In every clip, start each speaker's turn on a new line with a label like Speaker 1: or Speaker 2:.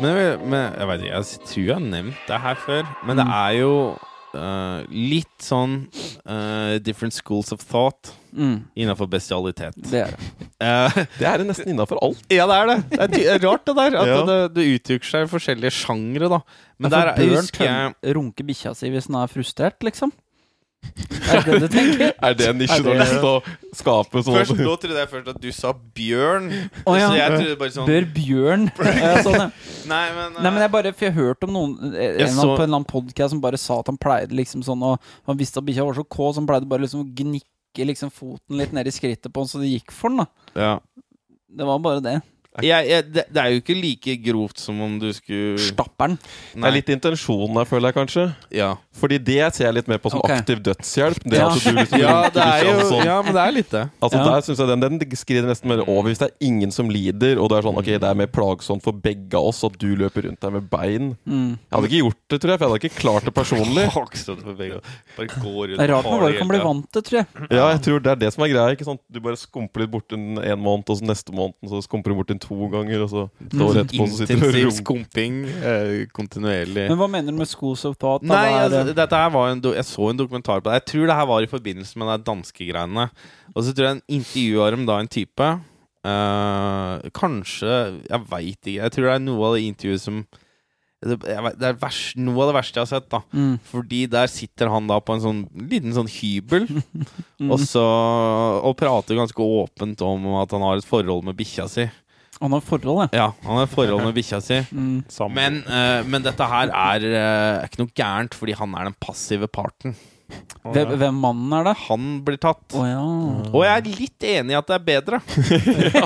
Speaker 1: Men, men jeg vet ikke, jeg tror jeg har nevnt det her før, men det er jo eh, litt sånn eh, different schools of thought
Speaker 2: Mm,
Speaker 1: innafor bestialitet.
Speaker 2: det er det.
Speaker 1: Eh,
Speaker 3: Det er nesten innafor alt.
Speaker 1: ja, det er det. Det er ty- det er rart, det der. At
Speaker 3: Ja.
Speaker 1: det, det utgjør seg i forskjellige sjangre, da. Men
Speaker 2: Ja,
Speaker 1: der
Speaker 2: for Bjørn
Speaker 1: husker jeg
Speaker 2: Tøm- runker bikkja si hvis den er frustrert, liksom? Er det det du tenker?
Speaker 3: Er det en nisje
Speaker 2: Er det-
Speaker 3: du har lyst til å skape? Sånn
Speaker 1: Først nå trodde jeg først at du sa bjørn.
Speaker 2: Å, ja.
Speaker 1: Så jeg trodde bare sånn
Speaker 2: Bør bjørn Eh, sånn, ja.
Speaker 1: Nei, men,
Speaker 2: Nei, men jeg bare, for jeg hørte om noen eh, en eller annen,
Speaker 1: så-
Speaker 2: på en eller annen podcast som bare sa at han pleide liksom sånn Og han visste at bikkja var så kå, så han pleide bare liksom å gnikke liksom foten litt ned i skrittet på han, så det gikk for han, da.
Speaker 1: ja.
Speaker 2: Det var bare det.
Speaker 1: jeg, jeg, det, det er jo ikke like grovt som om du skulle
Speaker 2: Stapper'n.
Speaker 3: Det er litt intensjonen der, føler jeg kanskje.
Speaker 1: Ja.
Speaker 3: Fordi det ser jeg litt mer på som
Speaker 2: Ok.
Speaker 3: aktiv dødshjelp. Det
Speaker 2: Ja.
Speaker 3: at du liksom
Speaker 1: Ja,
Speaker 3: runker
Speaker 1: det er
Speaker 3: bikkja
Speaker 1: jo
Speaker 3: sånn.
Speaker 1: Ja, men det er litt det.
Speaker 3: Altså
Speaker 2: Ja.
Speaker 3: Der synes jeg den, den skrider nesten mer over hvis det er ingen som lider, og det er sånn Ok, det er mer plagsomt for begge av oss at du løper rundt der med bein.
Speaker 2: Mm.
Speaker 3: Jeg hadde ikke gjort det, tror jeg, for jeg hadde ikke klart det personlig.
Speaker 1: Hakstøtte for begge. Bare går rundt
Speaker 2: Det er rart
Speaker 1: og har
Speaker 2: man bare
Speaker 1: det
Speaker 2: kan
Speaker 1: hele
Speaker 2: bli
Speaker 1: tiden.
Speaker 2: vant til, tror jeg.
Speaker 3: Ja, jeg tror det er det som er greia. ikke sant? Du bare skumper litt bort en, en måned, og så neste måned og så skumper du bort en to ganger, og så
Speaker 1: Mm.
Speaker 3: et år
Speaker 2: sånn
Speaker 3: etterpå så sitter du og
Speaker 1: Intensiv
Speaker 3: runker.
Speaker 1: skumping eh, kontinuerlig.
Speaker 2: Men hva mener du med schools of thought? Da?
Speaker 1: Nei,
Speaker 2: Hva er, eh,
Speaker 1: altså, dette her var en do jeg så en dokumentar på det. Jeg tror det her var i forbindelse med de danskegreiene. Og så tror jeg en intervjuer dem da en type eh, Kanskje Jeg veit ikke. Jeg tror det er noe av det intervjuet som det, jeg vet, det er vers, noe av det verste jeg har sett. da
Speaker 2: Mm.
Speaker 1: Fordi der sitter han da på en sånn liten sånn hybel og, så, og prater ganske åpent om at han har et forhold med bikkja si.
Speaker 2: Han har forhold, ja.
Speaker 1: Ja, han har et forhold med bikkja si.
Speaker 2: Mm.
Speaker 4: Sammen.
Speaker 1: Men, eh, men dette her er eh, ikke noe gærent, fordi han er den passive parten.
Speaker 2: Hvem, hvem mannen er, da?
Speaker 1: Han blir tatt.
Speaker 2: Å ja.
Speaker 1: Og jeg er litt enig i at det er bedre.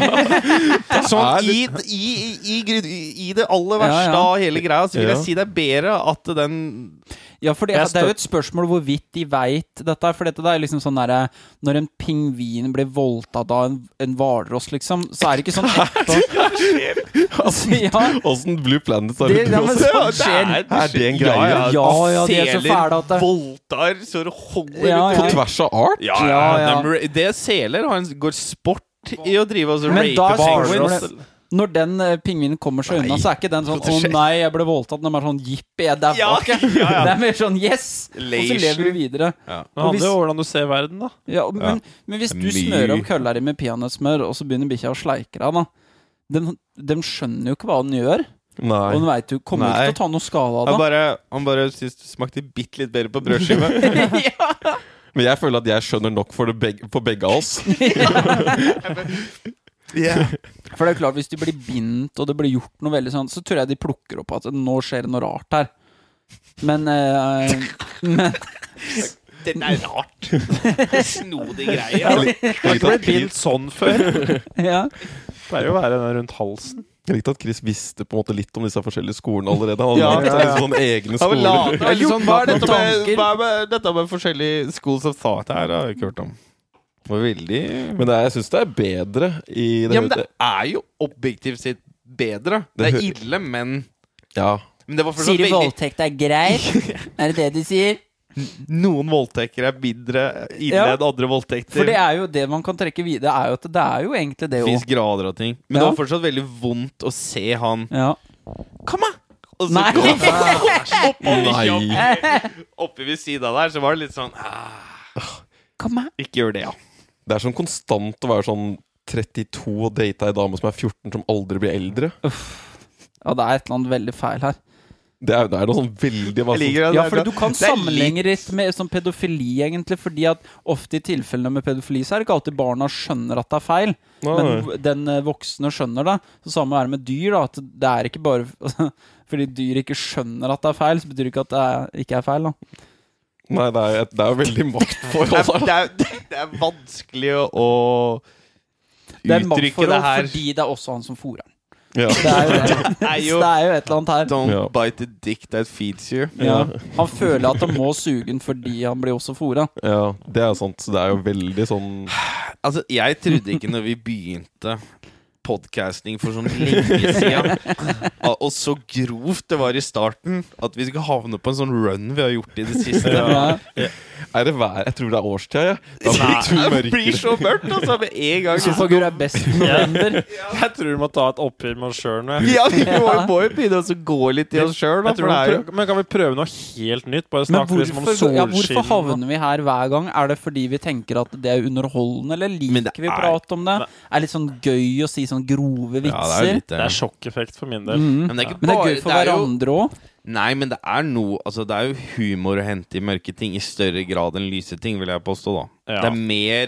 Speaker 3: er
Speaker 1: Sånn i, i, i, i, i det aller verste
Speaker 2: Ja, ja.
Speaker 1: av hele greia, så vil
Speaker 3: Ja.
Speaker 1: jeg si det er bedre at den
Speaker 2: Ja, for det,
Speaker 1: Jeg
Speaker 2: det er jo
Speaker 1: støt-
Speaker 2: et spørsmål hvorvidt de veit dette. For dette det er liksom sånn derre Når en pingvin blir voldtatt av en, en hvalross, liksom, så er det ikke sånn etterpå. Så, ja,
Speaker 3: Åssen Blue Planet har
Speaker 2: Det- ja,
Speaker 3: gjort det
Speaker 2: men
Speaker 3: også.
Speaker 2: sånn skjer.
Speaker 3: Er det en greie?
Speaker 1: Ja, ja,
Speaker 2: Ja, ja, de er så
Speaker 1: seler
Speaker 2: fæle at det-
Speaker 1: Voldtar så det holder
Speaker 2: Ja,
Speaker 1: ut.
Speaker 3: På tvers av art?
Speaker 1: Ja,
Speaker 2: Ja, ja.
Speaker 1: de ra- Det seler har en, går sport i å drive og så
Speaker 2: Men
Speaker 1: rape
Speaker 2: da er
Speaker 1: hvalross.
Speaker 2: spørsmålet- når den eh, pingvinen kommer seg unna, så er ikke den sånn 'Å nei, jeg ble voldtatt'. Den er bare sånn 'Jippi, jeg daua
Speaker 1: Ja,
Speaker 2: ikke'.
Speaker 1: ja, ja.
Speaker 2: Det er mer sånn 'Yes!' Og så lever vi videre.
Speaker 4: Det handler jo om hvordan du ser verden, da.
Speaker 2: Ja, og- men, men hvis du smører om kølla di med peanøttsmør, og så begynner bikkja å sleike deg, da den, den skjønner jo ikke hva den gjør. Og den
Speaker 3: Nei.
Speaker 2: vet jo, kommer jo
Speaker 1: Nei.
Speaker 2: ikke til å ta noe skade av
Speaker 1: Han
Speaker 2: det.
Speaker 1: bare, han bare synes det smakte bitte litt bedre på brødskiva.
Speaker 3: Men jeg føler at jeg skjønner nok for, det begge, for begge av oss.
Speaker 2: For det er jo klart, hvis de blir bindt, og det blir gjort noe veldig sånn, så tror jeg de plukker opp at nå skjer det noe rart her. Men, eh, men
Speaker 1: Den er rart. Snodig greie.
Speaker 4: Jeg har ikke blitt bindt sånn før.
Speaker 2: ja.
Speaker 4: Det pleier jo å være den rundt halsen.
Speaker 3: Jeg likte at Chris visste på en måte litt om disse forskjellige skolene allerede. Han hadde
Speaker 1: Ja,
Speaker 3: lagt
Speaker 4: ja,
Speaker 3: seg
Speaker 4: ja.
Speaker 3: litt sånn egne
Speaker 1: Ja, men la-
Speaker 3: skoler.
Speaker 1: det er litt sånn, hva er dette med,
Speaker 2: Tanker.
Speaker 1: hva er med, dette med forskjellige schools of thought her? har jeg ikke hørt om. Det var veldig
Speaker 3: Men det er, jeg syns det er bedre i det
Speaker 1: Ja, men det er jo objektivt sett bedre. Det er ille, men
Speaker 3: ja.
Speaker 1: men det var fortsatt
Speaker 2: Sier du
Speaker 1: sånn veldig
Speaker 2: voldtekt er greit? Er det det de sier?
Speaker 1: Noen voldtekter er mindre ille
Speaker 2: Ja.
Speaker 1: enn andre voldtekter.
Speaker 2: For det er jo det man kan trekke videre, er jo at det er jo egentlig det
Speaker 1: Det
Speaker 2: òg.
Speaker 1: fins grader av ting. Men det
Speaker 2: Ja.
Speaker 1: var fortsatt veldig vondt å se han
Speaker 2: Ja.
Speaker 1: Kom, da! Og så
Speaker 2: Nei.
Speaker 1: går han oppover,
Speaker 3: Nei.
Speaker 1: oppi ved sida der, så var det litt sånn ah,
Speaker 2: Kom her.
Speaker 1: Ikke gjør det, ja.
Speaker 3: Det er sånn konstant å være sånn 32 og date ei dame som er 14, som aldri blir eldre.
Speaker 2: Ja, det er et eller annet veldig feil her.
Speaker 3: Det er, det er noe sånn veldig
Speaker 1: Jeg liker det.
Speaker 2: Ja,
Speaker 1: Det er-
Speaker 2: for du kan
Speaker 1: det er
Speaker 2: sammenligne litt med sånn pedofili, egentlig. Fordi at ofte i tilfellene med pedofili så er det ikke alltid barna skjønner at det er feil. Men
Speaker 3: Nei.
Speaker 2: den eh, voksne skjønner det. Så samme er det med dyr. da At det er ikke bare Fordi dyr ikke skjønner at det er feil, så betyr det ikke at det er, ikke er feil. da
Speaker 3: Nei, det er, det er veldig
Speaker 1: Det er,
Speaker 3: maktforhold.
Speaker 1: det er, det er vanskelig å, å
Speaker 2: Det er
Speaker 1: uttrykke det
Speaker 2: maktforhold
Speaker 1: her.
Speaker 2: fordi det er også han som fôrer den.
Speaker 3: Ja.
Speaker 2: Det er jo det.
Speaker 1: Det er
Speaker 2: Så
Speaker 1: jo
Speaker 2: det er jo et eller annet her.
Speaker 1: Don't
Speaker 3: Ja.
Speaker 1: bite the dick that feeds you.
Speaker 2: Ja. Han føler at han må suge den fordi han blir også fôra.
Speaker 3: ja, det er sant. Så det er jo veldig sånn
Speaker 1: Altså, jeg trodde ikke når vi begynte podcasting for sånn lenge siden. Og- Og så grovt det var i starten, at vi skal havne på en sånn run vi har gjort i det siste.
Speaker 2: Ja.
Speaker 3: Er det vær? Jeg tror det er årstida, jeg. Da blir
Speaker 1: Nei, det
Speaker 3: det
Speaker 1: blir
Speaker 3: mørkere.
Speaker 1: så mørkt, altså, med en gang.
Speaker 2: Sofagur er best i november.
Speaker 4: Jeg tror du må ta et oppgjør med oss sjøl.
Speaker 1: Ja, vi må jo- må jo begynne å gå litt i oss sjøl, da. For det er jo
Speaker 4: Men kan vi prøve noe helt nytt? Bare
Speaker 2: Men
Speaker 4: snakke liksom om
Speaker 2: hvorfor,
Speaker 4: solskinn.
Speaker 2: ja, hvorfor havner vi her hver gang? Er det fordi vi tenker at det er underholdende, eller
Speaker 1: Men det
Speaker 2: liker vi å
Speaker 1: er-
Speaker 2: prate om det? Er litt sånn gøy å si sånn grove
Speaker 1: Ja, det er
Speaker 2: vitser?
Speaker 1: litt eh, det.
Speaker 4: Det er sjokkeffekt for min del.
Speaker 2: Mhm.
Speaker 1: Men det er ikke
Speaker 2: Men det er
Speaker 1: bare
Speaker 2: gøy for hverandre òg.
Speaker 1: Nei, men det er noe Altså, det er jo humor å hente i mørke ting i større grad enn lyse ting, vil jeg påstå, da.
Speaker 4: Ja.
Speaker 1: Det er mer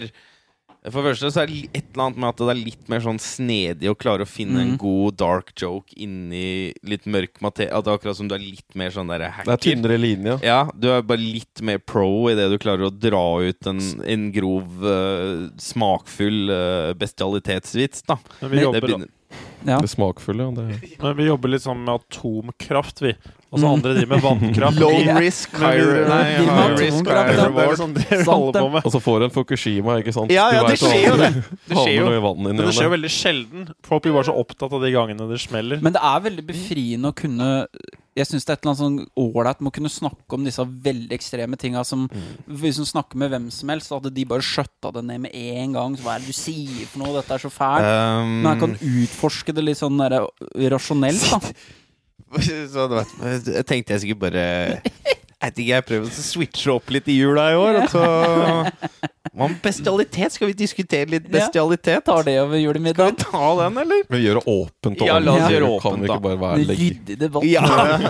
Speaker 1: For det første så er det li- et eller annet med at det er litt mer sånn snedig å klare å finne en
Speaker 2: Mm.
Speaker 1: god dark joke inni litt mørk materie. At det er akkurat som du er litt mer sånn derre
Speaker 3: Det er
Speaker 1: hacker.
Speaker 3: tynnere linje.
Speaker 1: Ja, du er bare litt mer pro i det du klarer å dra ut en, en grov, eh, smakfull eh, bestialitetsvits, da. Det
Speaker 4: Men, vi jobber,
Speaker 1: begynner-
Speaker 2: Ja.
Speaker 3: Det smakfulle. Ja. Det.
Speaker 4: men vi jobber litt sånn med atomkraft, vi. Og så
Speaker 2: Mm.
Speaker 4: andre driver med vannkraft.
Speaker 1: Low
Speaker 4: Vi-
Speaker 1: risk,
Speaker 4: Men vi-
Speaker 1: high, re- nei,
Speaker 2: vi må
Speaker 1: high
Speaker 2: ha
Speaker 1: risk,
Speaker 2: atomkraft,
Speaker 1: high
Speaker 2: ja.
Speaker 4: Det er
Speaker 1: reward.
Speaker 4: sånn dere
Speaker 2: Sant,
Speaker 4: holder på med.
Speaker 3: Og så får du en Fukushima, ikke sant?
Speaker 1: Ja, ja,
Speaker 3: Du
Speaker 1: det
Speaker 3: vet hva,
Speaker 1: skjer jo det. Det
Speaker 3: havner
Speaker 1: skjer jo.
Speaker 3: noe i vannet inni
Speaker 4: Men det skjer
Speaker 3: der.
Speaker 4: jo veldig sjelden. Folk blir bare så opptatt av de gangene det smeller.
Speaker 2: Men det er veldig befriende å kunne Jeg syns det er et eller annet sånn ålreit med å kunne snakke om disse veldig ekstreme tinga som
Speaker 1: Mm.
Speaker 2: Hvis du snakker med hvem som helst, så hadde de bare skjøtta det ned med en gang. Så hva er det du sier for noe? Dette er så fælt.
Speaker 1: Um,
Speaker 2: Men jeg kan utforske det litt sånn der, rasjonelt, da.
Speaker 1: Så det var- jeg tenkte jeg skulle bare Jeg vet ikke, jeg prøver å switche opp litt i jula i år. Og så Hva med bestialitet? Skal vi diskutere litt
Speaker 2: Ja.
Speaker 1: bestialitet?
Speaker 2: Tar det over
Speaker 1: Skal vi
Speaker 2: julemiddagen.
Speaker 1: ta den, eller?
Speaker 3: Men gjør det åpent. og
Speaker 1: Ja, la oss
Speaker 3: ordentlig.
Speaker 1: gjøre
Speaker 3: Kan
Speaker 1: åpent,
Speaker 3: vi
Speaker 1: da.
Speaker 3: ikke bare være legge
Speaker 2: Ryddig debatt.
Speaker 1: Ja!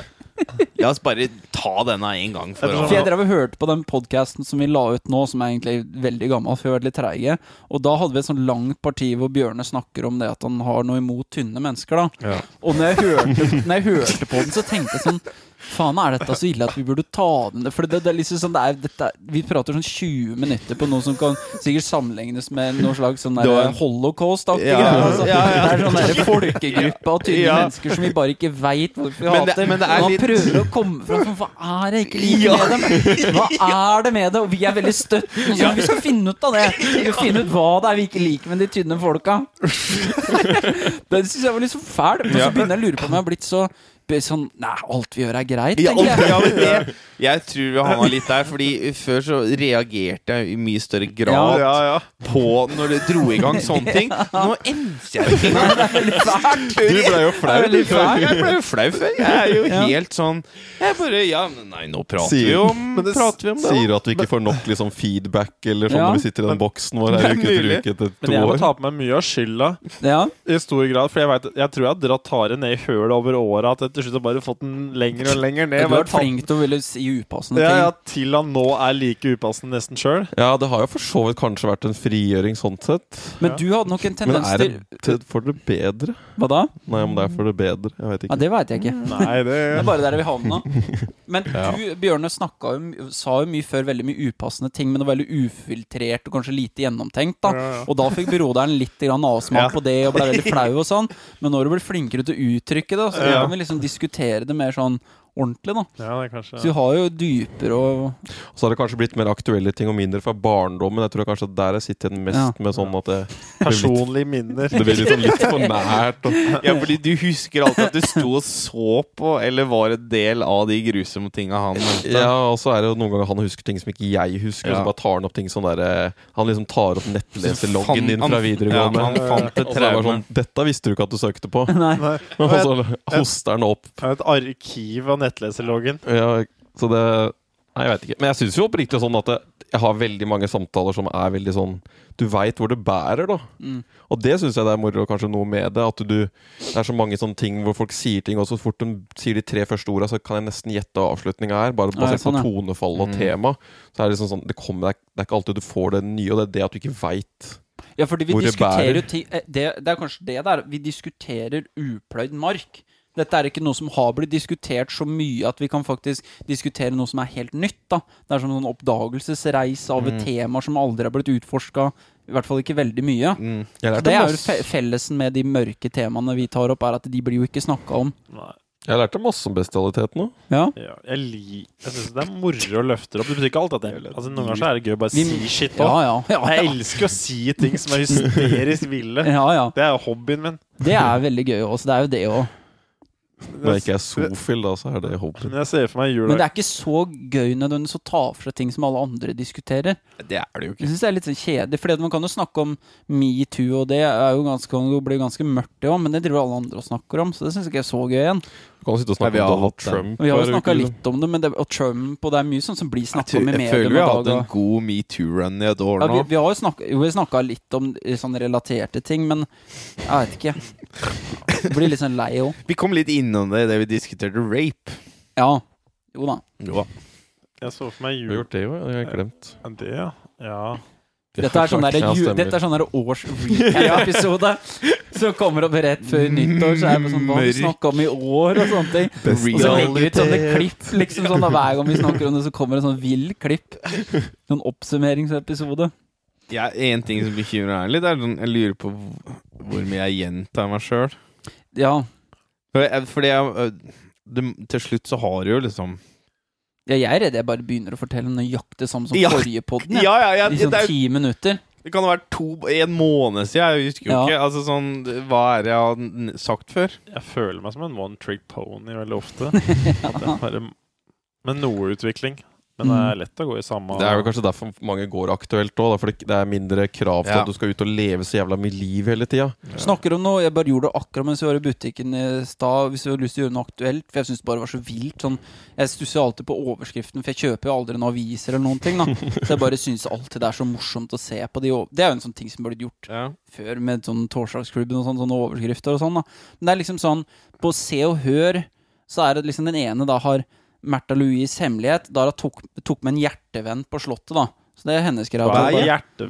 Speaker 1: La oss bare ta denne en gang for
Speaker 4: Jeg tror-
Speaker 2: For jeg
Speaker 1: alle.
Speaker 2: drev og hørte på den podkasten som vi la ut nå, som er egentlig veldig gammel, for vi har vært litt treige. Og da hadde vi et sånn langt parti hvor Bjørne snakker om det at han har noe imot tynne mennesker, da.
Speaker 3: Ja.
Speaker 2: Og når jeg, hørte, når jeg hørte på den, så tenkte jeg sånn Faen, er dette så ille at vi burde ta den ned? For det, det er liksom sånn det er, dette, er- Vi prater sånn 20 minutter på noe som kan sikkert sammenlignes med noe slags sånn
Speaker 1: Det var
Speaker 2: der
Speaker 1: en-
Speaker 2: holocaust-aktig
Speaker 1: Ja,
Speaker 2: greie. Altså.
Speaker 1: ja, ja.
Speaker 2: Det er sånn der folkegruppe av tynne
Speaker 1: Ja.
Speaker 2: mennesker som vi bare ikke veit hvorfor vi
Speaker 1: Men det-
Speaker 2: hater.
Speaker 1: men det er
Speaker 2: Og han
Speaker 1: litt-
Speaker 2: prøver å komme fram til hva er det jeg ikke liker
Speaker 1: Ja.
Speaker 2: med dem? Hva er det med det? Og vi er veldig støttende, så vi skal finne ut av det. Vi skal finne ut hva det er vi ikke liker med de tynne folka. Den syns jeg var litt så fæl. Men så begynner jeg å lure på om jeg har blitt så ble sånn Nei, alt vi gjør er greit,
Speaker 1: Ja,
Speaker 2: tenker jeg.
Speaker 1: ja, men det, jeg tror vi havna litt der, Fordi før så reagerte jeg i mye større grad
Speaker 4: Ja, ja.
Speaker 1: på når det dro i gang sånne ting. Nå enser jeg det ikke.
Speaker 2: Det er veldig fælt.
Speaker 1: Du ble jo flau.
Speaker 2: Det er veldig fæl.
Speaker 1: Jeg ble jo flau før. Jeg er jo
Speaker 2: Ja.
Speaker 1: helt sånn Jeg bare Ja, men nei, nå prater vi
Speaker 3: Sier-
Speaker 1: om Prater vi om det? da?
Speaker 3: Sier at vi ikke får nok liksom, feedback eller sånn
Speaker 2: Ja.
Speaker 3: når vi sitter i den boksen vår her
Speaker 1: Det er
Speaker 3: uke etter
Speaker 1: mulig.
Speaker 3: uke etter
Speaker 4: Men
Speaker 3: to
Speaker 4: jeg må
Speaker 3: år.
Speaker 4: ta på meg mye av skylda
Speaker 2: Ja.
Speaker 4: i stor grad. For jeg, vet, at- jeg tror jeg har dratt haren ned i hølet over åra. At jeg til slutt har bare fått den lenger og lenger
Speaker 2: Du
Speaker 4: ned.
Speaker 2: har
Speaker 4: Bare
Speaker 2: vært
Speaker 4: tatt-
Speaker 2: flink til å ville si upassende
Speaker 4: Ja, ja,
Speaker 2: ting.
Speaker 4: til han nå er like upassende nesten sjøl.
Speaker 3: Ja, det har jo for så vidt kanskje vært en frigjøring sånn sett.
Speaker 2: Men du hadde nok en
Speaker 3: Men
Speaker 2: tendens
Speaker 3: er det
Speaker 2: til
Speaker 3: til- for det bedre?
Speaker 2: Hva da?
Speaker 3: Nei, om det er for det bedre. Jeg vet
Speaker 2: Ja,
Speaker 3: ikke.
Speaker 2: det veit jeg ikke.
Speaker 4: Nei,
Speaker 2: Det
Speaker 4: det
Speaker 2: er bare der vi havna. Men du, Bjørne, snakka jo, my- sa jo mye før veldig mye upassende ting, men det var veldig ufiltrert og kanskje lite gjennomtenkt. da
Speaker 4: Ja, ja.
Speaker 2: Og da fikk byråderen litt grann avsmak
Speaker 4: Ja.
Speaker 2: på det og ble veldig flau og sånn. Men nå har du blitt flinkere til å uttrykke det, så nå
Speaker 4: Ja.
Speaker 2: kan vi liksom diskutere det mer sånn ordentlig, da.
Speaker 4: Ja, det er kanskje
Speaker 2: Så vi har jo dypere og
Speaker 3: Så har det kanskje blitt mer aktuelle ting og mindre fra barndommen. Jeg tror kanskje der jeg sitter igjen mest
Speaker 2: Ja.
Speaker 3: med sånn at det,
Speaker 4: personlige minner.
Speaker 3: det blir litt, sånn litt for nært. Og,
Speaker 1: Ja, fordi du husker alltid at du sto og så på, eller var en del av de grusomme tinga han nevnte.
Speaker 3: ja, og så er det jo noen ganger han husker ting som ikke jeg husker, og
Speaker 1: Ja.
Speaker 3: så bare tar han opp ting sånn derre Han liksom tar opp nettleserloggen din
Speaker 1: Han-
Speaker 3: fra
Speaker 1: Ja,
Speaker 3: videregående.
Speaker 1: han fant et
Speaker 3: Og så er det bare
Speaker 1: traume.
Speaker 3: sånn Dette visste du ikke at du søkte på.
Speaker 2: Nei.
Speaker 4: Nei,
Speaker 3: Og
Speaker 4: jeg-
Speaker 3: så hoster han opp.
Speaker 4: jeg har Et arkiv av nettleserloggen.
Speaker 3: Ja, så det Nei, jeg vet ikke. Men jeg syns jo oppriktig sånn at det, jeg har veldig mange samtaler som er veldig sånn Du veit hvor det bærer, da.
Speaker 2: Mm.
Speaker 3: Og det syns jeg det er moro, kanskje noe med det. At du Det er så mange sånne ting hvor folk sier ting, og så fort de sier de tre første orda, så kan jeg nesten gjette hva avslutninga er. Bare
Speaker 2: Ja,
Speaker 3: basert
Speaker 2: sånn, ja.
Speaker 3: på tonefall og
Speaker 1: Mm.
Speaker 3: tema. Så er det liksom sånn det, kommer, det, er, det er ikke alltid du får det nye, og det er det at du ikke veit.
Speaker 2: Ja, fordi vi
Speaker 3: Hvor det
Speaker 2: diskuterer jo
Speaker 3: bærer.
Speaker 2: ting eh, det, det er kanskje det der. Vi diskuterer upløyd mark. Dette er ikke noe som har blitt diskutert så mye at vi kan faktisk diskutere noe som er helt nytt. da Det er som en sånn oppdagelsesreis av et tema som aldri har blitt utforska. I hvert fall ikke veldig mye.
Speaker 1: Mm.
Speaker 3: Jeg
Speaker 2: Det er jo fe fellesen med de mørke temaene vi tar opp, er at de blir jo ikke snakka om.
Speaker 4: Nei.
Speaker 3: Jeg lærte masse om bestialitet nå.
Speaker 2: Ja.
Speaker 4: Ja, jeg li- jeg syns det er moro å løfte det opp. Det betyr ikke alltid at jeg Altså Noen ganger så er det gøy å bare
Speaker 2: Vi-
Speaker 4: si shit
Speaker 2: Ja,
Speaker 4: òg.
Speaker 2: ja. ja,
Speaker 4: Jeg
Speaker 2: ja.
Speaker 4: elsker å si ting som er hysterisk ville.
Speaker 2: ja, ja.
Speaker 4: Det er jo hobbyen min.
Speaker 2: Det er veldig gøy også. Det er jo det òg.
Speaker 3: Når jeg ikke er sofil, da, så er det hobbyen.
Speaker 4: Men jeg ser for meg jul
Speaker 2: Men det er ikke så gøy nødvendigvis å ta for seg ting som alle andre diskuterer.
Speaker 1: Det er det jo
Speaker 2: Jeg synes det er litt sånn kjedelig, Fordi at man kan jo snakke om metoo, og det er jo ganske, kan jo bli ganske mørkt, det òg, men det driver alle andre og snakker om, så det syns jeg ikke er så gøy igjen.
Speaker 3: Du kan jo sitte og
Speaker 1: Nei, vi
Speaker 3: snakke
Speaker 1: har
Speaker 3: om Donald
Speaker 1: hatt den.
Speaker 3: Trump.
Speaker 2: Vi har
Speaker 3: hver
Speaker 2: jo snakka
Speaker 3: uke, liksom.
Speaker 2: litt om det, men det, og Trump, og det er mye sånn som blir snakka
Speaker 1: Jeg,
Speaker 2: om i
Speaker 1: føler vi
Speaker 2: mediene.
Speaker 1: har
Speaker 2: og
Speaker 1: hatt en
Speaker 2: dag og-
Speaker 1: god metoo-run i et år
Speaker 2: Ja,
Speaker 1: nå.
Speaker 2: vi, vi har jo snakka- jo, vi snakka litt om eh, sånn relaterte ting, men jeg vet ikke. Jeg blir litt sånn lei òg.
Speaker 1: Vi kom litt innom det idet vi diskuterte rape.
Speaker 2: Ja. Jo da.
Speaker 4: Jeg så for meg
Speaker 3: Vi har
Speaker 4: jul
Speaker 3: gjort det, jo. Jeg har glemt.
Speaker 4: Ja, Det, ja. ja.
Speaker 2: Dette er sånn der,
Speaker 3: Ja,
Speaker 2: ju,
Speaker 3: stemmer.
Speaker 2: dette er sånn der års recap-episode som kommer opp rett før nyttår. Så er det sånn hva vi snakka om i år, og sånne ting. Og så legger vi ut sånne klipp liksom sånn da, hver gang vi snakker om det, så kommer det sånn vill klipp. Sånn oppsummeringsepisode.
Speaker 1: Ja, en ting som bekymrer meg litt, er sånn Jeg lurer på hvor- hvor mye jeg gjentar meg sjøl.
Speaker 2: Ja.
Speaker 1: Fordi jeg øh, det, Til slutt så har du jo liksom
Speaker 2: ja. Jeg er redd jeg bare begynner å fortelle nøyaktig det samme som
Speaker 1: Ja.
Speaker 2: forrige podden. Ja.
Speaker 1: Ja, ja, ja
Speaker 2: I
Speaker 1: det,
Speaker 2: sånn
Speaker 1: er, jo-
Speaker 2: ti minutter.
Speaker 1: det kan ha vært to en måned siden. Jeg husker jo
Speaker 2: Ja.
Speaker 1: ikke. Altså sånn Hva er det jeg har n- sagt før?
Speaker 4: Jeg føler meg som en one trick pony veldig ofte. At jeg bare, med noe utvikling. Men det
Speaker 2: Mm.
Speaker 4: er lett å gå i samme
Speaker 2: sånn-
Speaker 3: Det er jo kanskje derfor mange går aktuelt òg, for det det er mindre krav til
Speaker 1: Ja.
Speaker 3: at du skal ut og leve så jævla mye liv hele tida.
Speaker 2: Snakker om noe, jeg bare gjorde det akkurat mens vi var i butikken i stad. Hvis vi hadde lyst til å gjøre noe aktuelt, for jeg syns det bare var så vilt. Sånn, jeg stusser alltid på overskriften, for jeg kjøper jo aldri noen aviser eller noen ting. Da. Så jeg bare syns alltid det er så morsomt å se på de over- Det er jo en sånn ting som burde gjort
Speaker 1: Ja.
Speaker 2: før, med sånn torsdagsklubben og sånn, sånne overskrifter og sånn. da Men det er liksom sånn, på Se og Hør, så er det liksom den ene da har Märtha Louise' hemmelighet. Da har hun tok, tok med en hjertevenn på Slottet, da. Så det er hennes greie.
Speaker 1: Hva
Speaker 4: Hva
Speaker 1: er Hva
Speaker 4: er
Speaker 1: er
Speaker 4: hjertevenn?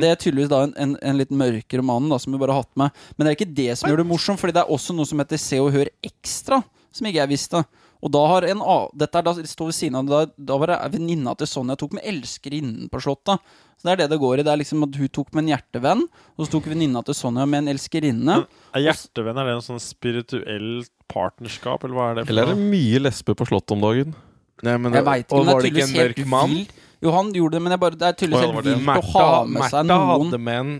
Speaker 1: hjertevenn?
Speaker 2: det er tydeligvis da en, en, en litt mørkere mann da, som vi bare har hatt med. Men det er ikke det som gjør det morsomt, Fordi det er også noe som heter Se og Hør Ekstra, som ikke jeg visste. Og da har en A Dette er da det står ved siden av Da, da var det venninna til Sonja tok med elskerinnen på Slottet. Så det er det det går i. Det er liksom at hun tok med en hjertevenn, og så tok venninna til Sonja med en elskerinne.
Speaker 4: Er hjertevenn er det en sånn spirituelt partnerskap, eller hva er det?
Speaker 3: Eller er det mye lesber på Slottet om dagen?
Speaker 1: Nei, men
Speaker 2: Jeg veit ikke,
Speaker 1: og
Speaker 2: men det
Speaker 1: var
Speaker 2: er
Speaker 1: det ikke
Speaker 2: tydeligvis
Speaker 1: en
Speaker 2: helt
Speaker 1: mørk mann?
Speaker 2: vilt. Jo, han gjorde det, men jeg bare, det er tydeligvis
Speaker 3: Å, ja,
Speaker 2: helt
Speaker 3: det var
Speaker 2: vilt å ha
Speaker 1: Märtha,
Speaker 2: med seg
Speaker 1: Märtha
Speaker 2: noen
Speaker 1: hadde med en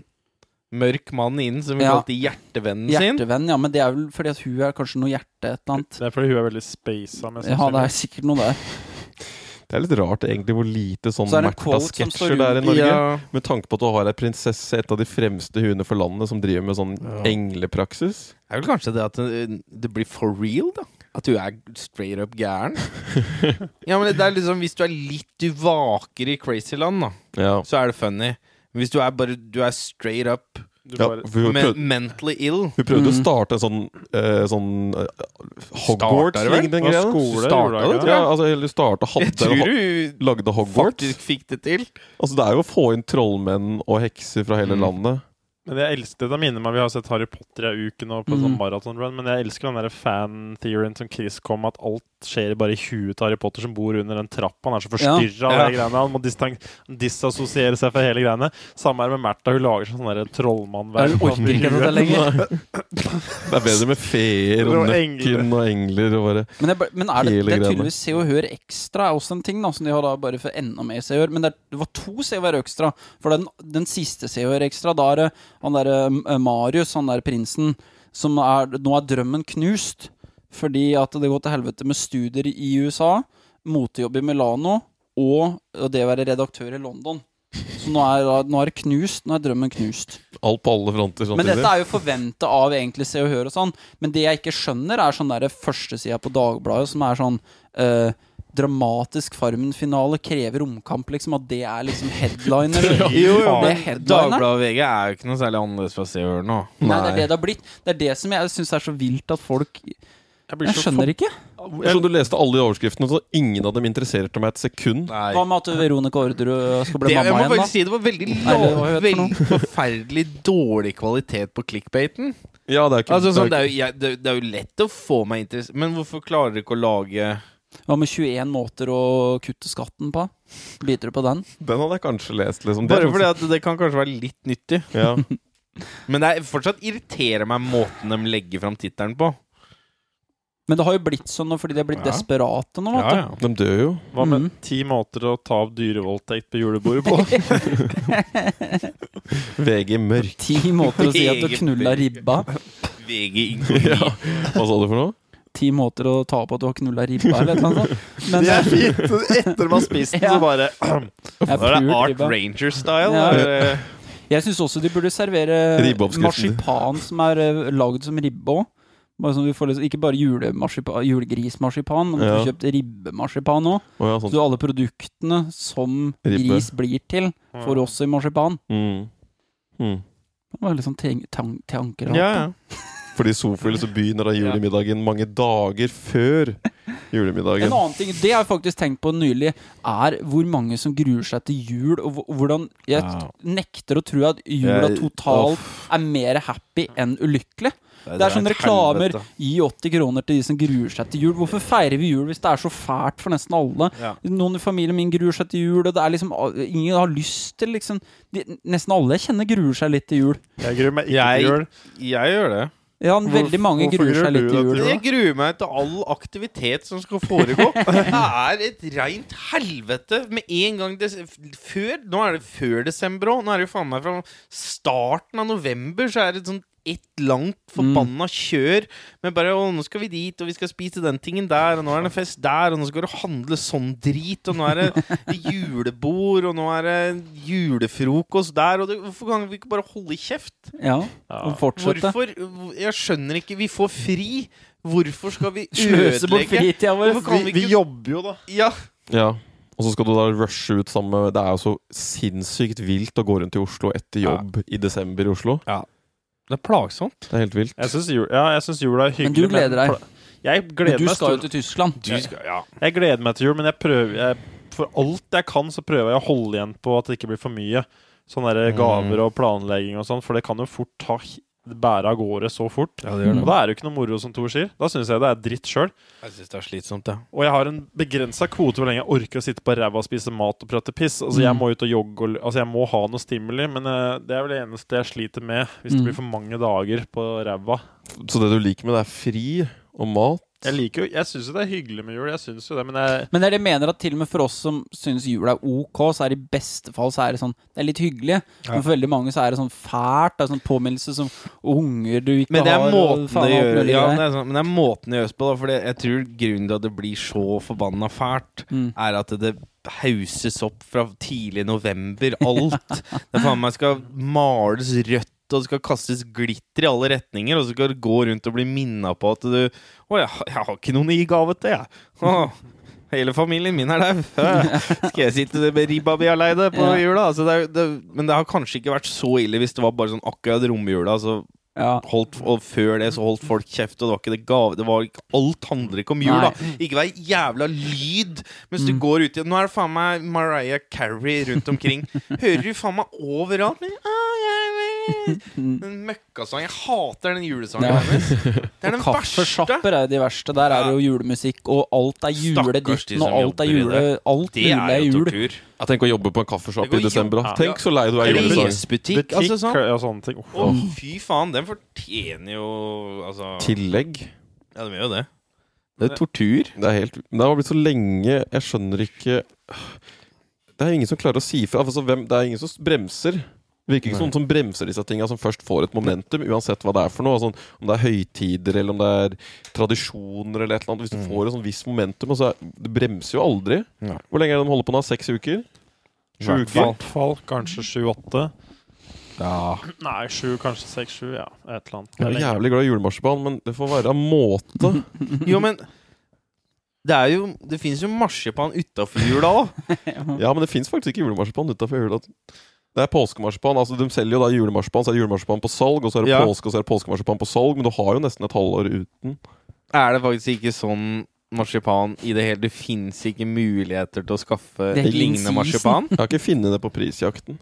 Speaker 1: mørk mann inn som vi
Speaker 2: Ja.
Speaker 1: kalte hjertevennen sin.
Speaker 2: hjertevenn. Ja, men det er vel fordi at hun er kanskje noe hjerte et eller annet.
Speaker 4: Det er fordi hun er veldig spasa. med
Speaker 2: Ja, det er sikkert noe der.
Speaker 3: Det er litt rart egentlig hvor lite sånn
Speaker 2: Så er det en quote som
Speaker 3: Märtha-sketsjer
Speaker 2: står
Speaker 3: det er i
Speaker 2: rundt
Speaker 3: Norge.
Speaker 1: Ja.
Speaker 3: Med tanke på at du har ei prinsesse, et av de fremste huene for landet, som driver med sånn englepraksis.
Speaker 1: Det er vel kanskje det at det, det blir for real, da. At du er straight up gæren. ja, men det er liksom Hvis du er litt uvaker i Crazyland, da,
Speaker 3: Ja.
Speaker 1: så er det funny. Men Hvis du er bare Du er straight up
Speaker 4: Du
Speaker 3: ja
Speaker 4: bare,
Speaker 3: for hun,
Speaker 1: men,
Speaker 3: prøvde,
Speaker 1: mentally ill.
Speaker 3: hun
Speaker 2: Mm.
Speaker 3: prøvde å starte en sånn, eh, sånn eh,
Speaker 1: Starter det vel?
Speaker 3: Hogwarts-lignende
Speaker 4: Det var
Speaker 3: greie.
Speaker 4: skole,
Speaker 1: starta
Speaker 4: gjorde jeg
Speaker 1: det,
Speaker 4: ikke
Speaker 1: tror
Speaker 3: Ja, altså, eller starta
Speaker 1: Jeg
Speaker 3: hadde
Speaker 1: tror
Speaker 3: eller ho-
Speaker 1: du
Speaker 3: Lagde Hogwarts.
Speaker 1: faktisk fikk det til.
Speaker 3: Altså, det er jo å få inn trollmenn og hekser fra hele
Speaker 1: Mm.
Speaker 3: landet.
Speaker 4: Men jeg elsker det minner meg Vi har sett Harry Potter i uken og på en sånn
Speaker 2: Mhm.
Speaker 4: maratonrun, men jeg elsker den der fan-theorien som Chris kom med, at alt skjer bare i huet til Harry Potter som bor under den trappa. Han er så forstyrra av
Speaker 1: Ja.
Speaker 4: de greiene. Han må distan- disassosiere seg fra hele greiene. Samme er det med Märtha. Hun lager seg sånn der trollmannvern.
Speaker 2: Jeg orker ikke dette lenger.
Speaker 3: Det er bedre med feer
Speaker 4: Og
Speaker 3: og
Speaker 4: engler.
Speaker 3: nøkken og engler og bare
Speaker 2: Men, det, er bare- men er det,
Speaker 3: Hele
Speaker 2: det er
Speaker 3: greiene.
Speaker 2: tydeligvis Se og Hør Ekstra er også en ting da, som de har da bare for enda mer Se og Hør. Men det, er, det var to Se og Hør Ekstra. For den, den siste Se og Hør Ekstra, da er det han derre eh, Marius, han der prinsen, som er Nå er drømmen knust fordi at det går til helvete med studier i USA, motejobb i Milano og og det å være redaktør i London. Så nå er, da- nå er det knust. Nå er drømmen knust.
Speaker 3: Alt på alle fronter sånn
Speaker 2: Men
Speaker 3: samtidig.
Speaker 2: dette er jo forventa av egentlig Se og Hør og sånn. Men det jeg ikke skjønner, er sånn derre førstesida på Dagbladet som er sånn eh, Dramatisk Farmen-finale krever omkamp, liksom. At det er liksom headliner.
Speaker 1: Jo, jo,
Speaker 2: Faen, det er
Speaker 1: men
Speaker 2: headlineren.
Speaker 1: Dagbladet og VG er jo ikke noe særlig annerledes fra Se og Hør nå.
Speaker 2: Nei, det er det det har blitt. Det er det som jeg syns er så vilt at folk Jeg skjønner ikke.
Speaker 3: Jeg skjønner du leste alle de overskriftene, så ingen av dem interesserte meg et sekund.
Speaker 1: Nei.
Speaker 2: Hva med at Veronica Orderud skal bli
Speaker 1: Det, jeg
Speaker 2: mamma
Speaker 1: må
Speaker 2: igjen,
Speaker 1: faktisk
Speaker 2: da?
Speaker 1: si det var veldig,
Speaker 2: Nei, det var
Speaker 1: lav,
Speaker 2: jo vet for noe.
Speaker 1: veldig forferdelig dårlig kvalitet på clickbaiten.
Speaker 3: Ja, det er ikke,
Speaker 1: Altså, sånn, det,
Speaker 3: det er
Speaker 1: er jo, jeg, det, det er jo lett å få meg interessert Men hvorfor klarer dere ikke å lage
Speaker 2: Hva med 21 måter å kutte skatten på? Biter du på den?
Speaker 3: ikke, den hadde jeg kanskje lest, liksom. Det er
Speaker 1: Bare fordi
Speaker 3: sånn-
Speaker 1: at det kan kanskje være litt nyttig.
Speaker 3: ja.
Speaker 1: Men det er fortsatt irriterer meg måten de legger fram tittelen på.
Speaker 2: Men det har jo blitt sånn nå fordi de har blitt
Speaker 1: Ja.
Speaker 2: desperate nå,
Speaker 1: Ja,
Speaker 2: vet du.
Speaker 1: ja.
Speaker 3: De dør jo.
Speaker 4: Hva med
Speaker 2: Mhm.
Speaker 4: ti måter å ta opp dyrevoldtekt på julebordet på?
Speaker 3: VG mørk.
Speaker 2: Ti måter å si at du
Speaker 1: Meget
Speaker 2: knulla
Speaker 1: mye.
Speaker 2: ribba.
Speaker 1: VG
Speaker 3: Ja. Hva sa du for noe?
Speaker 2: Ti måter å ta på at du har knulla ribba, eller noe sånt. Men
Speaker 4: Det er fint! Etter man har spist den,
Speaker 2: Ja.
Speaker 4: så bare
Speaker 2: jeg,
Speaker 1: Da er det
Speaker 2: pult
Speaker 1: Art
Speaker 2: ribba.
Speaker 1: Ranger-style.
Speaker 2: Ja.
Speaker 1: eller-
Speaker 2: jeg syns også de burde servere
Speaker 3: Ribbeoppskriften.
Speaker 2: marsipan som er eh, lagd som ribbe òg. Bare sånn vi får litt- ikke bare julemarsipa- julegrismarsipan, men du
Speaker 3: Ja.
Speaker 2: får kjøpt ribbemarsipan òg.
Speaker 3: Å ja,
Speaker 2: Så
Speaker 3: sånn.
Speaker 2: alle produktene som
Speaker 3: Ribbe.
Speaker 2: gris blir til, får også i marsipan.
Speaker 3: Mm. Mm.
Speaker 2: Det var litt sånn ten- tan- tanker.
Speaker 1: Ja, ja.
Speaker 3: Fordi i Sofiel så begynner da julemiddagen mange dager før
Speaker 2: En
Speaker 3: julemiddagen.
Speaker 2: annen ting, det har jeg faktisk tenkt på nylig, er hvor mange som gruer seg til jul, og hvor- hvordan Jeg
Speaker 1: Ja.
Speaker 2: nekter å tro at jula
Speaker 1: Jeg-
Speaker 2: totalt er mer happy enn ulykkelig. Det er sånne
Speaker 1: et
Speaker 2: reklamer.
Speaker 1: helvete.
Speaker 2: Gi 80 kroner til de som gruer seg til jul. Hvorfor feirer vi jul hvis det er så fælt for nesten alle?
Speaker 1: Ja.
Speaker 2: Noen i familien min gruer seg til jul, og det er liksom ingen har lyst til liksom de, Nesten alle jeg kjenner gruer seg litt til jul.
Speaker 4: Jeg gruer meg ikke
Speaker 1: Jeg-
Speaker 4: til jul.
Speaker 1: Jeg gjør det.
Speaker 2: Ja, veldig mange
Speaker 4: hvorfor
Speaker 2: gruer
Speaker 4: gruer
Speaker 2: seg litt
Speaker 4: du
Speaker 2: til
Speaker 4: deg til
Speaker 2: jul.
Speaker 4: jul?
Speaker 1: Jeg gruer meg til all aktivitet som skal foregå. Det er et reint helvete med en gang des før, Nå er det før desember òg. Nå er det jo faen meg fra starten av november, så er det sånn ett langt forbanna kjør med bare Å, nå skal vi dit, og vi skal spise den tingen der, og nå er det fest der, og nå skal du handle sånn drit, og nå er det julebord, og nå er det julefrokost der, og det, hvorfor kan vi ikke bare holde kjeft?
Speaker 2: Ja,
Speaker 4: Ja.
Speaker 2: og fortsette.
Speaker 1: Hvorfor? hvor- Jeg skjønner ikke. Vi får fri. Hvorfor skal vi
Speaker 2: Sløse bort
Speaker 1: ødelegge?
Speaker 2: fritida vår.
Speaker 1: Hvorfor kan vi
Speaker 4: Vi, vi
Speaker 1: ikke
Speaker 4: jobber jo, da.
Speaker 1: Ja,
Speaker 3: Ja. Og så skal du da rushe ut sammen med Det er jo så sinnssykt vilt å gå rundt i Oslo etter jobb i desember i Oslo.
Speaker 1: det er plagsomt.
Speaker 3: Det er helt vilt.
Speaker 4: Jeg syns jul, ja, jeg syns jula er hyggelig.
Speaker 2: Men du gleder deg.
Speaker 4: pla- Jeg
Speaker 2: Men
Speaker 4: gleder,
Speaker 2: du
Speaker 4: meg
Speaker 2: skal jo
Speaker 4: stort-
Speaker 2: til Tyskland.
Speaker 1: Du skal, ja.
Speaker 4: jeg gleder meg til jul, men jeg prøver jeg, For alt jeg kan, så prøver jeg å holde igjen på at det ikke blir for mye. Sånne der gaver og planlegging og sånn, for det kan jo fort ta hi- bære av gårde så fort.
Speaker 2: gjør det.
Speaker 4: Og da er det jo ikke noe moro, som Tor sier. Da syns jeg det er dritt sjøl.
Speaker 1: Jeg syns det er slitsomt, ja.
Speaker 4: Og jeg har en begrensa kvote hvor lenge jeg orker å sitte på ræva og spise mat og prate piss. Altså Jeg
Speaker 2: Mm.
Speaker 4: må ut og jogge og l- Altså jeg må ha noe stimuli, men eh, det er vel det eneste jeg sliter med hvis
Speaker 2: Mm.
Speaker 4: det blir for mange dager på ræva.
Speaker 3: Så det du liker med det, er fri og mat.
Speaker 4: Jeg liker jo Jeg syns jo det er hyggelig med jul, jeg syns jo det, men jeg
Speaker 2: Men det er det jeg mener at til og med for oss som syns jul er ok, så er det i beste fall så er det sånn Det er litt hyggelig, men for veldig mange så er det sånn fælt. Det er sånn påminnelse som unger du ikke
Speaker 1: Men det er
Speaker 2: har
Speaker 1: måten
Speaker 2: og faen
Speaker 1: det
Speaker 2: alt
Speaker 1: gjør
Speaker 2: mulig
Speaker 1: ja,
Speaker 2: greier.
Speaker 1: det er sånn, Men det er måten det gjøres på, da. For det- jeg tror grunnen til at det blir så forbanna fælt,
Speaker 2: Mm.
Speaker 1: er at det hauses opp fra tidlig november. Alt. Det faen meg skal males rødt. Og det skal kastes glitter i alle retninger, og så skal du gå rundt og bli minna på at du Å, jeg, jeg har ikke noen å gi gave til, jeg. Å, hele familien min er dau. Hæ, Skal jeg sitte der med ribba mi aleine på
Speaker 2: Ja.
Speaker 1: jula? Altså, det er, det, men det har kanskje ikke vært så ille hvis det var bare sånn akkurat romjula. Så
Speaker 2: Ja.
Speaker 1: holdt, og før det så holdt folk kjeft, og det var ikke det gave det var ikke, Alt handler ikke om jul,
Speaker 2: Nei.
Speaker 1: da. Ikke vær jævla lyd mens du
Speaker 2: Mm.
Speaker 1: går ut i Nå er det faen meg Mariah Carey rundt omkring. Hører du faen meg overalt? Men, ah, jeg-
Speaker 2: Mm.
Speaker 1: Den møkkasangen. Jeg hater den julesangen
Speaker 2: Ja.
Speaker 1: hennes. Det er den verste.
Speaker 2: Kaffesjapper er jo de verste. Der er det jo julemusikk, og alt er
Speaker 1: Stakkars de
Speaker 2: juleditten,
Speaker 1: som
Speaker 2: og alt
Speaker 1: jobber
Speaker 2: er
Speaker 1: i
Speaker 2: jule... Alt
Speaker 1: Det
Speaker 2: jule
Speaker 1: er
Speaker 2: er
Speaker 1: jo
Speaker 2: jul.
Speaker 1: tortur.
Speaker 3: Jeg tenker å jobbe på en
Speaker 1: Det
Speaker 3: kaffeshop
Speaker 1: går
Speaker 3: i desember. da.
Speaker 1: jobb-
Speaker 3: Tenk så lei du er
Speaker 1: Eller
Speaker 3: julesang.
Speaker 1: Lesbutikk.
Speaker 4: Butikk
Speaker 1: Altså sånn.
Speaker 4: og sånne ting. Uff.
Speaker 1: Å, fy faen. Den fortjener jo Altså
Speaker 3: Tillegg.
Speaker 1: Ja, den gjør jo det. Det er tortur.
Speaker 3: Det er helt Det har blitt så lenge Jeg skjønner ikke Det er ingen som klarer å si fra. Altså, hvem, det er ingen som bremser. Virker ikke som noen som bremser disse tinga, som først får et momentum, uansett hva det er for noe. Altså, om det er høytider, eller om det er tradisjoner, eller et eller annet. Hvis du får et sånn visst momentum, og så er, det bremser jo aldri.
Speaker 1: Nei.
Speaker 3: Hvor lenge er det de holder på nå? Seks uker? Sju
Speaker 1: Hvert
Speaker 4: I
Speaker 3: uker?
Speaker 4: hvert fall kanskje sju-åtte.
Speaker 1: Ja.
Speaker 4: Nei, sju, kanskje seks-sju. Ja, et eller annet.
Speaker 3: Jeg er jævlig glad i julemarsipan, men det får være av måte.
Speaker 1: Jo, men det er jo Det fins jo marsipan utafor jula òg.
Speaker 3: Ja, men det fins faktisk ikke julemarsipan utafor jula. Det er påskemarsipan. altså De selger jo da julemarsipan, så er det julemarsipan på salg, og så er det
Speaker 1: Ja.
Speaker 3: påske, og så er det påskemarsipan på salg, men du har jo nesten et halvår uten.
Speaker 1: Er det faktisk ikke sånn marsipan i det hele Det fins ikke muligheter til å skaffe
Speaker 2: Det er ikke
Speaker 1: lignende
Speaker 2: in season.
Speaker 1: marsipan?
Speaker 3: Jeg har ikke funnet det på prisjakten.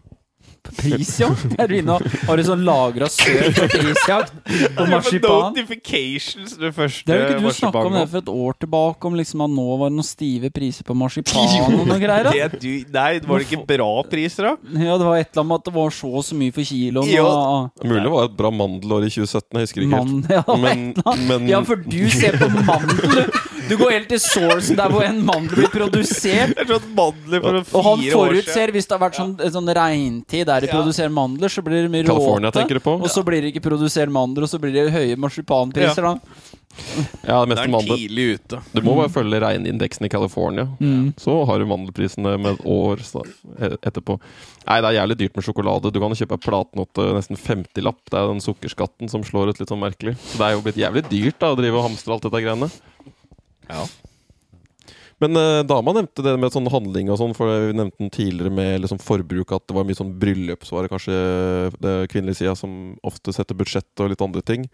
Speaker 2: Prisjakt? Er du inne og har du sånn lagra søk på prisjakt? På marsipan?
Speaker 1: Notifications, det første
Speaker 2: Det er jo ikke du snakka om det for et år tilbake, om liksom at nå var det noen stive priser på marsipan og noe greier. da.
Speaker 1: Det du, nei, var det ikke bra priser, da?
Speaker 2: Ja, det var et eller annet med at det var så og så mye for kiloen.
Speaker 1: Ja.
Speaker 2: og-
Speaker 3: Mulig det var et bra mandelår i 2017, jeg husker ikke helt.
Speaker 2: Mann, ja,
Speaker 3: Men, men
Speaker 2: ja, for du ser på mandel. du. Du går helt til sourcen der hvor en mandel blir produsert.
Speaker 1: Det er sånn mandler for fire
Speaker 2: Og han
Speaker 1: år siden.
Speaker 2: forutser, hvis det har vært sånn, sånn regntid der de produserer mandler, så blir det mye
Speaker 3: California
Speaker 2: råte.
Speaker 3: tenker du på?
Speaker 2: Og så blir det ikke produsert mandler, og så blir det høye marsipanpriser, da.
Speaker 3: Ja, det
Speaker 1: Da
Speaker 3: meste
Speaker 1: er han
Speaker 3: mandel.
Speaker 1: tidlig ute.
Speaker 3: Du må bare følge regnindeksen i California.
Speaker 2: Mm.
Speaker 3: Så har du mandelprisene med et år så- et- etterpå. Nei, det er jævlig dyrt med sjokolade. Du kan jo kjøpe ei platenote nesten 50-lapp. Det er den sukkerskatten som slår ut litt sånn merkelig. Så det er jo blitt jævlig dyrt da å drive og hamstre alt dette greiene.
Speaker 1: Ja.
Speaker 3: Men eh, dama nevnte det med sånn handling og sånn, for vi nevnte den tidligere med liksom forbruk, at det var mye sånn bryllupsvare, kanskje det kvinnelige sida, som ofte setter budsjett og litt andre ting.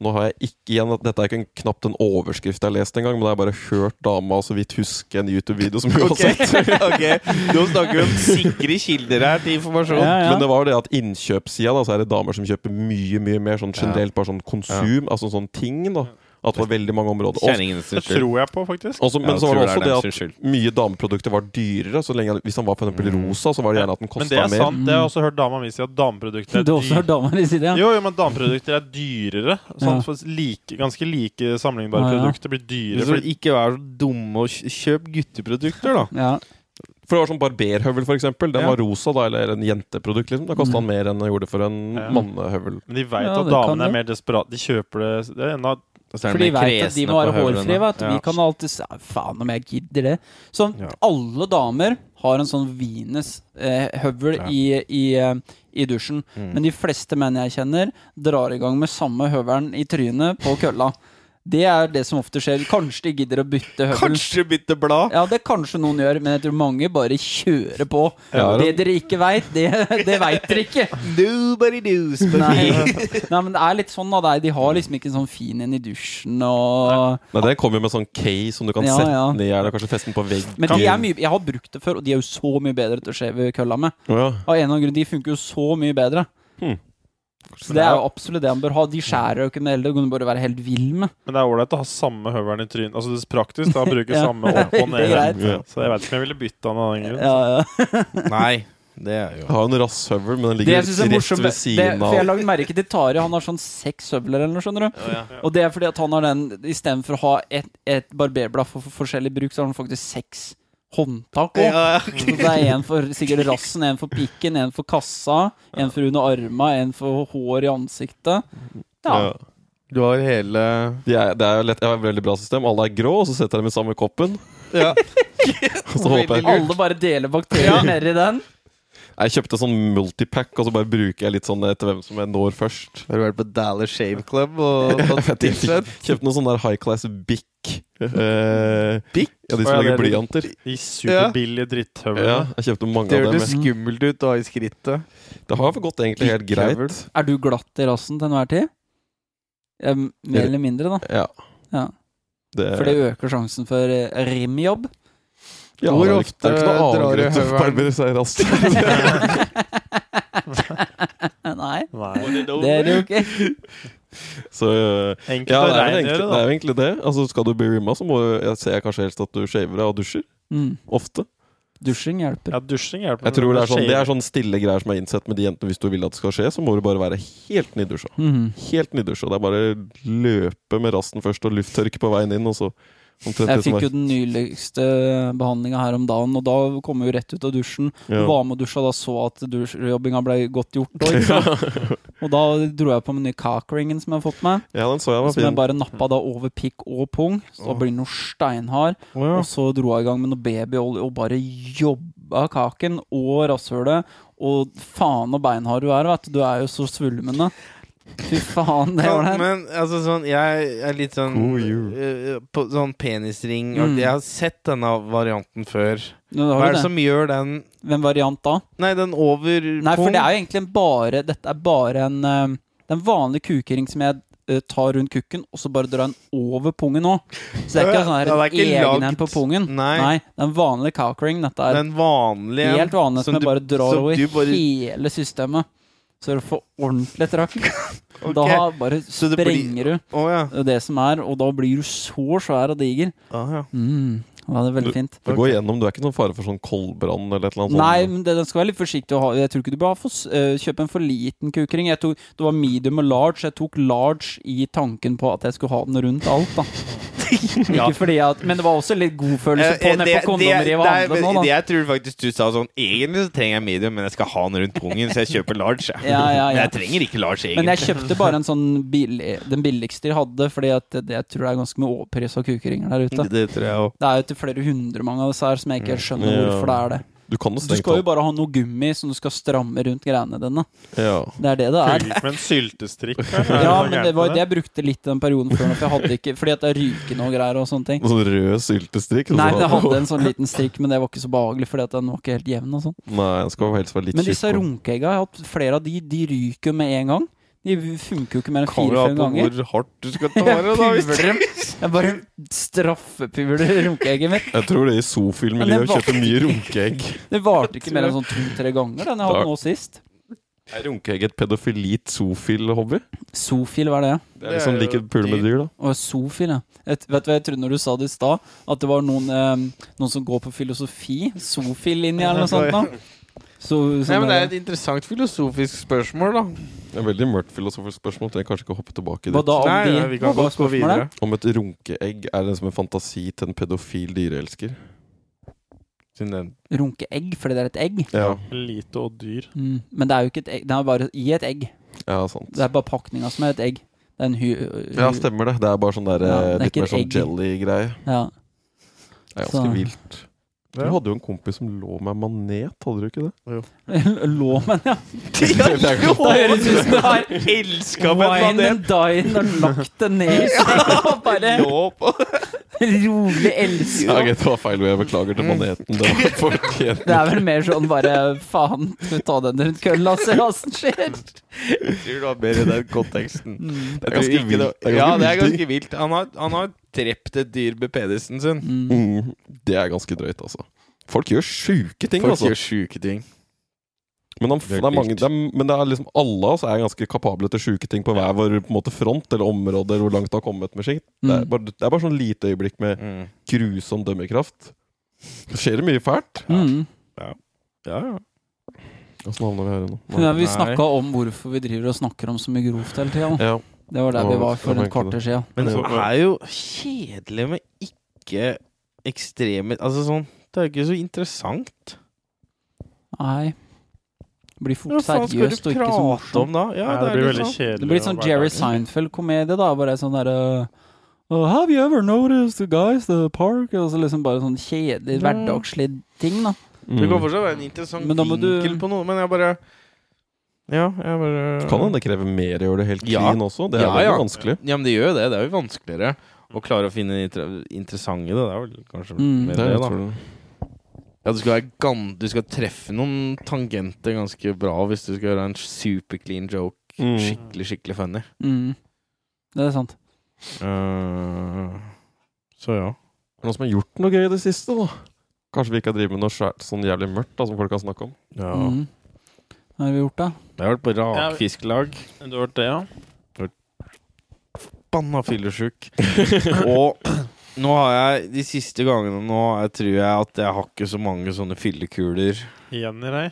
Speaker 3: Nå har jeg ikke igjen at Dette er ikke en, knapt en overskrift jeg har lest engang, men jeg har bare hørt dama så vidt huske en YouTube-video som hun har
Speaker 1: Ok,
Speaker 3: sett.
Speaker 1: ok. Nå snakker vi om sikre kilder her til informasjon.
Speaker 3: Men det var jo det at innkjøpssida, da, så er det damer som kjøper mye, mye mer sånn generelt, bare sånn konsum, altså sånn ting, da. At det var veldig mange områder. Og
Speaker 1: Kjerringene sin
Speaker 4: Det
Speaker 1: skyld.
Speaker 4: tror jeg på, faktisk.
Speaker 3: Også, men
Speaker 1: Ja,
Speaker 3: så var
Speaker 1: tror det
Speaker 3: det
Speaker 1: er
Speaker 3: også det
Speaker 1: dem
Speaker 3: at
Speaker 1: sin skyld.
Speaker 3: mye dameprodukter var dyrere. Så lenge, hvis han var for eksempel
Speaker 2: Mm.
Speaker 3: rosa, så var det gjerne at den
Speaker 4: Men det
Speaker 3: kosta
Speaker 4: er
Speaker 3: mer.
Speaker 4: sant. Det har jeg også hørt dama mi si, at dameprodukter er
Speaker 2: Du har også hørt
Speaker 4: dyre.
Speaker 2: dama di si det? Ja.
Speaker 4: Jo, jo, men dameprodukter er dyrere.
Speaker 2: Ja.
Speaker 4: Sånn, for like, ganske like
Speaker 2: Ja,
Speaker 4: sammenlignbare
Speaker 2: ja.
Speaker 4: produkter blir dyrere.
Speaker 1: Hvis du
Speaker 4: Fordi,
Speaker 1: ikke er så dumme og kj- kjøp gutteprodukter, da.
Speaker 2: Ja.
Speaker 3: For det var sånn barberhøvel, for eksempel. Den
Speaker 1: Ja.
Speaker 3: var rosa, da, eller en jenteprodukt. liksom Da
Speaker 2: Mm.
Speaker 3: kosta han mer enn han gjorde for en
Speaker 4: Ja.
Speaker 3: mannehøvel.
Speaker 4: men de veit
Speaker 2: Ja,
Speaker 4: at
Speaker 2: det kan
Speaker 4: damene
Speaker 2: det.
Speaker 4: er mer desperate. De kjøper det Det er enda
Speaker 1: Og så er
Speaker 2: For de
Speaker 1: de mer
Speaker 2: veit at de
Speaker 1: kresne
Speaker 2: må
Speaker 1: på
Speaker 2: være
Speaker 1: høvlene.
Speaker 2: hårfrie. Vet. du. Vi
Speaker 1: Ja.
Speaker 2: kan alltid si "Ah, faen om jeg gidder det. Så
Speaker 1: Ja.
Speaker 2: alle damer har en sånn Venus-høvel
Speaker 1: Ja. Mm.
Speaker 2: i, i, eh, i dusjen. Men de fleste menn jeg kjenner, drar i gang med samme høvelen i trynet på kølla. Det er det som ofte skjer. Kanskje de gidder å bytte høvel.
Speaker 1: Kanskje bytte blad!
Speaker 2: Ja, det kanskje noen gjør, men jeg tror mange bare kjører på.
Speaker 3: Ja,
Speaker 2: det dere ikke veit, det, det veit dere ikke.
Speaker 1: Nobody knows but
Speaker 2: Nei.
Speaker 1: me.
Speaker 2: Nei, men det er litt sånn av deg. De har liksom ikke en sånn fin en i dusjen og
Speaker 3: Nei, Den kommer jo med sånn case som du kan
Speaker 2: Ja,
Speaker 3: sette
Speaker 2: ja.
Speaker 3: ned, eller kanskje feste den på veggen.
Speaker 2: Men de er mye, jeg har brukt det før, og de er jo så mye bedre til å shave kølla med.
Speaker 3: Å
Speaker 2: Av
Speaker 3: ja.
Speaker 2: en eller annen grunn, De funker jo så mye bedre.
Speaker 3: Hmm.
Speaker 2: Så Det er jo absolutt det han bør ha. De skjærer jo ikke med heller, du kan bare være helt vill med.
Speaker 4: Men det er åleit å ha samme høvelen i trynet. Altså det er praktisk da, å bruke
Speaker 2: Ja.
Speaker 4: samme opp og
Speaker 2: Det
Speaker 4: ned.
Speaker 2: er greit.
Speaker 3: Ja.
Speaker 4: Så jeg veit ikke om jeg ville bytta den av den grunn.
Speaker 2: Ja, ja.
Speaker 1: Nei, det er
Speaker 3: Jeg
Speaker 1: jo
Speaker 3: har jo en rasshøvel, men den
Speaker 2: Det
Speaker 3: ligger
Speaker 2: jeg synes er
Speaker 3: rett
Speaker 2: morsomt
Speaker 3: ved
Speaker 2: det,
Speaker 3: siden
Speaker 2: For jeg har
Speaker 3: av.
Speaker 2: lagd merke til Tari. Han har sånn seks høvler eller noe, skjønner du.
Speaker 1: ja.
Speaker 2: Og det er fordi at han har den istedenfor å ha et, et barberblad for, for forskjellig bruk, så har han faktisk seks håndtak òg. Så det er en for sikkert rassen, en for pikken, en for kassa, en for under arma, en for hår i ansiktet. Ja.
Speaker 3: Ja.
Speaker 1: Du har hele
Speaker 3: De er, det er jo lett, jeg har et veldig bra system. Alle er grå, og så setter jeg dem i samme koppen.
Speaker 1: Ja.
Speaker 3: Og så håper jeg
Speaker 2: Alle bare deler bakterier nedi den.
Speaker 3: Jeg kjøpte sånn multipack, og så bare bruker jeg litt sånn etter hvem som jeg når først.
Speaker 1: Har du vært på Dallas Shave Club og tatt
Speaker 3: Jeg fikk- Kjøpte noen sånne der high class bic. Eh,
Speaker 1: Bic?
Speaker 3: Ja, de som
Speaker 4: Å, ja,
Speaker 3: lager
Speaker 4: det er-
Speaker 3: blyanter.
Speaker 4: De superbillige dritthøvlene.
Speaker 3: Ja, jeg kjøpte mange
Speaker 1: Det
Speaker 3: av dem.
Speaker 1: hørtes
Speaker 3: jeg.
Speaker 1: skummelt ut å ha i skrittet.
Speaker 3: Det har gått egentlig helt greit.
Speaker 1: Bic-covered.
Speaker 2: Er du glatt i rassen til enhver tid? Eh, Mer eller mindre, da.
Speaker 3: Ja.
Speaker 2: Ja.
Speaker 3: Det,
Speaker 2: For det øker sjansen for eh, rimjobb.
Speaker 3: ja,
Speaker 1: Hvor
Speaker 3: det er-
Speaker 1: ofte
Speaker 3: det er ikke noe
Speaker 1: drar
Speaker 3: angrep
Speaker 1: du
Speaker 3: til
Speaker 1: høveren?
Speaker 3: barber seg raskt.
Speaker 2: Eh, Nei,
Speaker 4: Nei.
Speaker 2: det er det jo ikke.
Speaker 3: Så eh,
Speaker 4: Enkelt
Speaker 3: ja,
Speaker 4: å
Speaker 3: det er, vel egentlig,
Speaker 4: rengjøre,
Speaker 3: det er
Speaker 4: da.
Speaker 3: jo egentlig det. Altså, skal du bli rimma, så må jeg ser jeg kanskje helst at du shaver deg og dusjer.
Speaker 2: Mm.
Speaker 3: Ofte.
Speaker 2: Dusjing hjelper.
Speaker 4: Ja, dusjing hjelper.
Speaker 3: Jeg tror
Speaker 4: men
Speaker 3: det er sånn, det er
Speaker 4: shave-
Speaker 3: sånn stille greier som er innsett med de jentene. Hvis du vil at det skal skje, så må du bare være helt nydusja.
Speaker 2: Mhm.
Speaker 3: Helt nydusja. Det er bare løpe med rasten først og lufttørke på veien inn, og så omtrent
Speaker 2: Jeg
Speaker 3: det som
Speaker 2: fikk
Speaker 3: er.
Speaker 2: jo den nyligste behandlinga her om dagen, og da kom jeg jo rett ut av dusjen.
Speaker 3: Ja.
Speaker 2: Var med og dusja da så at dusjjobbinga ble godt gjort. Da, ikke sant? og da dro jeg på med den nye cockringen som jeg har fått meg.
Speaker 3: Ja, den så jeg var
Speaker 2: Som jeg
Speaker 3: fin.
Speaker 2: bare nappa da over pikk og pung. Så da blir den jo steinhard. Og så dro jeg i gang med noe babyolje og bare jobba kaken og rasshølet. Og faen og beinhard du er, vet du. Du er jo så svulmende. Fy faen, det
Speaker 1: Ja,
Speaker 2: var det. her.
Speaker 1: men altså sånn Jeg er litt sånn
Speaker 3: God jul.
Speaker 1: eh, på, Sånn penisring
Speaker 2: Mm.
Speaker 1: Jeg har sett denne varianten før.
Speaker 2: Nå
Speaker 1: Hva er
Speaker 2: har du
Speaker 1: det
Speaker 2: det.
Speaker 1: som gjør den
Speaker 2: Hvem variant da?
Speaker 1: Nei, den over
Speaker 2: Nei, for
Speaker 1: pung?
Speaker 2: det er jo egentlig en bare Dette er bare en eh, Det er en vanlig kukering som jeg eh, ta rundt kukken, og så bare dra den over pungen òg. Så det er ikke sånn her
Speaker 1: Ja, det er
Speaker 2: en
Speaker 1: ikke
Speaker 2: egen en
Speaker 1: lagd.
Speaker 2: på pungen.
Speaker 1: Nei.
Speaker 2: det er en vanlig cockring. Dette er
Speaker 1: Den vanlige en
Speaker 2: helt vanlig
Speaker 1: som
Speaker 2: som jeg
Speaker 1: du-
Speaker 2: bare drar
Speaker 1: som
Speaker 2: over
Speaker 1: du bare-
Speaker 2: hele systemet. Så du får ordentlig trakk. Da
Speaker 1: Ok.
Speaker 2: bare
Speaker 1: Så det blir-
Speaker 2: sprenger du
Speaker 1: Å ja.
Speaker 2: det som er, og da blir du så svær og diger.
Speaker 1: Ah, ja.
Speaker 2: Mm, ja, det er veldig fint.
Speaker 3: Det går gjennom, Du er ikke noen fare for sånn koldbrann eller et eller annet
Speaker 2: Nei,
Speaker 3: sånt?
Speaker 2: men det, den skal være litt forsiktig å ha. Jeg tror ikke du bør ha for, s- eh, kjøpe en for liten kukring. Jeg tok, det var medium og large. Jeg tok large i tanken på at jeg skulle ha den rundt alt, da. ikke
Speaker 1: Ja.
Speaker 2: fordi at, men det var også litt god følelse på
Speaker 1: Eh, eh,
Speaker 2: den på kondomeriet og handlet
Speaker 1: det
Speaker 2: nå, da.
Speaker 1: jeg tror faktisk du sa sånn Egentlig så trenger jeg medium, men jeg skal ha den rundt pungen, så jeg kjøper large. jeg.
Speaker 2: Ja, ja,
Speaker 1: Men
Speaker 2: ja.
Speaker 1: jeg trenger ikke large, egentlig.
Speaker 2: Men jeg kjøpte bare en sånn billig, den billigste jeg hadde, fordi at det, jeg tror det er ganske mye overpris av kukringer der ute.
Speaker 1: Det tror jeg òg.
Speaker 2: Det er jo til flere hundre mange av disse her som jeg ikke helt skjønner
Speaker 3: Mm. Ja.
Speaker 2: hvorfor det er det.
Speaker 3: Du kan jo
Speaker 2: Du
Speaker 3: strengt
Speaker 2: skal jo
Speaker 3: tatt
Speaker 2: bare ha noe gummi som du skal stramme rundt greiene dine.
Speaker 3: ja.
Speaker 2: Det er det det er.
Speaker 4: Fulgte med en syltestrikk.
Speaker 2: Ja, men det var det jeg brukte litt den perioden før. nå, For jeg hadde ikke, fordi at det er rykende og greier og sånne ting.
Speaker 3: Noe sånn rød syltestrikk? og
Speaker 2: Nei,
Speaker 3: så-
Speaker 2: det hadde en sånn liten strikk, men det var ikke så behagelig, fordi at den var ikke helt jevn og sånn.
Speaker 3: Nei, den skal jo helst være litt
Speaker 2: Men disse
Speaker 3: tjukk og-
Speaker 2: runkeegga, jeg har hatt flere av de, de ryker jo med en gang. De funker jo ikke mer enn
Speaker 1: Kommer jo
Speaker 2: fire-fem
Speaker 1: an på
Speaker 2: ganger.
Speaker 1: hvor hardt du skal ta
Speaker 2: Jeg
Speaker 1: det, da. hvis-
Speaker 2: puler dem. Jeg bare straffepuvler runkeegget mitt.
Speaker 3: Jeg tror
Speaker 2: Men
Speaker 3: det i
Speaker 2: den
Speaker 3: Sofil-miljøet
Speaker 2: var-
Speaker 3: kjøper mye runkeegg.
Speaker 2: Det varte ikke mer enn sånn to-tre ganger, den jeg hadde nå sist.
Speaker 3: Er runkeegg et pedofilit sofil-hobby?
Speaker 2: Sofil, hva er det?
Speaker 3: Det er liksom like pule med dyr, da.
Speaker 2: Å, sofil, ja. Et, vet du hva jeg trodde når du sa det i stad? At det var noen, eh, noen som går på filosofi? Sofil-linja eller noe sånt? da så,
Speaker 1: Nei, men
Speaker 2: sånn
Speaker 1: det er
Speaker 2: der-
Speaker 1: et interessant filosofisk spørsmål, da.
Speaker 3: Det er veldig mørkt filosofisk spørsmål. Trenger kanskje ikke å hoppe tilbake
Speaker 2: Hva
Speaker 3: dit.
Speaker 2: da om
Speaker 1: Nei,
Speaker 2: de
Speaker 1: nei, vi kan
Speaker 2: hva var
Speaker 1: godt gå
Speaker 2: spørsmålet?
Speaker 1: videre.
Speaker 3: Om et runkeegg er liksom en fantasi til en pedofil dyreelsker.
Speaker 1: Siden den-
Speaker 2: Runkeegg, fordi det er et egg.
Speaker 3: Ja,
Speaker 4: Lite og dyr.
Speaker 2: Mm. Men det er jo ikke et egg, det er bare i et egg.
Speaker 3: ja sant.
Speaker 2: Det er bare pakninga som er et egg. Det er en hu... hu
Speaker 3: Ja, stemmer det. Det er bare sånn der,
Speaker 2: Ja,
Speaker 3: eh,
Speaker 2: det er
Speaker 3: litt
Speaker 2: ikke
Speaker 3: mer
Speaker 2: et
Speaker 3: sånn
Speaker 2: egg.
Speaker 3: jelly-greie.
Speaker 2: Ja.
Speaker 3: Det er
Speaker 2: Så-
Speaker 3: ganske vilt. Du hadde jo en kompis som lå med manet, hadde du ikke det?
Speaker 2: Lå, men ja.
Speaker 1: Jo,
Speaker 2: Da høres ut som det er
Speaker 1: elska med
Speaker 2: wine
Speaker 1: den!
Speaker 2: and dine og lagt det ned i senga og bare
Speaker 1: Lå på
Speaker 2: rolig elsker.
Speaker 3: Ja, greit, det var feil. Jeg beklager til maneten. Det var fortjent.
Speaker 2: Det er vel mer sånn bare faen, skal vi ta den rundt kølla og se hva som skjer?
Speaker 1: Jeg tror det var bedre i den konteksten.
Speaker 2: Mm.
Speaker 1: Jeg
Speaker 3: Det
Speaker 1: tror
Speaker 3: er ganske
Speaker 1: ikke det-
Speaker 3: vilt. Det er ganske
Speaker 1: Ja, det er
Speaker 3: vilt.
Speaker 1: ganske vilt. Han har, han har drept et dyr med penisen sin.
Speaker 2: Mm.
Speaker 3: Mm, det er ganske drøyt, altså. Folk gjør sjuke ting,
Speaker 1: Folk
Speaker 3: altså.
Speaker 1: gjør sjuke ting.
Speaker 3: Men, han,
Speaker 1: Det er
Speaker 3: det er mange,
Speaker 1: vilt.
Speaker 3: det er, men det er liksom alle av oss er ganske kapable til sjuke ting på hver vår på en måte, front eller område eller hvor langt det har kommet med skikt. Det, er
Speaker 2: Mm.
Speaker 3: bare, det er bare sånn lite øyeblikk med grusom dømmekraft. Det skjer mye fælt.
Speaker 2: Mm.
Speaker 1: Ja, ja.
Speaker 3: Åssen havna vi her nå?
Speaker 2: Men ja, vi
Speaker 1: Nei.
Speaker 2: snakka om hvorfor vi driver og snakker om så mye grovt hele tida.
Speaker 3: Ja.
Speaker 2: Det var der vi var
Speaker 3: Det
Speaker 2: for
Speaker 3: var
Speaker 2: et kvarter siden.
Speaker 1: Men
Speaker 3: Det
Speaker 1: det
Speaker 3: er jo-
Speaker 1: er jo kjedelig med ikke ekstreme Altså sånn Det er jo ikke så interessant.
Speaker 2: Nei. Det blir
Speaker 1: Hva
Speaker 2: fort
Speaker 1: faen skal du
Speaker 2: seriøst og ikke så
Speaker 1: prate
Speaker 2: morsomt.
Speaker 1: om da? Ja,
Speaker 4: Nei, det blir
Speaker 1: litt
Speaker 4: veldig
Speaker 1: sånn.
Speaker 4: kjedelig.
Speaker 2: Det blir litt sånn Jerry Seinfeld-komedie, da. Bare sånn derre oh, Have you ever noticed the guys at the park? Og så liksom bare sånn kjedelig,
Speaker 1: Ja.
Speaker 2: hverdagslig ting, da.
Speaker 1: Det kan
Speaker 3: Mm.
Speaker 1: fortsatt være en interessant
Speaker 2: Men da må
Speaker 1: vinkel
Speaker 2: du-
Speaker 1: på noe, men jeg bare Ja, jeg bare
Speaker 3: Kan hende det krever mer å gjøre det helt
Speaker 1: Ja.
Speaker 3: clean også. Det er
Speaker 1: Ja,
Speaker 3: veldig
Speaker 1: ja.
Speaker 3: vanskelig.
Speaker 1: Ja, men det gjør jo det. Det er jo vanskeligere å klare å finne inter interessante det. Det er vel kanskje
Speaker 2: Mm.
Speaker 1: mer
Speaker 3: Det
Speaker 1: det,
Speaker 3: er, jeg
Speaker 1: da.
Speaker 3: tror det.
Speaker 1: Ja, du skal, være gan- du skal treffe noen tangenter ganske bra hvis du skal gjøre en super clean joke.
Speaker 3: Mm.
Speaker 1: Skikkelig, skikkelig funny.
Speaker 2: Mm. Det er sant.
Speaker 1: Eh, så ja.
Speaker 3: Er det noen som har gjort noe gøy i det siste, da? Kanskje vi ikke har drevet med noe svært, sånn jævlig mørkt da, som folk kan snakke om?
Speaker 1: ja.
Speaker 2: Mm. Hva har vi gjort, da?
Speaker 1: Jeg har vært på rakfisklag.
Speaker 4: Du har hørt det, ja?
Speaker 1: Banna fyllesjuk. og nå har jeg de siste gangene nå jeg tror jeg at jeg har ikke så mange sånne fyllekuler.
Speaker 4: Igjen i deg?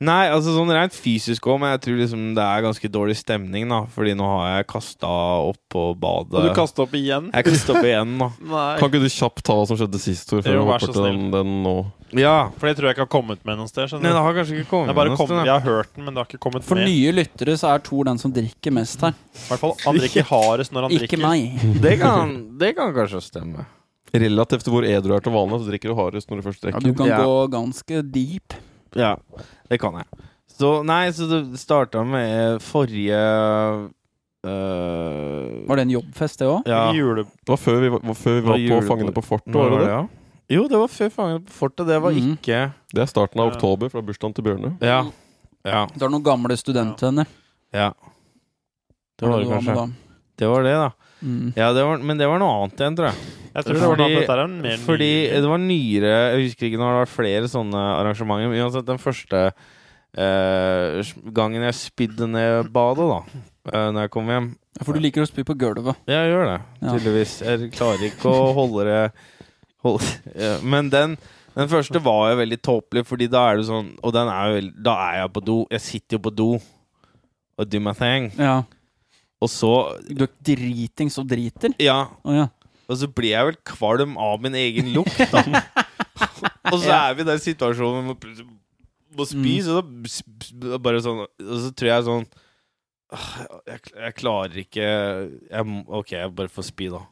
Speaker 1: Nei, altså sånn rent fysisk òg, men jeg tror liksom det er ganske dårlig stemning, da. Fordi nå har jeg kasta opp på badet.
Speaker 4: Og du kasta opp igjen?
Speaker 1: Jeg kasta opp igjen, da.
Speaker 4: Nei.
Speaker 3: Kan ikke du kjapt ta hva som skjedde sist, Tor? Før
Speaker 4: Jo,
Speaker 3: vi
Speaker 4: vær
Speaker 3: hopper
Speaker 4: så
Speaker 3: til den,
Speaker 4: snill.
Speaker 3: den nå.
Speaker 1: Ja.
Speaker 4: For det tror jeg ikke har kommet med noe sted.
Speaker 1: Nei,
Speaker 4: skjønner
Speaker 1: det
Speaker 4: du?
Speaker 1: har kanskje ikke
Speaker 4: Jeg,
Speaker 1: kommet
Speaker 4: bare
Speaker 1: noe
Speaker 4: kom,
Speaker 1: sted,
Speaker 4: jeg
Speaker 1: da.
Speaker 4: har hørt den, men det har ikke kommet
Speaker 2: For
Speaker 4: med.
Speaker 2: nye lyttere så er Tor den som drikker mest her.
Speaker 4: I hvert fall Han drikker hardest når han
Speaker 2: Ikke
Speaker 4: drikker.
Speaker 2: meg.
Speaker 1: Det kan, det kan kanskje stemme.
Speaker 3: Relativt til hvor edru du er til vanlig, så drikker du hardest når du
Speaker 2: Ja,
Speaker 3: først drikker.
Speaker 2: du kan
Speaker 1: Ja.
Speaker 2: gå ganske deep.
Speaker 1: Ja, det kan jeg. Så nei, så det starta med forrige øh,
Speaker 2: Var det en jobbfest, det òg?
Speaker 1: ja.
Speaker 4: Jule...
Speaker 3: Det var før vi var, var, før vi
Speaker 1: Var
Speaker 3: var,
Speaker 1: julebord.
Speaker 3: på Fangene på fortet,
Speaker 1: Når
Speaker 3: var det det?
Speaker 1: ja? Jo, det var før Fangene på fortet. Det var
Speaker 2: Mhm.
Speaker 1: ikke
Speaker 3: Det er starten av
Speaker 4: Ja.
Speaker 3: oktober, fra bursdagen til Bjørne.
Speaker 1: Ja. ja.
Speaker 2: Du har noen gamle studentvenner.
Speaker 1: Det var det
Speaker 2: du var med
Speaker 1: kanskje.
Speaker 2: da.
Speaker 1: Det var det, da.
Speaker 2: Mm.
Speaker 1: Ja, det var, men det var noe annet igjen, tror jeg.
Speaker 4: Jeg tror det var
Speaker 1: Fordi-
Speaker 4: noe at dette er en mer
Speaker 1: Fordi
Speaker 4: ny-
Speaker 1: det var nyere Jeg husker ikke når det var flere sånne arrangementer. Men uansett, den første eh, gangen jeg spydde ned badet, da, uh, når jeg kom hjem
Speaker 2: Ja, For du liker å spy på gulvet.
Speaker 1: Jeg gjør det,
Speaker 2: Ja.
Speaker 1: tydeligvis. Jeg klarer ikke å holde det hold, ja. Men den, den første var jo veldig tåpelig, Fordi da er du sånn Og den er jo veld, da er jeg på do. Jeg sitter jo på do og do my thing.
Speaker 2: Ja.
Speaker 1: Og så
Speaker 2: Du er dritings og driter.
Speaker 1: Ja,
Speaker 2: Å ja.
Speaker 1: og så blir jeg vel kvalm av min egen lukt, da. og så er vi i den situasjonen hvor vi plutselig må spy,
Speaker 2: Mm.
Speaker 1: så da s- s- bare sånn Og så tror jeg sånn «Åh, jeg, jeg klarer ikke jeg, må- Ok, jeg bare får spy, da. Og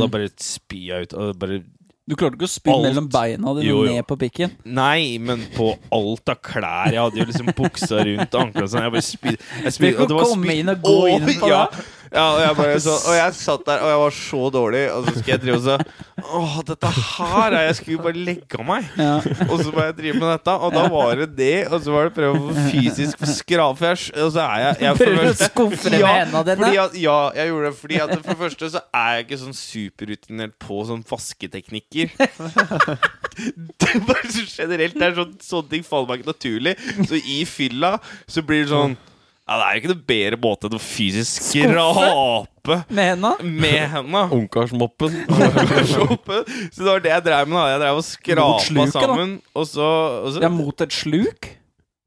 Speaker 1: da
Speaker 2: Mm.
Speaker 1: bare spyr jeg ut. Og det bare
Speaker 2: Du klarte ikke å spy
Speaker 1: Alt.
Speaker 2: mellom beina dine
Speaker 1: Jo, jo.
Speaker 2: ned på pikken.
Speaker 1: Nei, men på alt av klær. Jeg hadde jo liksom buksa rundt ankelen og sånn. Jeg bare spydde. Jeg
Speaker 2: Du
Speaker 1: spydde
Speaker 2: kan komme inn og gå inn på
Speaker 1: ja.
Speaker 2: det.
Speaker 1: Ja, og jeg bare så, Og jeg satt der, og jeg var så dårlig, og så skal jeg drive og så Åh, dette her er Jeg skulle bare legge av meg.
Speaker 2: Ja.
Speaker 1: Og så må jeg drive med dette, og da var det det. Og så var det prøve å få fysisk skrape, og så er jeg, jeg for
Speaker 2: Prøver å
Speaker 1: første-
Speaker 2: skuffe det med hendene dine.
Speaker 1: fordi at, ja, jeg gjorde det. Fordi at For det første så er jeg ikke sånn superrutinert på sånn vasketeknikker. Det er bare så generelt det er sånn, Sånne ting faller meg ikke naturlig. Så i fylla så blir det sånn Ja, det er jo ikke noe bedre måte enn å fysisk
Speaker 2: Skuffe?
Speaker 1: skrape
Speaker 2: Med henda.
Speaker 1: med henda.
Speaker 3: Ungkarsmoppen.
Speaker 1: så det var det jeg drev med. da Jeg drev og
Speaker 2: Mot
Speaker 1: skrapa
Speaker 2: sluket, da.
Speaker 1: sammen. Og så, og så
Speaker 2: Det er mot et sluk?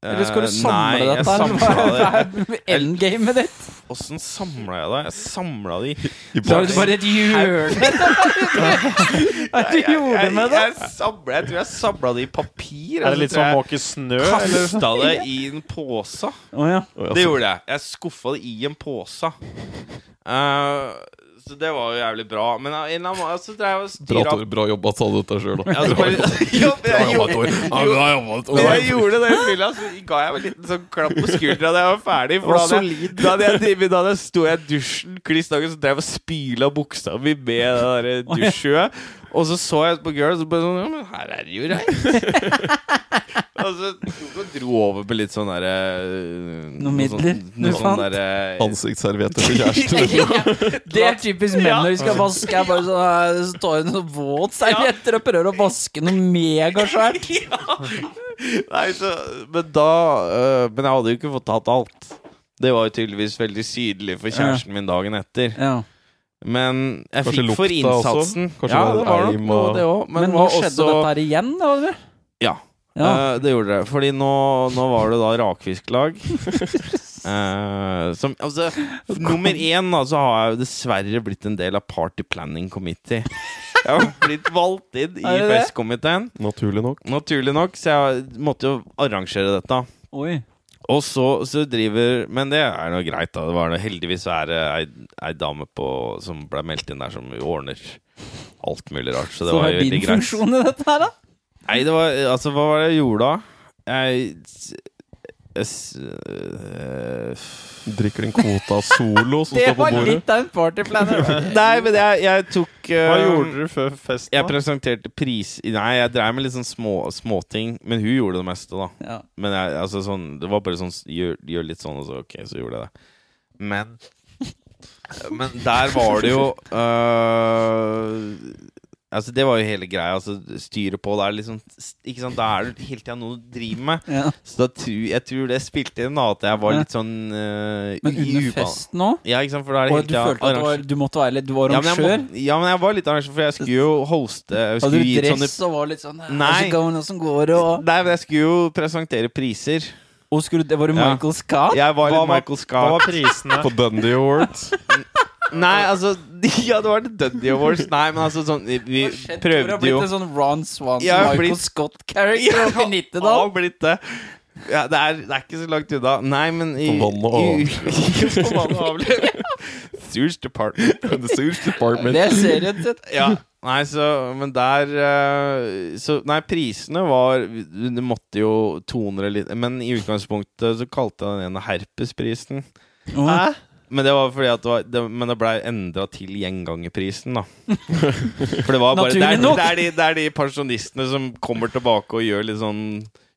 Speaker 2: Eller skal du
Speaker 1: Eh,
Speaker 2: samle
Speaker 1: nei,
Speaker 2: dette?
Speaker 1: Jeg samla det.
Speaker 2: det er endgamet ditt.
Speaker 1: Åssen samla jeg det? Jeg samla det i
Speaker 2: Så er det bare et hjørne Hva er det du gjorde
Speaker 1: jeg,
Speaker 2: med det?
Speaker 1: Jeg, samlet, jeg tror jeg samla det i papir. altså,
Speaker 4: Er det litt sånn måke snø? eller?
Speaker 1: Kasta det i en pose.
Speaker 2: Å ja.
Speaker 1: Det gjorde jeg. Jeg skuffa det i en pose. Eh, så det var jo jævlig bra. Men av en eller annen måte så drev jeg og
Speaker 3: Bra,
Speaker 1: styra
Speaker 3: Tor. bra jobba, sa du dette sjøl, da.
Speaker 1: Ja, så bare- Ja, men
Speaker 3: Bra
Speaker 1: jeg
Speaker 3: jobba,
Speaker 1: gjorde-
Speaker 3: Tor. Ja, bra jobba, Tor.
Speaker 1: men jeg gjorde det i fylla, så ga jeg meg en liten sånn klapp på skuldra da jeg var ferdig. For da hadde jeg, da hadde jeg, drevet- da hadde jeg sto jeg i dusjen kliss naken så drev jeg og spyla buksa mi med det der dusjsjøet. Og så så jeg på girls og bare sånn Ja, men her er det jo reint. og så tok og dro over på litt sånn derre
Speaker 2: Noen midler
Speaker 1: Noe
Speaker 2: du fant?
Speaker 1: sånn derre
Speaker 3: Ansiktsservietter til kjæresten.
Speaker 2: Det er typisk menn når de skal vaske. Jeg bare sånn, eh, så tar hun sånn våt servietter og prøver å vaske noe megasvært.
Speaker 1: Nei, så, men da øh, Men jeg hadde jo ikke fått tatt alt. Det var jo tydeligvis veldig sydelig for kjæresten min dagen etter.
Speaker 2: Ja.
Speaker 1: Men jeg
Speaker 3: Kanskje
Speaker 1: fikk for
Speaker 3: lukta også?
Speaker 1: innsatsen.
Speaker 3: Kanskje
Speaker 1: ja,
Speaker 3: det var
Speaker 1: det var nok
Speaker 3: eim
Speaker 1: noe,
Speaker 3: og-
Speaker 1: det òg. Men,
Speaker 2: Men nå
Speaker 1: var
Speaker 2: skjedde
Speaker 1: også
Speaker 2: dette her igjen, da? Eller?
Speaker 1: Ja.
Speaker 2: Ja.
Speaker 1: Eh, det gjorde det. Fordi nå, nå var det da rakfisklag. Eh, som Altså, f- nummer én, da, så har jeg jo dessverre blitt en del av Party Planning Committee. Jeg har blitt valgt inn i
Speaker 2: Er det det?
Speaker 1: festkomiteen,
Speaker 3: Naturlig nok.
Speaker 1: naturlig nok, så jeg måtte jo arrangere dette.
Speaker 2: Oi.
Speaker 1: Og så, så driver Men det er nå greit, da. Det var nå heldigvis er det ei, ei dame på, som ble meldt inn der, som ordner alt mulig rart. Så det
Speaker 2: Så hva
Speaker 1: var
Speaker 2: er
Speaker 1: jo
Speaker 2: din
Speaker 1: veldig greit.
Speaker 2: funksjon i dette her, da?
Speaker 1: Nei, det var Altså, hva var det jeg gjorde da? Jeg, s- jeg s- øh,
Speaker 3: Drikker din kvote av Solo som
Speaker 2: Det
Speaker 3: står på
Speaker 2: var
Speaker 3: bordet.
Speaker 2: litt av en partyplaner.
Speaker 1: Nei, men jeg, jeg tok
Speaker 4: Hva
Speaker 1: øh,
Speaker 4: gjorde dere før festen?
Speaker 1: Jeg
Speaker 4: da?
Speaker 1: presenterte pris... Nei, jeg drev med litt sånn små småting. Men hun gjorde det meste, da.
Speaker 2: Ja.
Speaker 1: Men jeg, altså, sånn, det var bare sånn gjør, gjør litt sånn, og så ok, så gjorde jeg det. Men Men der var det jo øh, Altså, det var jo hele greia. Altså, styret på det er liksom Ikke sant, Da er det hele tida noe du driver med.
Speaker 2: Ja.
Speaker 1: Så da tror, jeg tror det spilte inn, da, at jeg var litt sånn øh,
Speaker 2: Men
Speaker 1: i
Speaker 2: under
Speaker 1: ubalanse.
Speaker 2: festen nå?
Speaker 1: Ja, ikke sant, for da er det
Speaker 2: Og
Speaker 1: hele
Speaker 2: du
Speaker 1: tida
Speaker 2: følte at du, var, du måtte være litt Du var
Speaker 1: Ja men, jeg
Speaker 2: arrangør?
Speaker 1: må, ja, men jeg var litt arrangør, for jeg skulle jo hoste. Jeg
Speaker 2: Hadde
Speaker 1: skulle
Speaker 2: du
Speaker 1: gi sånne
Speaker 2: dress og var litt sånn eh,
Speaker 1: Nei.
Speaker 2: Og så går det noe som går, og,
Speaker 1: Nei, men jeg skulle jo presentere priser.
Speaker 2: og skulle, det Var det
Speaker 1: Ja.
Speaker 2: Michael Scott?
Speaker 1: Jeg var
Speaker 4: Hva
Speaker 1: litt
Speaker 4: var-
Speaker 1: Michael
Speaker 4: Hva
Speaker 1: Scott.
Speaker 4: var prisene?
Speaker 3: På Dundee Awards.
Speaker 1: Nei, altså Ja, det var The Dundee Awards. Nei, men altså sånn Vi vi
Speaker 2: Hva skjedde? Tror du har
Speaker 1: prøvde
Speaker 2: blitt
Speaker 1: jo
Speaker 2: en sånn Ron Swanson,
Speaker 1: Jeg har
Speaker 2: Michael
Speaker 1: blitt-
Speaker 2: Scott-character
Speaker 1: Ja,
Speaker 2: oppe i
Speaker 1: har
Speaker 2: Nittedal.
Speaker 1: blitt det. Ja, det, er, det er ikke så langt unna. Nei, men i,
Speaker 3: På vann og
Speaker 1: i- På vann og avløp. Sewers Department.
Speaker 3: The Sewers Department.
Speaker 2: Det ser ut til
Speaker 1: Ja. Nei, så Men der eh, Så Nei, prisene var Du måtte jo 200 litt Men i utgangspunktet så kalte jeg den ene herpesprisen.
Speaker 2: Hæ?
Speaker 1: Men det var fordi at det, var, det, men det ble endra til gjengangerprisen, da. For det var bare det er,
Speaker 2: Naturlig nok.
Speaker 1: det, er de, det er de pensjonistene som kommer tilbake og gjør litt sånn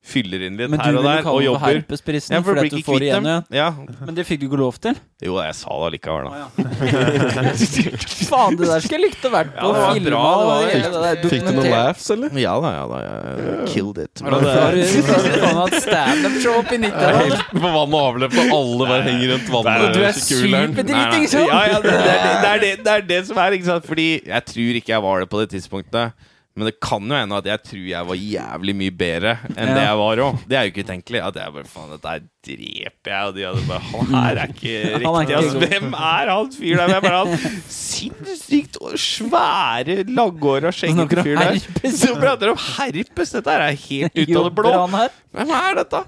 Speaker 1: fyller inn litt
Speaker 2: Men du
Speaker 1: her og
Speaker 2: vil jo
Speaker 1: der, og
Speaker 2: kalle det for
Speaker 1: jobber.
Speaker 2: herpesprisen
Speaker 1: Ja, for
Speaker 2: fordi
Speaker 1: blir
Speaker 2: at du
Speaker 1: ikke
Speaker 2: får
Speaker 1: kvitt
Speaker 2: igjen
Speaker 1: dem.
Speaker 2: igjen.
Speaker 1: Ja.
Speaker 2: Men det fikk du ikke lov til.
Speaker 1: Jo, jeg sa det allikevel, da.
Speaker 2: Faen, det der skulle jeg likt å vært
Speaker 1: Ja,
Speaker 2: på.
Speaker 1: det var
Speaker 2: filmet,
Speaker 1: bra, det var-
Speaker 2: og hele der
Speaker 3: Fikk du noen
Speaker 2: dokumentert.
Speaker 3: laughs, eller?
Speaker 1: Ja da, ja da. Jeg killed it.
Speaker 2: Har du- har du- har du faen hatt standup-show opp i 90-tallet?
Speaker 3: Helt på vann og avløp, og alle bare henger rundt vannet.
Speaker 2: Du er
Speaker 3: og kikkuleren.
Speaker 2: superdriting, sant?
Speaker 1: Ja, ja, det, det, er det, det, er det, det er det som er, ikke sant? Fordi jeg tror ikke jeg var det på det tidspunktet. Men det kan jo hende at jeg tror jeg var jævlig mye bedre enn det
Speaker 2: Ja.
Speaker 1: jeg var òg. Det er jo ikke utenkelig. At jeg bare faen, dette her dreper jeg. Og de hadde bare Han her er ikke
Speaker 2: Han er
Speaker 1: riktig.
Speaker 2: ikke
Speaker 1: Altså,
Speaker 2: god.
Speaker 1: hvem er han fyren der? Men jeg bare han sinnssykt svære, langhåra,
Speaker 2: Snakker
Speaker 1: skjeggete
Speaker 2: om
Speaker 1: fyren der.
Speaker 2: herpes.
Speaker 1: Som prater om herpes! Dette her er helt ut av det blå.
Speaker 2: Jobber han her?
Speaker 1: Hvem er dette?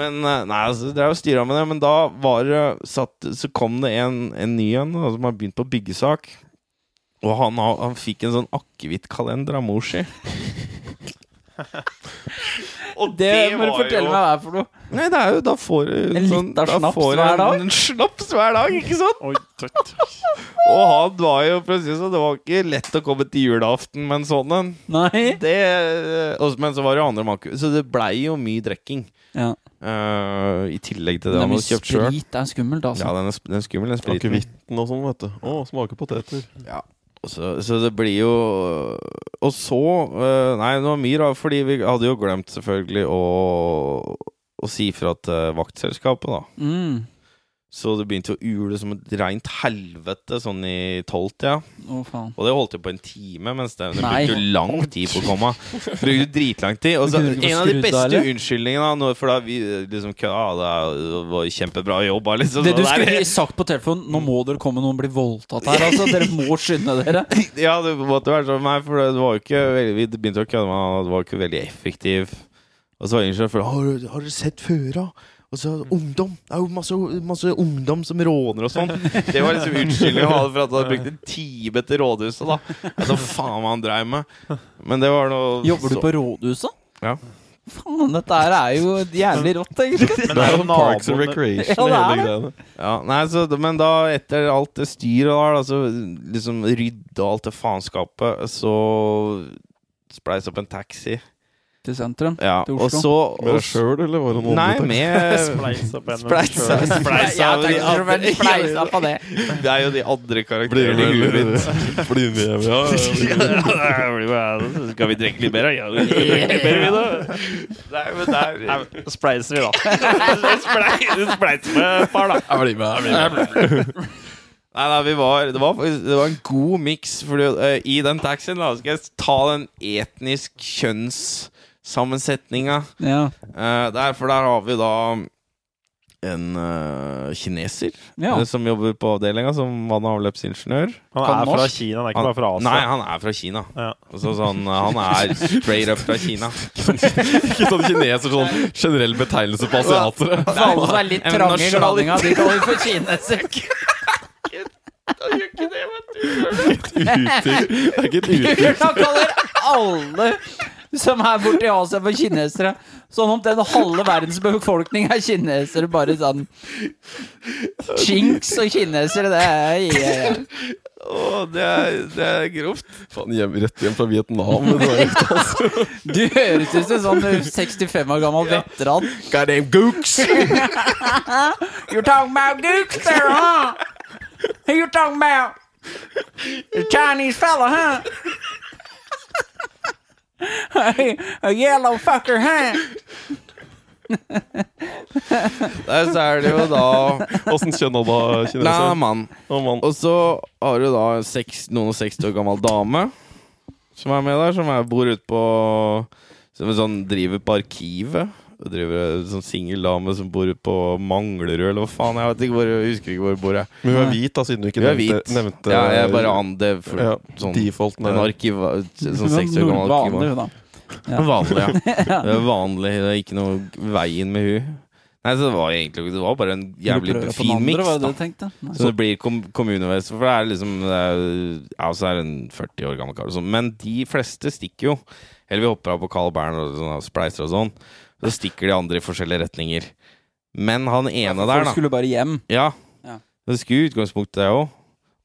Speaker 1: Men eh, nei, altså, det er jo styra med det. Men da var det satt, Så kom det en, en ny en da, som har begynt på byggesak. Og han, har- han fikk en sånn akevittkalender av mor si. Og
Speaker 2: Det må du fortelle meg hva er for noe.
Speaker 1: Nei, det er jo Da får du
Speaker 2: En
Speaker 1: sånn-
Speaker 2: liter
Speaker 1: da
Speaker 2: snaps
Speaker 1: får du
Speaker 2: hver dag?
Speaker 1: En, en snaps hver dag, ikke sant?
Speaker 4: Oi, takk.
Speaker 1: Og han var jo plutselig så Det var ikke lett å komme til julaften med en sånn en.
Speaker 2: Nei.
Speaker 1: Det- eh, og- Men så var det jo andre maku. Så det blei jo mye drekking.
Speaker 2: Ja.
Speaker 1: eh, I tillegg til det,
Speaker 2: Det er
Speaker 1: han
Speaker 2: mye
Speaker 1: hadde kjøpt sjøl.
Speaker 2: sprit. Det er skummelt, altså.
Speaker 1: Ja, den er, sp- den er skummel, den spriten.
Speaker 3: Akevitten og sånn, vet du. Å, smaker poteter.
Speaker 1: Og Så, så det blir jo Og så eh, Nei, det var mye rart, fordi vi hadde jo glemt selvfølgelig å, å si fra til vaktselskapet, da.
Speaker 2: Mm.
Speaker 1: Så det begynte å ule som et reint helvete sånn i tolvtida.
Speaker 2: Å, faen.
Speaker 1: Og det holdt jo på en time, mens det, det
Speaker 2: Nei.
Speaker 1: brukte jo lang tid på å komme. Brukte dritlang tid. Og så
Speaker 2: Kunne du ikke få
Speaker 1: en av de
Speaker 2: skrudd av,
Speaker 1: beste
Speaker 2: eller?
Speaker 1: unnskyldningene, da, nå- for da vi eh, liksom kø- Ja, det er- det var kjempebra jobba, liksom.
Speaker 2: Det
Speaker 1: Så
Speaker 2: du
Speaker 1: der-
Speaker 2: skulle sagt på telefonen Nå må dere komme, noen blir voldtatt her. Altså, dere må skynde dere.
Speaker 1: Ja, det måtte være sånn. Nei, for det var jo ikke veldig, Vi begynte å kødde med han, og det var ikke veldig effektiv. Og så var ingeniøren for Har du- har dere sett føra? Og så ungdom. Det er jo masse, masse ungdom som råner og sånn. Det var liksom unnskyldningen han hadde for at han brukte en time til rådhuset, da. Altså, faen hva han dreiv med. Men det var noe
Speaker 2: Jobber du
Speaker 1: Sånn så-
Speaker 2: på rådhuset?
Speaker 1: Ja.
Speaker 2: Faen, dette her er jo jævlig rått, egentlig.
Speaker 4: Men
Speaker 3: Det
Speaker 4: det er jo
Speaker 3: sånn Parks and
Speaker 4: naboene
Speaker 3: Recreation,
Speaker 2: Ja, det er
Speaker 3: hele greiene.
Speaker 1: Ja, nei, så, Men da, etter alt det styret der, da, så liksom rydda alt det faenskapet, så spleis opp en taxi.
Speaker 2: Til sentrum.
Speaker 1: Ja,
Speaker 2: Til
Speaker 1: og
Speaker 2: Oslo.
Speaker 1: så
Speaker 3: Med
Speaker 1: og
Speaker 3: deg sjøl, eller var det noen
Speaker 1: Nei, med
Speaker 4: Spleis opp en
Speaker 1: Spleisa Spleisa
Speaker 2: Ja,
Speaker 1: av de
Speaker 2: takk for
Speaker 1: andre
Speaker 2: at du fleisa på det.
Speaker 1: Det er jo de andre
Speaker 3: Blir
Speaker 1: karakterene i huet
Speaker 3: med,
Speaker 1: mitt.
Speaker 3: blir med, ja, ja, ja.
Speaker 1: Skal vi drikke litt mer, da? Ja, vi drikker litt mer, vi, da. Nei, men det er-
Speaker 4: Nei, men Spleiser vi, da. Spleis- Spleiser med et par, da.
Speaker 3: Jeg blir med, jeg blir med.
Speaker 1: Nei, nei, vi var, det, var, faktisk- det var en god miks. Fordi eh, i den taxien da, skal jeg ta den etnisk kjønnssammensetninga.
Speaker 2: Ja.
Speaker 1: Eh, der, for der har vi da en eh, kineser
Speaker 2: ja.
Speaker 1: eh, som jobber på avdelinga som vann- og avløpsingeniør.
Speaker 4: Han
Speaker 2: Kan
Speaker 4: er fra
Speaker 2: norsk?
Speaker 4: Kina, han er ikke
Speaker 1: Han-
Speaker 4: bare fra Asia.
Speaker 1: Nei, han er fra Kina.
Speaker 4: Ja.
Speaker 1: Så sånn, han er straight up fra Kina.
Speaker 3: Ikke sånn kineser, sånn generell betegnelse på asiatere.
Speaker 2: For alle som er litt
Speaker 1: En
Speaker 2: trange i
Speaker 1: nasjonalitet.
Speaker 2: gladinga, de kaller det for kineser.
Speaker 3: Uttrykk. Det er ikke et uttrykk.
Speaker 2: Han kaller alle som er borti Asia, for kinesere. Sånn om den halve verdens befolkning er kinesere, bare sånn Chinks og kinesere, det er ja, ja.
Speaker 1: Å, det er, det er grovt.
Speaker 3: Faen, hjem, rett hjem fra Vietnam. med det der.
Speaker 2: Du høres ut som en sånn 65 år gammel veteran.
Speaker 1: Goddamn gooks!
Speaker 2: You're talking about gooks there, huh? You're talking about the Chinese fella, huh? A yellow fucker, huh?
Speaker 1: Der så er det jo da
Speaker 3: Åssen kjønn hadde han
Speaker 1: Nei,
Speaker 3: kineser?
Speaker 1: mann.
Speaker 3: Å, mann.
Speaker 1: Og så har du da en seks, noen og 60 år gammel dame som er med der, som er, bor ute på Som er sånn, driver på arkivet. Og driver en sånn singeldame som bor ute på Manglerud, eller hva faen. Jeg vet ikke hvor, jeg husker ikke hvor hun bor. Jeg.
Speaker 3: Men hun er hvit, da, siden du ikke
Speaker 1: Hun er
Speaker 3: nevnte,
Speaker 1: hvit.
Speaker 3: nevnte
Speaker 1: Ja, jeg bare an det for,
Speaker 3: ja,
Speaker 1: sånn,
Speaker 3: defaulten
Speaker 1: En
Speaker 3: der.
Speaker 1: arkiv... Sånn 60 år gammel arkivar.
Speaker 2: da.
Speaker 1: Ja. Vanlig, ja. Det er vanlig, det er ikke noe veien med hun. Nei, så det var egentlig Det var bare en jævlig fin miks, da. Så det blir kom kommunevesen, for det er liksom det er, Ja, så er det en 40 år gammel kar og sånn. Men de fleste stikker jo. Eller vi hopper av på Carl Bern og sånn, og spleiser og sånn. Så stikker de andre i forskjellige retninger. Men han ene der, da
Speaker 2: skulle bare hjem.
Speaker 1: Ja.
Speaker 2: Ja.
Speaker 1: Det skulle i utgangspunktet, det òg.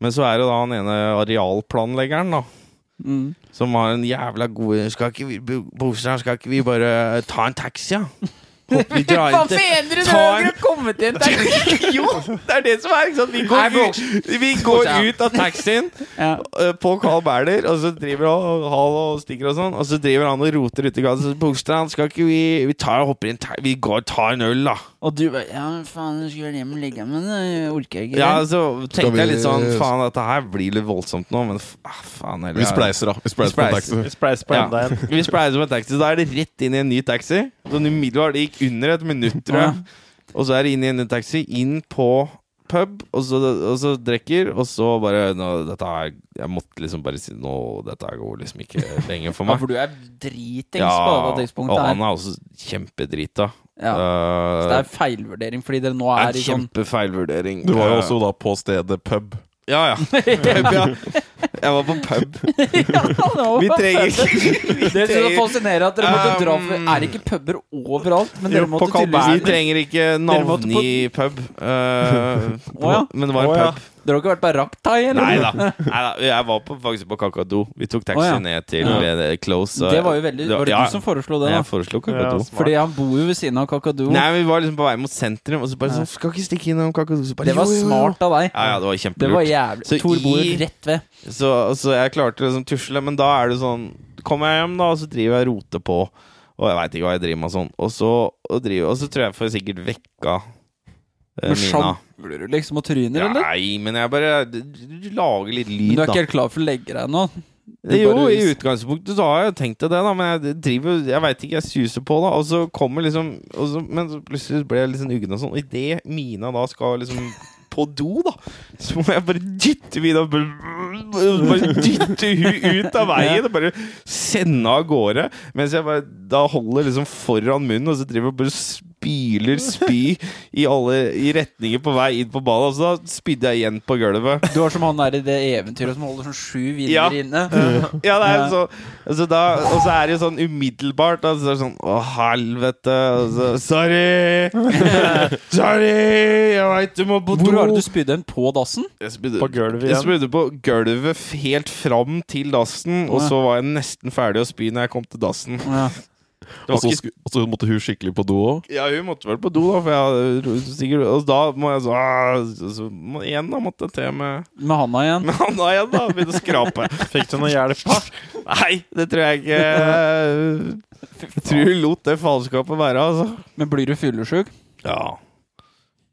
Speaker 1: Men så er det da han ene arealplanleggeren, da.
Speaker 2: Mm.
Speaker 1: Som har en jævla god Skal ikke vi, Bo- Bostrand, skal ikke vi bare ta en taxi, da? Håper Vi drar inn til
Speaker 2: mener
Speaker 1: du? Ta en- Du har
Speaker 2: kommet inn
Speaker 1: Jo, det er det som er, ikke sant? Vi
Speaker 2: Nei,
Speaker 1: går,
Speaker 2: bro.
Speaker 1: ut, vi går
Speaker 2: Bostrand.
Speaker 1: ut av taxien
Speaker 2: Ja.
Speaker 1: eh, på Carl Berner, og så driver han han og stikker og sånn, og så driver han og roter ute i gata. Så Bostrand, skal ikke vi Vi tar og hopper inn ta- Vi går og tar en øl, da.
Speaker 2: Og du bare Ja, faen, jeg skulle vel hjem og ligge med det. Jeg orker ikke.
Speaker 1: Ja,
Speaker 2: det.
Speaker 1: så
Speaker 3: Skal
Speaker 1: tenkte
Speaker 3: vi-
Speaker 1: jeg litt sånn Faen, dette her blir litt voldsomt nå, men f- ah, faen heller.
Speaker 3: Vi spleiser, da. Vi spleiser
Speaker 1: Vi
Speaker 3: på
Speaker 1: spleiser.
Speaker 3: en taxi.
Speaker 4: Vi spleiser på
Speaker 1: Ja.
Speaker 4: enda en.
Speaker 1: Vi spleiser på en taxi. Da er det rett inn i en ny taxi. Sånn umiddelbart. Det gikk under et minutt, tror jeg. Og så er det inn i en ny taxi, inn på pub, og så, og så drikker, og så bare nå, dette er, Jeg måtte liksom bare si Nå, dette går liksom ikke lenger for
Speaker 2: Ja,
Speaker 1: meg.
Speaker 2: for du er dritings
Speaker 1: Ja,
Speaker 2: på dette
Speaker 1: og
Speaker 2: tidspunktet
Speaker 1: han
Speaker 2: her.
Speaker 1: er også kjempedrita.
Speaker 2: Ja.
Speaker 1: Eh,
Speaker 2: Så det er feilvurdering, fordi dere nå er
Speaker 1: en
Speaker 2: i sånn
Speaker 1: kjempefeilvurdering.
Speaker 3: Du var jo
Speaker 1: Eh,
Speaker 3: også da på stedet pub.
Speaker 1: Ja, ja. Pub, ja. Jeg var på pub.
Speaker 2: Ja, det var
Speaker 1: Vi trenger
Speaker 2: fett. Det er så fascinerende at dere måtte dra for
Speaker 1: Um,
Speaker 2: Er det ikke puber overalt? Men dere
Speaker 4: jo,
Speaker 2: måtte
Speaker 4: på Carl
Speaker 1: Vi
Speaker 2: tydeligvis
Speaker 1: trenger ikke
Speaker 2: måtte
Speaker 1: navn
Speaker 2: på-
Speaker 1: i pub. eh,
Speaker 2: Åja.
Speaker 1: Men det var en
Speaker 4: Åja.
Speaker 1: pub.
Speaker 2: Dere har ikke vært på Raktai, eller?
Speaker 1: Nei da. Jeg var på, faktisk på Kakadu. Vi tok taxi
Speaker 2: Åja.
Speaker 1: ned til
Speaker 2: Ja.
Speaker 1: eh, Close. og-
Speaker 2: Det var jo veldig
Speaker 1: Det var-
Speaker 2: Var det
Speaker 1: ja.
Speaker 2: du som foreslo
Speaker 1: Nei,
Speaker 2: det, da?
Speaker 1: Jeg foreslo
Speaker 4: Ja,
Speaker 1: Kakadu.
Speaker 4: smart.
Speaker 2: Fordi han bor jo ved siden av Kakadu.
Speaker 1: Nei, vi var liksom på vei mot sentrum, og så bare
Speaker 2: Ja.
Speaker 1: sånn Skal ikke stikke innom Kakadu. Så bare,
Speaker 2: Det var
Speaker 1: jo, jo, jo.
Speaker 2: smart av deg.
Speaker 1: Ja, ja, det var
Speaker 2: Det var
Speaker 1: kjempelurt.
Speaker 2: jævlig.
Speaker 1: Så
Speaker 2: Tor bor
Speaker 1: i-
Speaker 2: jo rett ved.
Speaker 1: Så, så jeg klarte liksom tusle, men da er det sånn Kommer jeg hjem, da, og så driver jeg og roter på, og jeg veit ikke hva jeg driver med og sånn. Og så, og driver, og så tror jeg jeg får sikkert vekka eh,
Speaker 2: Men
Speaker 1: Mina.
Speaker 2: sjangler du liksom og tryner, eller?
Speaker 1: Nei, men jeg bare du- du lager litt
Speaker 2: Men
Speaker 1: lyd,
Speaker 2: Du er
Speaker 1: da.
Speaker 2: ikke helt klar for å legge deg nå? Du
Speaker 1: jo,
Speaker 2: bare-
Speaker 1: i utgangspunktet så har jeg tenkt det, da, men jeg driver Jeg veit ikke, jeg suser på, da, og så kommer liksom og så, Men så plutselig ble jeg litt sånn uggen og sånn. Og idet Mina da skal liksom på do, da, så må jeg bare dytte Mina Bare dytte hun ut av veien og bare sende av gårde. Mens jeg bare da holder liksom foran munnen, og så driver jeg bare spyler spy i alle i retninger på vei inn på badet. Og så da spydde jeg igjen på gulvet.
Speaker 2: Du er som han der i det eventyret som holder sånn sju vinner
Speaker 1: Ja.
Speaker 2: inne.
Speaker 1: Ja, det er
Speaker 2: Ja.
Speaker 1: så, altså da, Og så er det jo sånn umiddelbart altså det er sånn, Å, helvete og så, Sorry Sorry, jeg vet du må på
Speaker 2: Hvor
Speaker 1: do
Speaker 2: var det du spydde en på dassen?
Speaker 1: Jeg spydde
Speaker 4: På gulvet
Speaker 1: jeg
Speaker 4: igjen.
Speaker 1: spydde på gulvet f- helt fram til dassen, og
Speaker 2: Ja.
Speaker 1: så var jeg nesten ferdig å spy når jeg kom til dassen.
Speaker 2: Ja.
Speaker 1: Det
Speaker 3: Og
Speaker 1: var
Speaker 3: så
Speaker 1: ikke,
Speaker 3: sku- og så måtte hun skikkelig på do òg.
Speaker 1: ja, hun måtte vel på do, da, for jeg hadde ro- sikkert Og da må jeg så, ah, så, så må, Igjen da måtte jeg til med,
Speaker 2: Med handa igjen.
Speaker 1: med handa igjen, da. Begynne å skrape.
Speaker 4: Fikk du noe hjelp? da?
Speaker 1: Nei, det tror jeg ikke. Jeg tror hun lot det faenskapet være, altså.
Speaker 2: Men blir du fyllesjuk?
Speaker 1: Ja.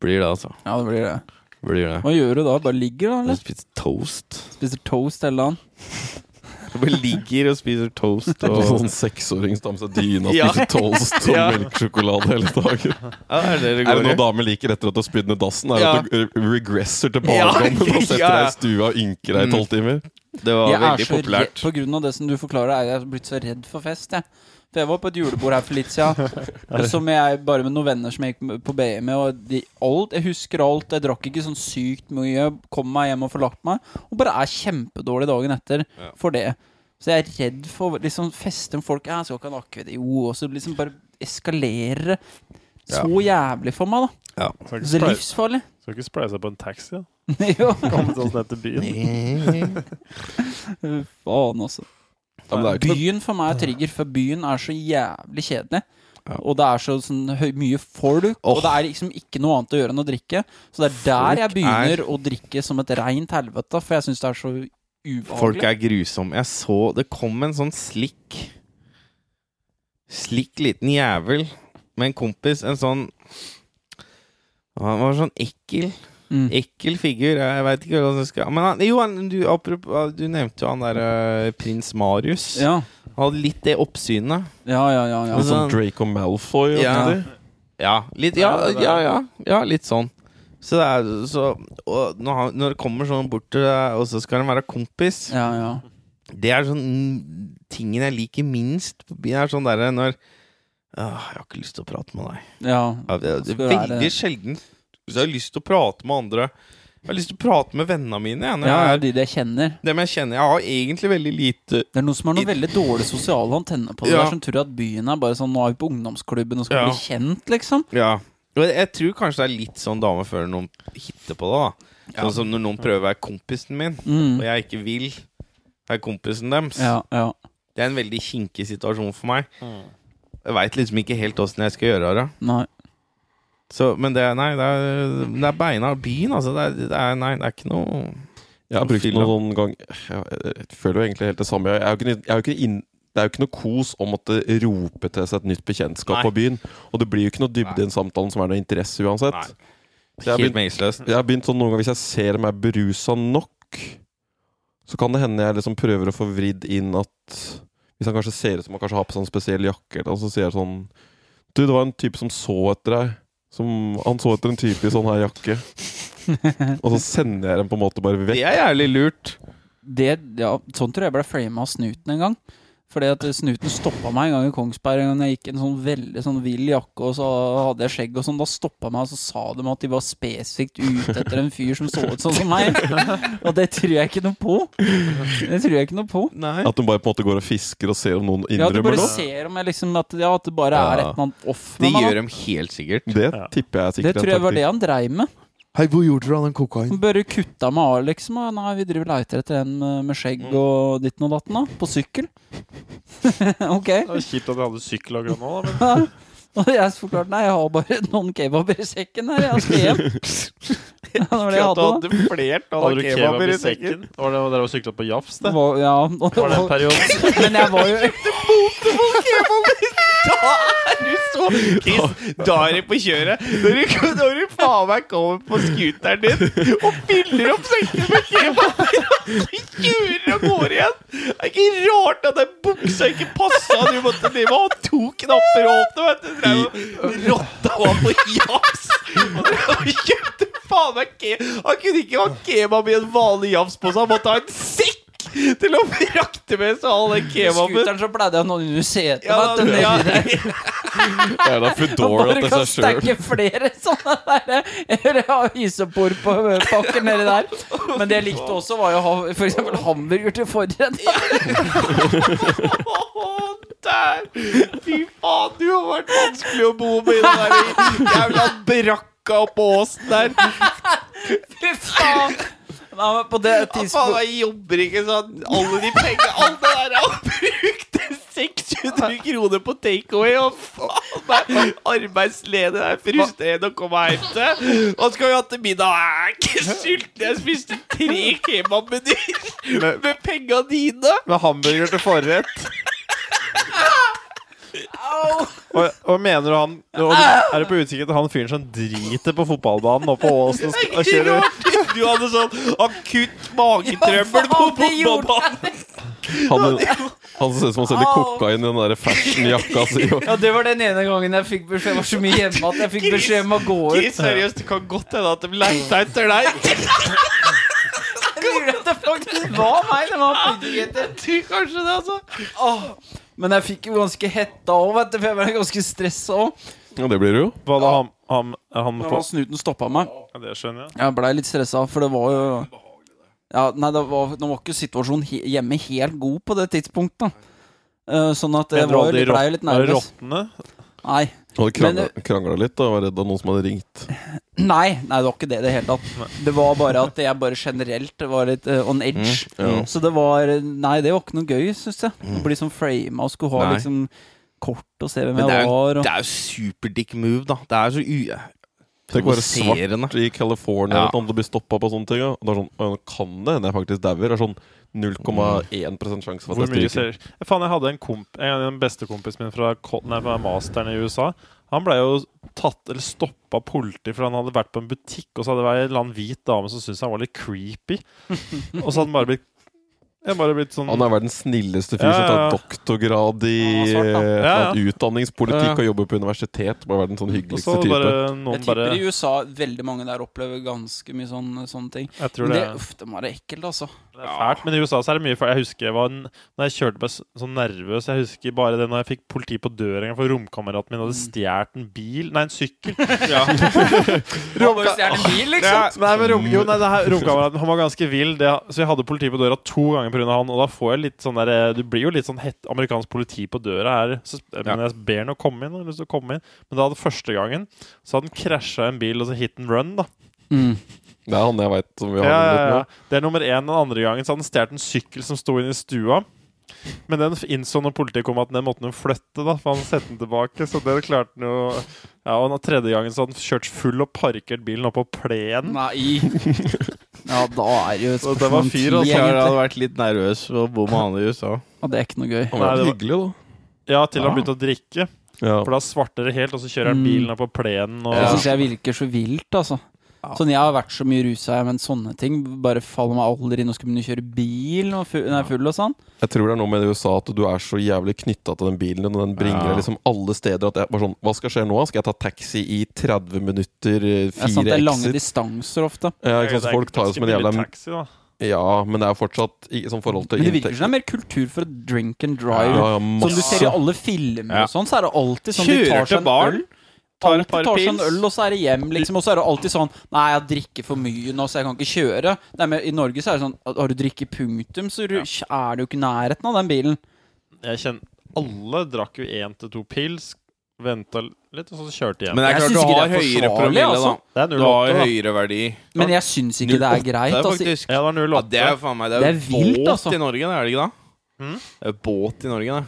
Speaker 1: Blir det, altså.
Speaker 2: Ja, det blir det.
Speaker 1: Blir det.
Speaker 2: Hva gjør du da? Bare ligger da,
Speaker 1: Jeg
Speaker 2: eller?
Speaker 1: spiser toast.
Speaker 2: Spiser toast eller noe?
Speaker 1: Jeg bare ligger og spiser toast.
Speaker 3: Og
Speaker 1: Og...
Speaker 3: sånn seksåring som tar med seg dyna og
Speaker 1: Ja.
Speaker 3: spiser toast og
Speaker 1: Ja.
Speaker 3: melkesjokolade hele dagen.
Speaker 1: Ja, det er det det
Speaker 3: Er
Speaker 1: går
Speaker 3: det
Speaker 1: i.
Speaker 3: noe damer liker etter at du har spydd ned dassen? Er det at du re- regresser til
Speaker 1: Ja.
Speaker 3: barndommen og setter
Speaker 1: Ja,
Speaker 3: deg
Speaker 1: ja.
Speaker 3: i stua og ynker deg i tolv timer?
Speaker 1: Det var
Speaker 2: Jeg er
Speaker 1: veldig
Speaker 2: så redd,
Speaker 1: populært.
Speaker 2: på grunn av det som du forklarer, er jeg blitt så redd for fest, jeg. For jeg var på et julebord her for litt siden, som jeg bare med noen venner som jeg gikk på BI med, og de, alt, jeg husker alt, jeg drakk ikke sånn sykt mye, kom meg hjem og forlagt meg, og bare er kjempedårlig dagen etter
Speaker 1: Ja.
Speaker 2: for det. Så jeg er redd for liksom feste med folk, jeg skal ikke ha en akkurat, jo, og så liksom bare eskalerer det så jævlig for meg, da.
Speaker 4: Skal ikke
Speaker 2: Så
Speaker 4: splei-
Speaker 2: livsfarlig.
Speaker 4: Skal ikke spleise på en taxi? da?
Speaker 2: jo.
Speaker 4: Komme oss ned til byen.
Speaker 2: Faen, altså.
Speaker 3: Ja, men det er ikke noe-
Speaker 2: Byen for meg er trigger, for byen er så jævlig kjedelig.
Speaker 1: Ja.
Speaker 2: Og det er så sånn, høy, mye folk,
Speaker 1: Åh.
Speaker 2: og det er liksom ikke noe annet å gjøre enn å drikke. Så det er der jeg begynner å drikke som et reint helvete, for jeg syns det er så
Speaker 1: Folk
Speaker 2: ubehagelig.
Speaker 1: er grusomme. Jeg så Det kom en sånn slikk Slikk liten jævel med en kompis. En sånn Han var sånn ekkel.
Speaker 2: Mm.
Speaker 1: Ekkel figur. Jeg veit ikke hvordan jeg skal Men han, jo, han, du, apropos, du nevnte jo han derre prins Marius.
Speaker 2: Ja,
Speaker 1: Han hadde litt det oppsynet.
Speaker 2: ja, ja. ja, ja.
Speaker 3: Litt sånn Draco Malfoy.
Speaker 1: Altså- Ja.
Speaker 3: aktig.
Speaker 1: Ja, litt, ja,
Speaker 4: Ja, det er-
Speaker 1: ja, ja, ja, litt sånn. Så det er så og når, han, når det kommer sånn bort til deg, og så skal han være kompis
Speaker 2: ja, ja.
Speaker 1: Det er sånn mm, tingen jeg liker minst. på byen, er sånn derre når «Åh, Jeg har ikke lyst til å prate med deg.
Speaker 2: ja.
Speaker 1: Ja, det, det
Speaker 2: Skal
Speaker 1: er
Speaker 2: være-
Speaker 1: veldig sjelden så jeg har lyst til å prate med andre. Jeg har lyst til å prate med vennene mine. Jeg, når
Speaker 2: Ja,
Speaker 1: jeg
Speaker 2: de jeg kjenner.
Speaker 1: er, dem jeg kjenner. Jeg har egentlig veldig lite
Speaker 2: Det er noen som har noen veldig dårlige sosiale antenner på det.
Speaker 1: Ja.
Speaker 2: der Som tror at byen er bare sånn Nå er vi på ungdomsklubben og
Speaker 1: Ja.
Speaker 2: skal bli kjent, liksom.
Speaker 1: Ja. Og jeg tror kanskje det er litt sånn damer føler noen hitter på det. da Sånn som når noen prøver å være kompisen min,
Speaker 2: Mm.
Speaker 1: og jeg ikke vil. Det er kompisen deres.
Speaker 2: Ja, Mm. ja.
Speaker 1: Det er en veldig kinkig situasjon for meg. Jeg veit liksom ikke helt åssen jeg skal gjøre det.
Speaker 2: Nei.
Speaker 1: Så, men det er, nei, det er, det er beina av byen, altså. Det er, det er, nei, det er ikke noe
Speaker 3: Jeg har brukt den
Speaker 1: Fylla.
Speaker 3: noen gang jeg, jeg føler jo egentlig helt det samme. Jeg, jeg, er jo ikke, jeg er jo ikke inn, det er jo ikke noe kos å måtte rope til seg et nytt bekjentskap
Speaker 1: Nei.
Speaker 3: på byen. Og det blir jo ikke noe dybde
Speaker 1: Nei.
Speaker 3: i den samtalen som er noe interesse uansett.
Speaker 1: Nei.
Speaker 3: Så jeg, har
Speaker 1: Helt
Speaker 3: begynt,
Speaker 1: meningsløst.
Speaker 3: jeg har begynt sånn noen ganger Hvis jeg ser meg berusa nok, så kan det hende jeg liksom prøver å få vridd inn at Hvis han kanskje ser ut som han kanskje har på seg en spesiell jakke, eller noe, så sier jeg sånn Du, det var en type som så etter deg. Som, han så etter en type i sånn her jakke. Og så sender jeg dem på en måte bare
Speaker 1: Det
Speaker 3: vekk.
Speaker 1: er jævlig lurt.
Speaker 2: det, ja, sånn tror jeg ble frama av snuten en gang. Fordi at snuten stoppa meg en gang i Kongsberg. En gang jeg gikk i en sånn veldig sånn vill jakke, og så hadde jeg skjegg og sånn. Da stoppa meg, og så sa de at de var spesifikt ute etter en fyr som så ut sånn som meg. Og det tror jeg ikke noe på. Det tror jeg ikke noe på.
Speaker 1: Nei.
Speaker 3: At de bare på en måte går og fisker og ser om noen
Speaker 2: Ja, at du
Speaker 3: innrømmer
Speaker 2: bare
Speaker 3: noe?
Speaker 2: ser om jeg liksom at, ja, at det bare er et
Speaker 1: Ja.
Speaker 2: eller annet off
Speaker 1: Det
Speaker 2: med meg.
Speaker 1: gjør
Speaker 2: da.
Speaker 1: de helt sikkert.
Speaker 3: Det
Speaker 4: Ja.
Speaker 3: tipper jeg er
Speaker 2: Det
Speaker 3: sikkert
Speaker 2: tror jeg var det han dreiv med.
Speaker 5: Hei, hvor gjorde dere av den kokainen?
Speaker 2: Han bare kutta meg av, liksom. Og nei, vi driver og leiter etter en med, med skjegg og ditten og datten, da. På sykkel. ok.
Speaker 4: Det er kjipt at jeg hadde sykkel akkurat nå, da, men
Speaker 2: Ja. Og jeg forklarte nei, jeg har bare noen kebaber i sekken her, jeg skal hjem. Ja, det var det jeg hadde, da.
Speaker 1: flert
Speaker 4: hadde du kebab i sekken? Var det var dere og sykla på Jafs,
Speaker 2: Det
Speaker 4: det?
Speaker 2: var, ja, og,
Speaker 4: Var det en
Speaker 2: og,
Speaker 4: periode?
Speaker 2: men jeg var jo
Speaker 1: Da er du så Chris, da er du på kjøret. Når du, når du faen meg kommer på scooteren din og fyller opp sekken med kebaber og kjører av gårde igjen Det er ikke rart at den buksa ikke passa du måtte drive med. Han tok knapper og åpna, vet du. Drev og- Rotta var på jafs. Og drev og kjøpte faen meg ke Han kunne ikke ha kebab i en vanlig jafs på seg. Han måtte ha en sekk til å frakte med seg all den kebaben.
Speaker 2: scooteren, så pleide jeg å nå under setet.
Speaker 1: Ja,
Speaker 2: vet du,
Speaker 1: ja,
Speaker 2: nedi der.
Speaker 3: Det er da Foodora
Speaker 2: Bare
Speaker 3: til
Speaker 2: kan
Speaker 3: seg sjøl.
Speaker 2: stekke flere sånne der eller ha isopor på ø, pakker nedi der. Men det jeg likte også, var jo å ha f.eks. hamburger til forrett.
Speaker 1: Åh, der! Fy faen, du har vært vanskelig å bo med i den der jævla brakka oppå åsen der.
Speaker 2: Fy faen! Nei, men på det
Speaker 1: Ja, faen,
Speaker 2: tidspunktet
Speaker 1: jeg jobber ikke sånn. Alle de pengene Alt det der jeg har brukt til 600 kroner på takeaway, og faen meg arbeidsledig. Det er frustrerende å komme hjem til. Hva skal vi ha til middag? Jeg er ikke sulten. Jeg spiste tre kebabmenyer med penga dine.
Speaker 4: Med hamburger til forrett. Og, og mener du han og du, Er du på utkikk etter han fyren som driter på fotballbanen og på Åsen og sk- og kjører
Speaker 1: Du hadde sånn akutt magetrøbbel på
Speaker 2: Ja, faen, det gjorde
Speaker 1: fotballbanen.
Speaker 3: Han, han som ser ut som han selger kokain i den der fashionjakka si. og-
Speaker 2: Ja, det var den ene gangen jeg fikk beskjed Jeg var så mye hjemme at jeg fikk beskjed om å gå ut.
Speaker 1: Ikke seriøst, det kan godt hende at de leita etter deg.
Speaker 2: Jeg lurer at det faktisk var meg det var
Speaker 1: Jeg tror kanskje det, altså.
Speaker 2: Åh. Men jeg fikk jo ganske hetta òg, vet du, for jeg ble ganske stressa òg.
Speaker 3: Ja, det blir det jo.
Speaker 4: Hva da, ham, ham, ham på
Speaker 2: Snuten stoppa meg.
Speaker 4: Ja, Det skjønner jeg.
Speaker 2: Jeg blei litt stressa, for det var jo ja, Nei, det var, nå var ikke situasjonen he hjemme helt god på det tidspunktet. da. Eh, sånn at jeg
Speaker 4: Mener du
Speaker 2: var jo
Speaker 4: alle de
Speaker 2: litt- blei jo litt
Speaker 4: rot- alle
Speaker 2: nervøs.
Speaker 4: rottene?
Speaker 2: Nei.
Speaker 3: Han
Speaker 2: Men eh,
Speaker 3: hadde krangla litt da, og var redd av noen som hadde ringt.
Speaker 2: Nei, nei, det var ikke det i det hele tatt. Det var bare at jeg bare generelt var litt eh, on edge. Så det var Nei, det var ikke noe gøy, syns jeg. Å bli sånn frama og skulle ha
Speaker 1: Nei.
Speaker 2: liksom kort og se hvem
Speaker 1: Men det er
Speaker 2: jeg
Speaker 1: jo,
Speaker 2: var. Og...
Speaker 1: det er jo superdick move, da. Det er så u...
Speaker 3: Tenk å være
Speaker 1: Provoserende.
Speaker 3: svart i California
Speaker 1: Ja.
Speaker 3: eller noe, og bli stoppa på sånne ting. ja. Og det er sånn, «Å, nå kan det hende jeg faktisk dauer. Det er sånn 0,1 sjanse for
Speaker 4: Hvor
Speaker 3: at
Speaker 4: mye
Speaker 3: jeg stryker.
Speaker 4: ser Faen, jeg hadde en komp en, en bestekompisen min fra, ko- nei, fra masteren i USA. Han blei jo tatt, eller stoppa av politiet fordi han hadde vært på en butikk, og så hadde det vært en eller annen hvit dame som syntes han var litt creepy. Og så hadde han bare blitt jeg bare blitt sånn
Speaker 3: Han er verdens snilleste fyr
Speaker 4: Ja,
Speaker 3: som
Speaker 4: ja, ja.
Speaker 3: tar doktorgrad i
Speaker 2: Han er svart, da.
Speaker 3: eh,
Speaker 4: Ja, ja.
Speaker 3: utdanningspolitikk
Speaker 4: Ja, ja.
Speaker 3: og jobber på universitet. Bare verdens sånn
Speaker 4: Og så
Speaker 3: hyggeligste type.
Speaker 4: bare
Speaker 2: Jeg
Speaker 4: noen
Speaker 2: tipper
Speaker 4: bare
Speaker 2: i USA veldig mange der opplever ganske mye sånn, sånne ting.
Speaker 4: Jeg tror
Speaker 2: Men
Speaker 4: det,
Speaker 2: det, uff, det må være ekkelt, altså.
Speaker 4: det er fælt. Men i USA så er det mye fælt. Jeg husker jeg var n- Når jeg kjørte meg s- sånn nervøs Jeg husker bare det når jeg fikk politi på døra en gang, for romkameraten min hadde stjålet en bil Nei, en sykkel.
Speaker 2: Han var jo stjerne bil, liksom.
Speaker 4: Ja, nei, men rom, jo, nei, det her, romkameraten han var ganske vill, det, så jeg hadde politi på døra to ganger pga. han. Og da får jeg litt sånn der eh, Du blir jo litt sånn hett, amerikansk politi på døra her. Så, sp- eh, men jeg ber han å komme inn. har lyst til å komme inn Men da hadde første gangen Så hadde han krasja en bil, og så hit and run, da.
Speaker 2: Mm.
Speaker 3: Det er han jeg veit som vi har
Speaker 4: Ja,
Speaker 3: ja,
Speaker 4: ja,
Speaker 3: litt
Speaker 4: ja.
Speaker 3: med.
Speaker 4: Det er nummer én. Den andre gangen så hadde han stjålet en sykkel som sto inne i stua. Men den f- innså når politiet kom at den måtte han flytte, da, for han sendte den tilbake. Så det klarte han jo Ja, Og den tredje gangen så hadde han kjørt full og parkert bilen oppå plenen.
Speaker 2: Nei! Ja, da er det jo et
Speaker 4: Så det
Speaker 2: spørsmål
Speaker 4: var
Speaker 2: om
Speaker 4: fyr,
Speaker 2: tid,
Speaker 4: altså.
Speaker 1: Jeg
Speaker 2: egentlig.
Speaker 1: hadde vært litt nervøs for å bo med han i USA.
Speaker 2: Ja, det er ikke noe gøy.
Speaker 3: Han var
Speaker 4: Nei,
Speaker 3: jo
Speaker 4: det
Speaker 3: hyggelig, da.
Speaker 4: Ja, til han
Speaker 1: Ja.
Speaker 4: begynte å drikke.
Speaker 3: Ja.
Speaker 4: For da svarter det helt, og så kjører han
Speaker 2: Mm.
Speaker 4: bilen oppå plenen. Og
Speaker 2: Det
Speaker 1: Ja.
Speaker 2: syns jeg virker så vilt, altså.
Speaker 1: Ja.
Speaker 2: Sånn, Jeg har vært så mye rusa, jeg, men sånne ting bare faller meg aldri inn. Nå skal jeg begynne å kjøre bil når fu- når jeg er full og sånn.
Speaker 3: Jeg tror det er noe med det USA at du er så jævlig knytta til den bilen din, og den bringer
Speaker 1: Ja.
Speaker 3: deg liksom alle steder at jeg var sånn Hva skal skje nå? Skal jeg ta taxi i 30 minutter? eh,
Speaker 2: Det er sant, det
Speaker 3: Fire
Speaker 2: er lange
Speaker 3: exit?
Speaker 2: distanser ofte.
Speaker 3: Ja, ikke sant?
Speaker 4: Det
Speaker 3: Så
Speaker 4: er
Speaker 3: folk tar det
Speaker 4: ganske
Speaker 3: som en jævla
Speaker 4: billig taxi, da.
Speaker 3: Ja, men det er fortsatt i sånn forhold til
Speaker 2: Men det virker
Speaker 3: inntekt-
Speaker 2: som det er mer kultur for å drink and
Speaker 3: Ja,
Speaker 2: drive.
Speaker 3: ja,
Speaker 2: Som du
Speaker 3: masse.
Speaker 2: ser i alle filmer
Speaker 1: Ja.
Speaker 2: og sånn, så er det alltid sånn de
Speaker 1: Kjører
Speaker 2: tar
Speaker 1: til
Speaker 2: seg en
Speaker 1: baren,
Speaker 2: øl.
Speaker 1: tar et
Speaker 2: Alltid
Speaker 1: par
Speaker 2: tar seg en
Speaker 1: pils.
Speaker 2: øl, og så er det hjem, liksom. Og så er det alltid sånn Nei, jeg drikker for mye nå, så jeg kan ikke kjøre. Nei, men I Norge så er det sånn Har du drikket punktum, så er du er du jo ikke i nærheten av den bilen.
Speaker 4: Jeg kjenner Alle drakk jo én til to pils, venta litt, og så kjørte de hjem.
Speaker 1: Men det er
Speaker 2: Jeg
Speaker 1: klart
Speaker 2: synes
Speaker 1: du
Speaker 2: ikke
Speaker 1: har
Speaker 2: det er
Speaker 1: høyere
Speaker 2: forsvarlig,
Speaker 1: promille,
Speaker 2: altså.
Speaker 1: da.
Speaker 4: Det er
Speaker 1: Du har
Speaker 4: 08, da.
Speaker 1: høyere verdi.
Speaker 2: Men jeg syns ikke det er greit.
Speaker 1: 08,
Speaker 2: Altså.
Speaker 1: faktisk.
Speaker 4: Ja, det var
Speaker 1: Ja,
Speaker 4: 08.
Speaker 1: det er jo faen meg Det er,
Speaker 2: Det er vilt,
Speaker 1: båt
Speaker 2: altså.
Speaker 1: i Norge, det er det ikke da?
Speaker 4: Mm.
Speaker 1: Det er båt i Norge, det.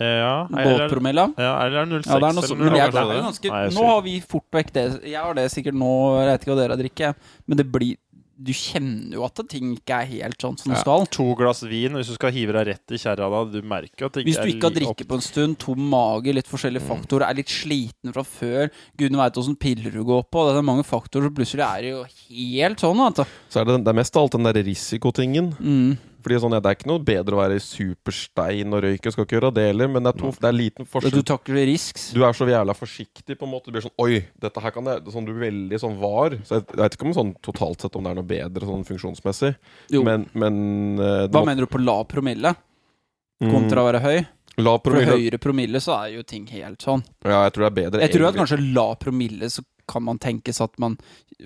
Speaker 4: ja, eller,
Speaker 2: Båtpromilla.
Speaker 4: ja, eller 06
Speaker 2: Ja, det er noe sånt.
Speaker 4: eller
Speaker 2: Men jeg, det
Speaker 4: 08.
Speaker 2: er jo ganske,
Speaker 4: Nei, jeg
Speaker 2: nå har vi fort vekk det. Jeg har det sikkert nå, jeg vet ikke hva dere drikker, men det blir Du kjenner jo at ting ikke er helt sånn som det
Speaker 1: Ja.
Speaker 2: skal.
Speaker 4: to glass vin, og hvis du skal hive deg rett i kjerra da, du merker jo at det
Speaker 2: Hvis du ikke har
Speaker 4: li-
Speaker 2: drikket på en stund, tom mage, litt
Speaker 1: Mm.
Speaker 2: forskjellige faktorer, er litt sliten fra før, gudene veit åssen piller du går på, det er mange faktorer, så plutselig er det jo helt sånn, vet du.
Speaker 3: Så er det, den- det er mest av alt den der risikotingen.
Speaker 2: Mm.
Speaker 3: Fordi sånn, ja, Det er ikke noe bedre å være superstein og røyke, skal ikke gjøre det heller, men det er, to, det er liten
Speaker 2: Du
Speaker 3: forskjell.
Speaker 2: takler risks.
Speaker 3: Du er så jævla forsiktig, på en måte. Du blir sånn Oi, dette her kan jeg Sånn du blir veldig sånn var. Så jeg, jeg vet ikke om sånn totalt sett om det er noe bedre sånn funksjonsmessig,
Speaker 2: Jo.
Speaker 3: men, men eh, det
Speaker 2: Hva
Speaker 3: må-
Speaker 2: mener du på lav promille kontra å være høy?
Speaker 3: Mm, La
Speaker 2: For
Speaker 3: promille
Speaker 2: høyere promille så er jo ting helt sånn.
Speaker 3: Ja, jeg tror det er bedre.
Speaker 2: Jeg tror at
Speaker 3: egentlig.
Speaker 2: kanskje lav promille så kan man tenkes at man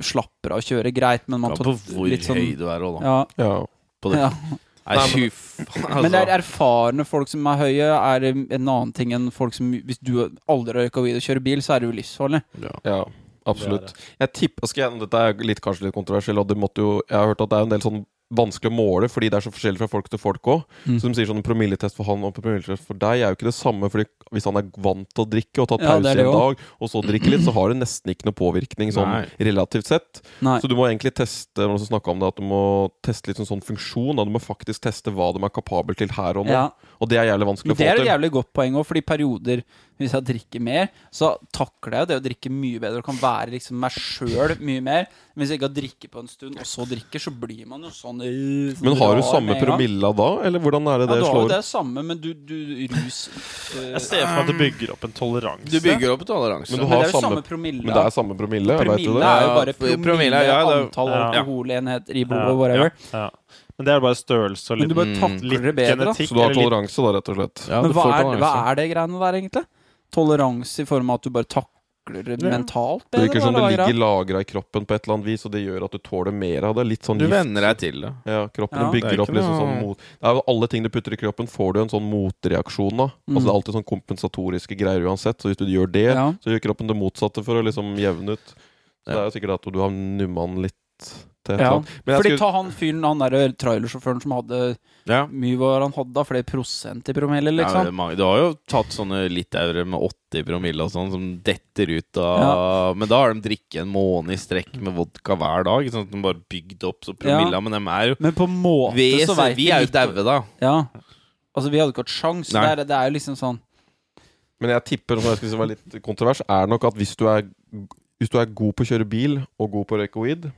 Speaker 2: slapper av å kjøre greit, men man
Speaker 1: Ja,
Speaker 2: tar
Speaker 1: på hvor
Speaker 2: litt sånn
Speaker 1: høy du er òg, da.
Speaker 2: ja,
Speaker 3: ja.
Speaker 1: På det.
Speaker 2: ja.
Speaker 1: Nei, fy faen,
Speaker 2: Men det er
Speaker 1: altså.
Speaker 2: erfarne folk som er høye, er en annen ting enn folk som Hvis du aldri har røyka weed og kjører bil, så er det jo livsfarlig.
Speaker 3: Ja, absolutt. Jeg tipper, skal jeg, Dette er litt, kanskje litt kontroversielt, og det måtte jo, jeg har hørt at det er en del sånn vanskelig å måle, fordi det er så forskjellig fra folk til folk òg.
Speaker 2: Mm.
Speaker 3: Så de sier sånn en promilletest for han og en promilletest for deg er jo ikke det samme, fordi hvis han er vant til å drikke og
Speaker 2: Ja,
Speaker 3: ta
Speaker 2: det
Speaker 3: pause
Speaker 2: er det
Speaker 3: en
Speaker 2: også.
Speaker 3: dag, og så drikke litt, så har det nesten ikke noe påvirkning sånn
Speaker 1: Nei.
Speaker 3: relativt sett.
Speaker 2: Nei.
Speaker 3: Så du må egentlig teste noen som snakket om det, at du må teste litt sånn, sånn funksjon. Da. Du må faktisk teste hva de er kapabel til her og nå.
Speaker 2: Ja.
Speaker 3: Og det er jævlig vanskelig
Speaker 2: Men
Speaker 3: å
Speaker 2: det
Speaker 3: få
Speaker 2: er et
Speaker 3: til.
Speaker 2: jævlig godt poeng òg, fordi perioder Hvis jeg drikker mer, så takler jeg jo det å drikke mye bedre og kan være liksom meg sjøl mye mer. Men hvis jeg ikke har drikket på en stund, og så drikker, så blir man jo sånn øh, sånn
Speaker 3: Men har du
Speaker 2: rar
Speaker 3: samme
Speaker 2: med en gang.
Speaker 3: promilla da, eller hvordan er det
Speaker 2: Ja,
Speaker 3: det
Speaker 2: du har jo
Speaker 3: slår?
Speaker 2: det samme, men du, du rus øh,
Speaker 4: Jeg ser for meg at det bygger opp en toleranse.
Speaker 1: Du bygger opp toleranse.
Speaker 3: Men du
Speaker 2: Men
Speaker 3: har
Speaker 2: det er jo
Speaker 3: samme-
Speaker 2: samme promille.
Speaker 3: Men det er samme promille, jeg vet du
Speaker 2: promille
Speaker 3: det?
Speaker 2: er jo
Speaker 1: Ja,
Speaker 2: bare promille,
Speaker 1: promille, ja, det er-
Speaker 2: antall
Speaker 4: Ja.
Speaker 2: alkoholenheter i
Speaker 4: Ja,
Speaker 2: blodet, whatever.
Speaker 4: Ja, ja. Men det er bare størrelse
Speaker 2: Men
Speaker 4: og
Speaker 2: du
Speaker 4: litt,
Speaker 2: bare
Speaker 1: Mm.
Speaker 2: takler det
Speaker 4: litt
Speaker 2: bedre, da.
Speaker 4: genetikk.
Speaker 3: Så du har
Speaker 4: eller litt-
Speaker 3: toleranse da, rett og slett?
Speaker 1: Ja,
Speaker 2: Men
Speaker 1: du
Speaker 2: hva
Speaker 1: får
Speaker 2: er, hva
Speaker 1: toleranse.
Speaker 3: altså.
Speaker 2: er det greiene der, egentlig? Toleranse i form av at du bare takler det
Speaker 4: Ja.
Speaker 2: mentalt
Speaker 3: Det virker
Speaker 2: bedre?
Speaker 3: som det
Speaker 2: eller hva er greia?
Speaker 3: ligger lagra i kroppen på et eller annet vis, og det gjør at du tåler mer av det. Litt sånn
Speaker 1: Du
Speaker 3: gift.
Speaker 1: venner deg til det.
Speaker 3: Ja, kroppen
Speaker 2: Ja.
Speaker 1: Det
Speaker 3: bygger
Speaker 1: er
Speaker 3: opp
Speaker 1: ikke
Speaker 3: liksom
Speaker 1: noe-
Speaker 3: sånn mot Det er jo Alle ting du putter i kroppen, får du en sånn motreaksjon av. Altså Det er alltid sånn kompensatoriske greier uansett, så hvis du gjør det,
Speaker 2: Mm. Ja.
Speaker 3: så gjør kroppen det motsatte for å liksom jevne ut. Så det er jo sikkert at du har numma den litt til et
Speaker 2: Ja.
Speaker 3: eller annet. Men jeg
Speaker 2: Fordi
Speaker 3: skulle
Speaker 2: ta han fyren, han der eh, trailersjåføren som hadde
Speaker 1: Ja.
Speaker 2: mye var han hadde da, flere prosent i
Speaker 1: Ja,
Speaker 2: promille,
Speaker 1: men
Speaker 2: liksom.
Speaker 1: det er mange- du har jo tatt sånne litauere med 80 promille og sånn som detter ut av Men da har de drikket en måned i strekk med vodka hver dag. ikke sant? de bare bygd opp så promilla, men de er jo
Speaker 2: Men på en måte
Speaker 1: vi,
Speaker 2: så veit
Speaker 1: vi er jo daue, da.
Speaker 2: Ja. Altså, vi hadde ikke hatt sjans. Det
Speaker 1: Nei.
Speaker 2: er, det er jo liksom sånn
Speaker 3: Men jeg tipper, som jeg skulle si var litt kontrovers, er nok at hvis du er, hvis du er god på å kjøre bil og god på å røyke weed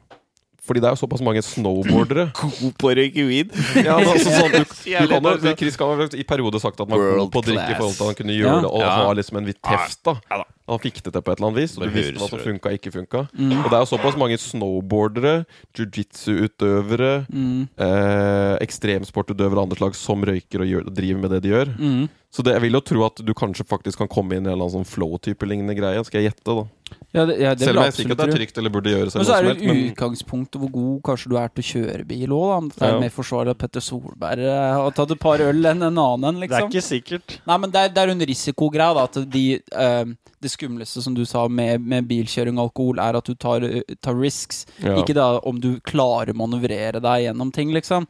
Speaker 3: Fordi det er jo såpass mange snowboardere.
Speaker 1: God på å røyke weed.
Speaker 3: Ja, men altså sånn, du,
Speaker 1: Så
Speaker 3: du
Speaker 1: jævlig
Speaker 3: kan jo,
Speaker 1: nervøs.
Speaker 3: Chris kan ha i perioder sagt at man
Speaker 1: World
Speaker 3: kom på å drikke i
Speaker 1: class.
Speaker 3: forhold til at han kunne
Speaker 2: Ja.
Speaker 3: gjøre det, og
Speaker 1: Ja.
Speaker 3: ha liksom en vidt teft. da
Speaker 1: Ja da.
Speaker 3: Han fikk det til på et eller annet vis, og
Speaker 1: Det
Speaker 3: du visste
Speaker 1: høres
Speaker 3: hva som
Speaker 1: rødt.
Speaker 3: funka og ikke funka.
Speaker 2: Mm.
Speaker 3: Og det er jo såpass mange snowboardere, jiu-jitsu-utøvere,
Speaker 2: Mm.
Speaker 3: eh, ekstremsportutøvere av andre slag som røyker og, gjør, og driver med det de gjør.
Speaker 2: Mm.
Speaker 3: Så det, jeg vil jo tro at du kanskje faktisk kan komme inn i en eller annen sånn flow-type lignende greie. Skal jeg gjette, da.
Speaker 2: Ja, det, ja, det
Speaker 3: Selv
Speaker 2: vil
Speaker 3: om
Speaker 2: jeg
Speaker 3: jeg sier
Speaker 2: absolutt
Speaker 3: ikke at
Speaker 2: tro.
Speaker 3: det er trygt eller burde gjøres.
Speaker 2: Men
Speaker 3: Eller
Speaker 2: så
Speaker 3: noe
Speaker 2: er
Speaker 3: som
Speaker 2: det
Speaker 3: helst,
Speaker 2: jo
Speaker 3: men
Speaker 2: utgangspunktet hvor god kanskje du er til å kjøre bil òg, da. Om Det er
Speaker 3: Ja.
Speaker 2: mer forsvarlig at Petter Solberg eh, har tatt et par øl enn en annen en,
Speaker 4: Det er
Speaker 2: liksom.
Speaker 4: ikke sikkert.
Speaker 2: Nei, men det er, det er en risikogreie, da. At de, eh, det skumleste, som du sa, med, med bilkjøring og alkohol, er at du tar, eh, tar risks.
Speaker 3: ja.
Speaker 2: Ikke da om du klarer å manøvrere deg gjennom ting, liksom.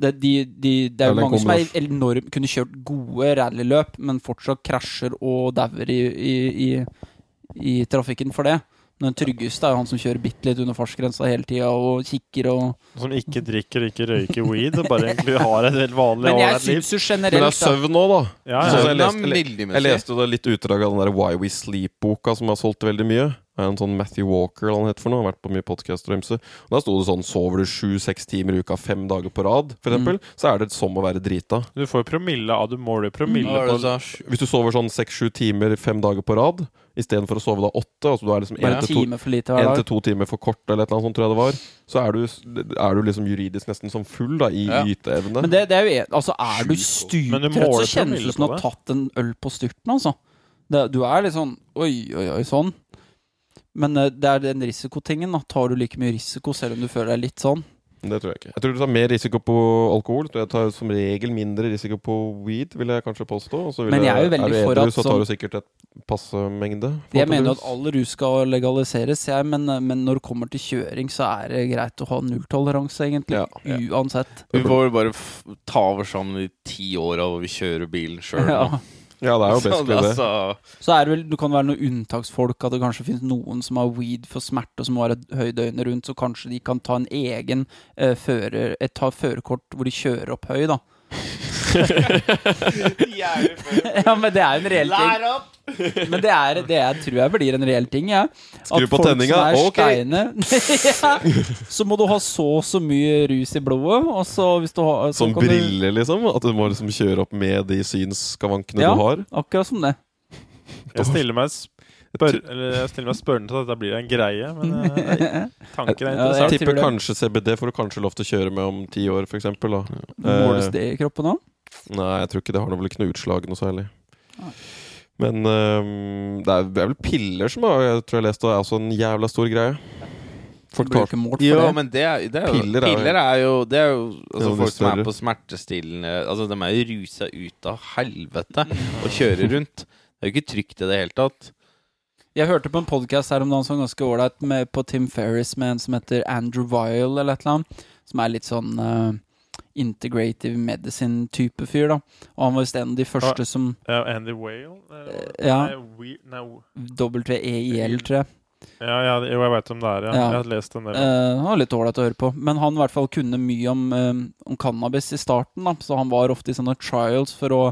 Speaker 2: Det, de, de, det er jo
Speaker 3: Eller en
Speaker 2: mange som er
Speaker 3: kombinasjon.
Speaker 2: enorm, kunne kjørt gode rallyløp, men fortsatt krasjer og dauer i, i, i, i trafikken for det. Men den tryggeste er jo han som kjører bitte litt under fartsgrensa hele tida og kikker og
Speaker 4: Som ikke drikker og ikke røyker weed. og Bare egentlig har et helt vanlig
Speaker 2: Men jeg
Speaker 4: ålreit liv.
Speaker 2: syns jo
Speaker 3: Men det er
Speaker 2: generelt da,
Speaker 3: søvn òg, da.
Speaker 4: Ja,
Speaker 3: Så
Speaker 4: ja.
Speaker 3: jeg leste-
Speaker 1: Søvn er veldig messig.
Speaker 3: Jeg leste jo da litt utdrag av den der Why We Sleep-boka som har solgt veldig mye. Det er en sånn Matthew Walker eller hva han heter for noe. Har vært på mye podcaster og ymse. Og Da sto det sånn Sover du sju-seks timer i uka fem dager på rad, for eksempel, så er det som å være drita.
Speaker 4: Du får jo promille av Du måler jo promille
Speaker 1: Hva var det du
Speaker 4: på
Speaker 1: sa? Sju-
Speaker 3: Hvis du sover sånn seks-sju timer fem dager på rad istedenfor å sove da åtte, altså du er liksom
Speaker 2: bare
Speaker 3: én
Speaker 2: en
Speaker 3: til to
Speaker 2: time for lite hver
Speaker 3: en til
Speaker 2: dag.
Speaker 3: to timer for kort, eller et eller annet sånt, tror jeg det var. Så er du, er du liksom juridisk nesten som full da i
Speaker 1: Ja.
Speaker 3: yteevne.
Speaker 2: Men det, det er jo en- Altså, er du
Speaker 4: Men du
Speaker 2: styrtrøtt,
Speaker 4: måler
Speaker 2: så kjennes
Speaker 4: promille
Speaker 2: det som du
Speaker 4: på
Speaker 2: har
Speaker 4: det.
Speaker 2: tatt en øl på styrten, altså. Det, du er litt sånn oi, oi, oi, sånn. Men eh, det er den risikotingen. da Tar du like mye risiko selv om du føler deg litt sånn?
Speaker 3: Det tror jeg ikke. Jeg tror du tar mer risiko på alkohol. Jeg tror jeg tar som regel mindre risiko på weed, vil jeg kanskje påstå. Og så vil
Speaker 2: Men jeg er jo veldig
Speaker 3: du
Speaker 2: for
Speaker 3: edru,
Speaker 2: at
Speaker 3: så tar
Speaker 2: sånn-
Speaker 3: du sikkert et passe mengde.
Speaker 2: Jeg mener jo at
Speaker 3: forhåpentligvis.
Speaker 2: all rus skal legaliseres, jeg, men, eh, men når det kommer til kjøring, så er det greit å ha nulltoleranse, egentlig.
Speaker 3: Ja, ja.
Speaker 2: Uansett.
Speaker 1: Vi får vel bare f ta over sammen de ti åra hvor vi kjører bilen sjøl.
Speaker 2: Ja.
Speaker 3: Ja, det er jo basically det.
Speaker 2: Altså, Så er det vel, du kan være noen unntaksfolk, at det kanskje finnes noen som har weed for smerte, og som har et høy døgnet rundt, så kanskje de kan ta en egen eh, fører, et, ta førerkort hvor de kjører opp høy, da. ja, men det er jo en reell ting.
Speaker 1: opp!
Speaker 2: Men det, er, det er, tror jeg blir en reell ting, jeg. Ja.
Speaker 3: Skru på tenninga, ok.
Speaker 2: ja, så må du ha så og så mye rus i blodet, og så hvis du har så
Speaker 3: Som
Speaker 2: kan du-
Speaker 3: briller, liksom. At du må liksom kjøre opp med de synsskavankene
Speaker 2: Ja.
Speaker 3: du har.
Speaker 2: Akkurat som det.
Speaker 4: Jeg stiller meg spør eller jeg stiller meg spørrende til at dette blir en greie, men eh, tanken er
Speaker 2: Ja, det er-
Speaker 4: interessant.
Speaker 3: Jeg
Speaker 2: tror
Speaker 3: tipper
Speaker 2: det.
Speaker 3: kanskje CBD får du kanskje lov til å kjøre med om ti år, f.eks. Eh,
Speaker 2: Måles det i kroppen òg?
Speaker 3: Nei, jeg tror ikke det har noe, vel ikke noe utslag noe særlig. Men øhm, det, er, det er vel piller som har, jeg tror jeg har lest, og er også en jævla stor greie. Folk tar
Speaker 1: Jo,
Speaker 2: men,
Speaker 1: men det er, det er jo
Speaker 3: Piller er jo-
Speaker 1: Piller er jo Det er jo altså,
Speaker 3: av de
Speaker 1: folk som er
Speaker 3: større.
Speaker 1: på smertestillende Altså, de er jo rusa ut av helvete og kjører rundt. Det er jo ikke trygt i det hele tatt.
Speaker 2: Jeg hørte på en podcast her om dagen som var ganske ålreit, med- på Tim Ferris med en som heter Andrew Vile, eller et eller annet. Som er litt sånn eh, integrative medicine-type fyr, da. Og han var visst en av de første som
Speaker 4: Ja, Andy Whale? eh,
Speaker 2: Ja.
Speaker 4: nei, We, nei,
Speaker 2: WEIL, E tror jeg.
Speaker 4: ja, ja, jo, jeg veit hvem det er, ja.
Speaker 2: Ja.
Speaker 4: Jeg har lest en del.
Speaker 2: Eh, han var litt ålreit å høre på. Men han i hvert fall kunne mye om, eh, om cannabis i starten, da. Så han var ofte i sånne trials for å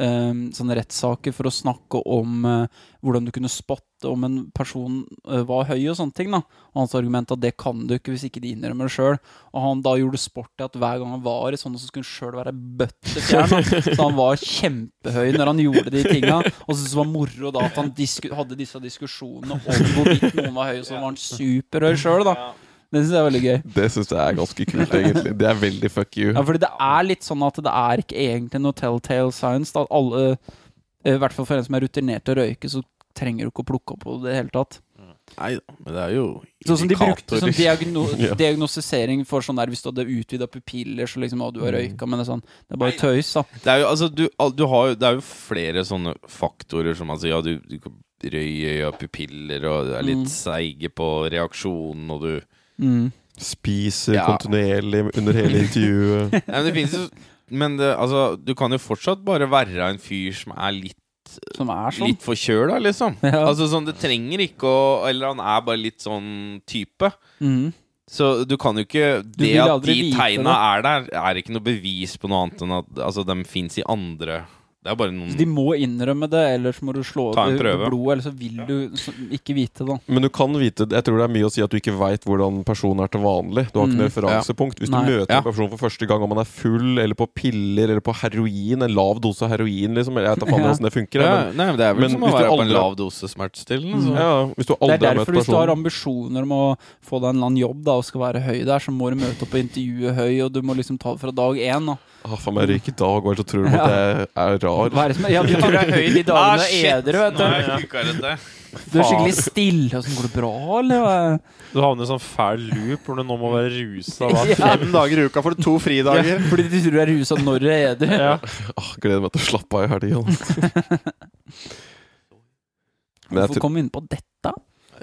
Speaker 2: eh, Sånne rettssaker for å snakke om eh, hvordan du kunne spotte om en person eh, var høy og sånne ting. da. Og hans argument at det kan du ikke hvis ikke de innrømmer det sjøl. Og han da gjorde sport i at hver gang han var i sånne, så skulle han sjøl være bøttefjern. da. Så han var kjempehøy når han gjorde de tinga. Og så syntes det var moro da at han disku hadde disse diskusjonene om hvorvidt noen var høy, og så var han superhøy sjøl, da. Det syns jeg er veldig gøy.
Speaker 3: Det syns jeg er ganske kult, egentlig. Det er veldig fuck you.
Speaker 2: Ja, fordi det er litt sånn at det er ikke egentlig noe telltale science. Da. Alle, eh, I hvert fall for en som er rutinert til å røyke, så trenger du ikke å plukke opp på det i det hele tatt.
Speaker 1: Nei da, men det er jo
Speaker 2: Sånn som de brukte som
Speaker 1: indikatorer.
Speaker 2: diagno
Speaker 3: Ja.
Speaker 2: diagnostisering for sånn der hvis du hadde utvida pupiller, så liksom Å, du har røyka, men det er sånn Det er bare tøys, da.
Speaker 1: Det er jo, altså, du, al- du har, jo- det er jo flere sånne faktorer som altså, ja, du, du kan røy øya, pupiller, og du er litt
Speaker 2: Mm.
Speaker 1: seige på reaksjonen, og du
Speaker 2: Mm.
Speaker 3: Spiser
Speaker 1: Ja.
Speaker 3: kontinuerlig under hele intervjuet.
Speaker 1: Nei, men det finnes jo Men det, altså, du kan jo fortsatt bare være en fyr som er litt,
Speaker 2: Som er sånn.
Speaker 1: litt forkjøla, liksom.
Speaker 2: Ja.
Speaker 1: Altså sånn, Det trenger ikke å Eller han er bare litt sånn type.
Speaker 2: mm.
Speaker 1: Så du kan jo ikke Det
Speaker 2: vil
Speaker 1: at
Speaker 2: aldri
Speaker 1: de
Speaker 2: vite
Speaker 1: tegna er der, er ikke noe bevis på noe annet enn at altså, de fins i andre Det er bare noen
Speaker 2: Så de må innrømme det, ellers må du slå
Speaker 1: Ta en
Speaker 2: ut
Speaker 1: prøve.
Speaker 2: blodet, eller så vil du så, ikke vite det.
Speaker 3: Men du kan vite Jeg tror det er mye å si at du ikke veit hvordan personen er til vanlig. Du har ikke noe
Speaker 2: Mm.
Speaker 3: referansepunkt. Hvis
Speaker 2: Nei.
Speaker 3: du møter
Speaker 1: Ja.
Speaker 3: en person for første gang, om han er full, eller på piller, eller på heroin, en lav dose heroin, liksom eller Jeg vet da faen
Speaker 2: Ja.
Speaker 3: åssen det funker.
Speaker 1: ja,
Speaker 3: jeg, Men,
Speaker 1: Nei, men det er vel
Speaker 3: men
Speaker 1: som å
Speaker 3: hvis du
Speaker 1: være på en
Speaker 3: aldri- Mm.
Speaker 1: lav dose smertestillende. Så.
Speaker 3: ja, hvis du
Speaker 2: Det
Speaker 3: aldri
Speaker 2: er
Speaker 3: har møtt
Speaker 2: derfor hvis du har
Speaker 3: personen
Speaker 2: ambisjoner om å få deg en eller annen jobb da, og skal være høy der, så må du møte opp på intervjuet høy, og du må liksom ta det fra dag én. Da.
Speaker 3: ah, Faen meg, røyk i dag, og så tror du at jeg er rar.
Speaker 2: Hva er det som er? Ja, du tror du er høy de dagene
Speaker 1: Ah,
Speaker 2: du er edru, vet du.
Speaker 1: Nei, ukarete.
Speaker 2: Du er skikkelig stille. Åssen går det bra, eller? hva?
Speaker 4: Du havner i en sånn fæl loop hvor du nå må være rusa
Speaker 2: Ja.
Speaker 4: hver fem dager i uka for to fridager.
Speaker 2: Fordi de tror du er rusa når du er edru.
Speaker 4: Ja.
Speaker 3: Åh, Ah, gleder meg til å slappe av i helga. Men jeg
Speaker 2: Hvorfor
Speaker 3: tror
Speaker 2: kom vi inn på dette?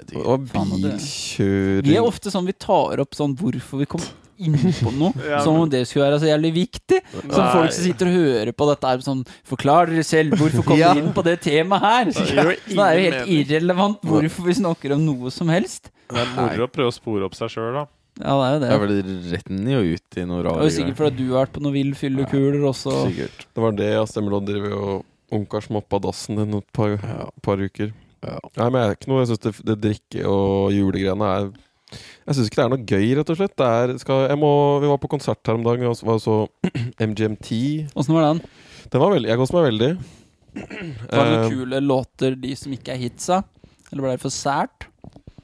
Speaker 3: det var
Speaker 2: Faen, og det-
Speaker 3: bilkjøring
Speaker 2: Vi er ofte sånn vi tar opp sånn hvorfor vi kom inn på noe, som om det skulle være så jævlig viktig. Som
Speaker 4: Nei.
Speaker 2: folk som sitter og hører på dette, er sånn Forklar dere selv, hvorfor kom
Speaker 5: Ja.
Speaker 2: vi inn på det temaet her? Så
Speaker 4: gir jo
Speaker 2: det er jo
Speaker 4: ingen
Speaker 2: helt irrelevant hvorfor vi snakker om noe som helst.
Speaker 4: Det er moro å prøve å spore opp seg sjøl, da.
Speaker 2: Ja, det er jo det.
Speaker 1: Det er vel rett inn i og ut i noe
Speaker 2: Det er
Speaker 1: rare
Speaker 2: jo sikkert fordi du har vært på noen vill fyllekuler også.
Speaker 1: Sikkert.
Speaker 3: Det var det jeg stemmer og driver og onkar smoppa dassen din et par, par uker.
Speaker 1: Ja.
Speaker 3: Nei, men jeg er ikke noe Jeg syns det, det drikke- og julegreiene er Jeg syns ikke det er noe gøy, rett og slett. Det er, skal, jeg må, vi var på konsert her om dagen, og så var så MGMT.
Speaker 2: Åssen var den?
Speaker 3: Den var veldig Jeg koste meg veldig.
Speaker 2: Var det
Speaker 3: Eh,
Speaker 2: noen kule låter, de som ikke er hitsa? Eller ble det for sært?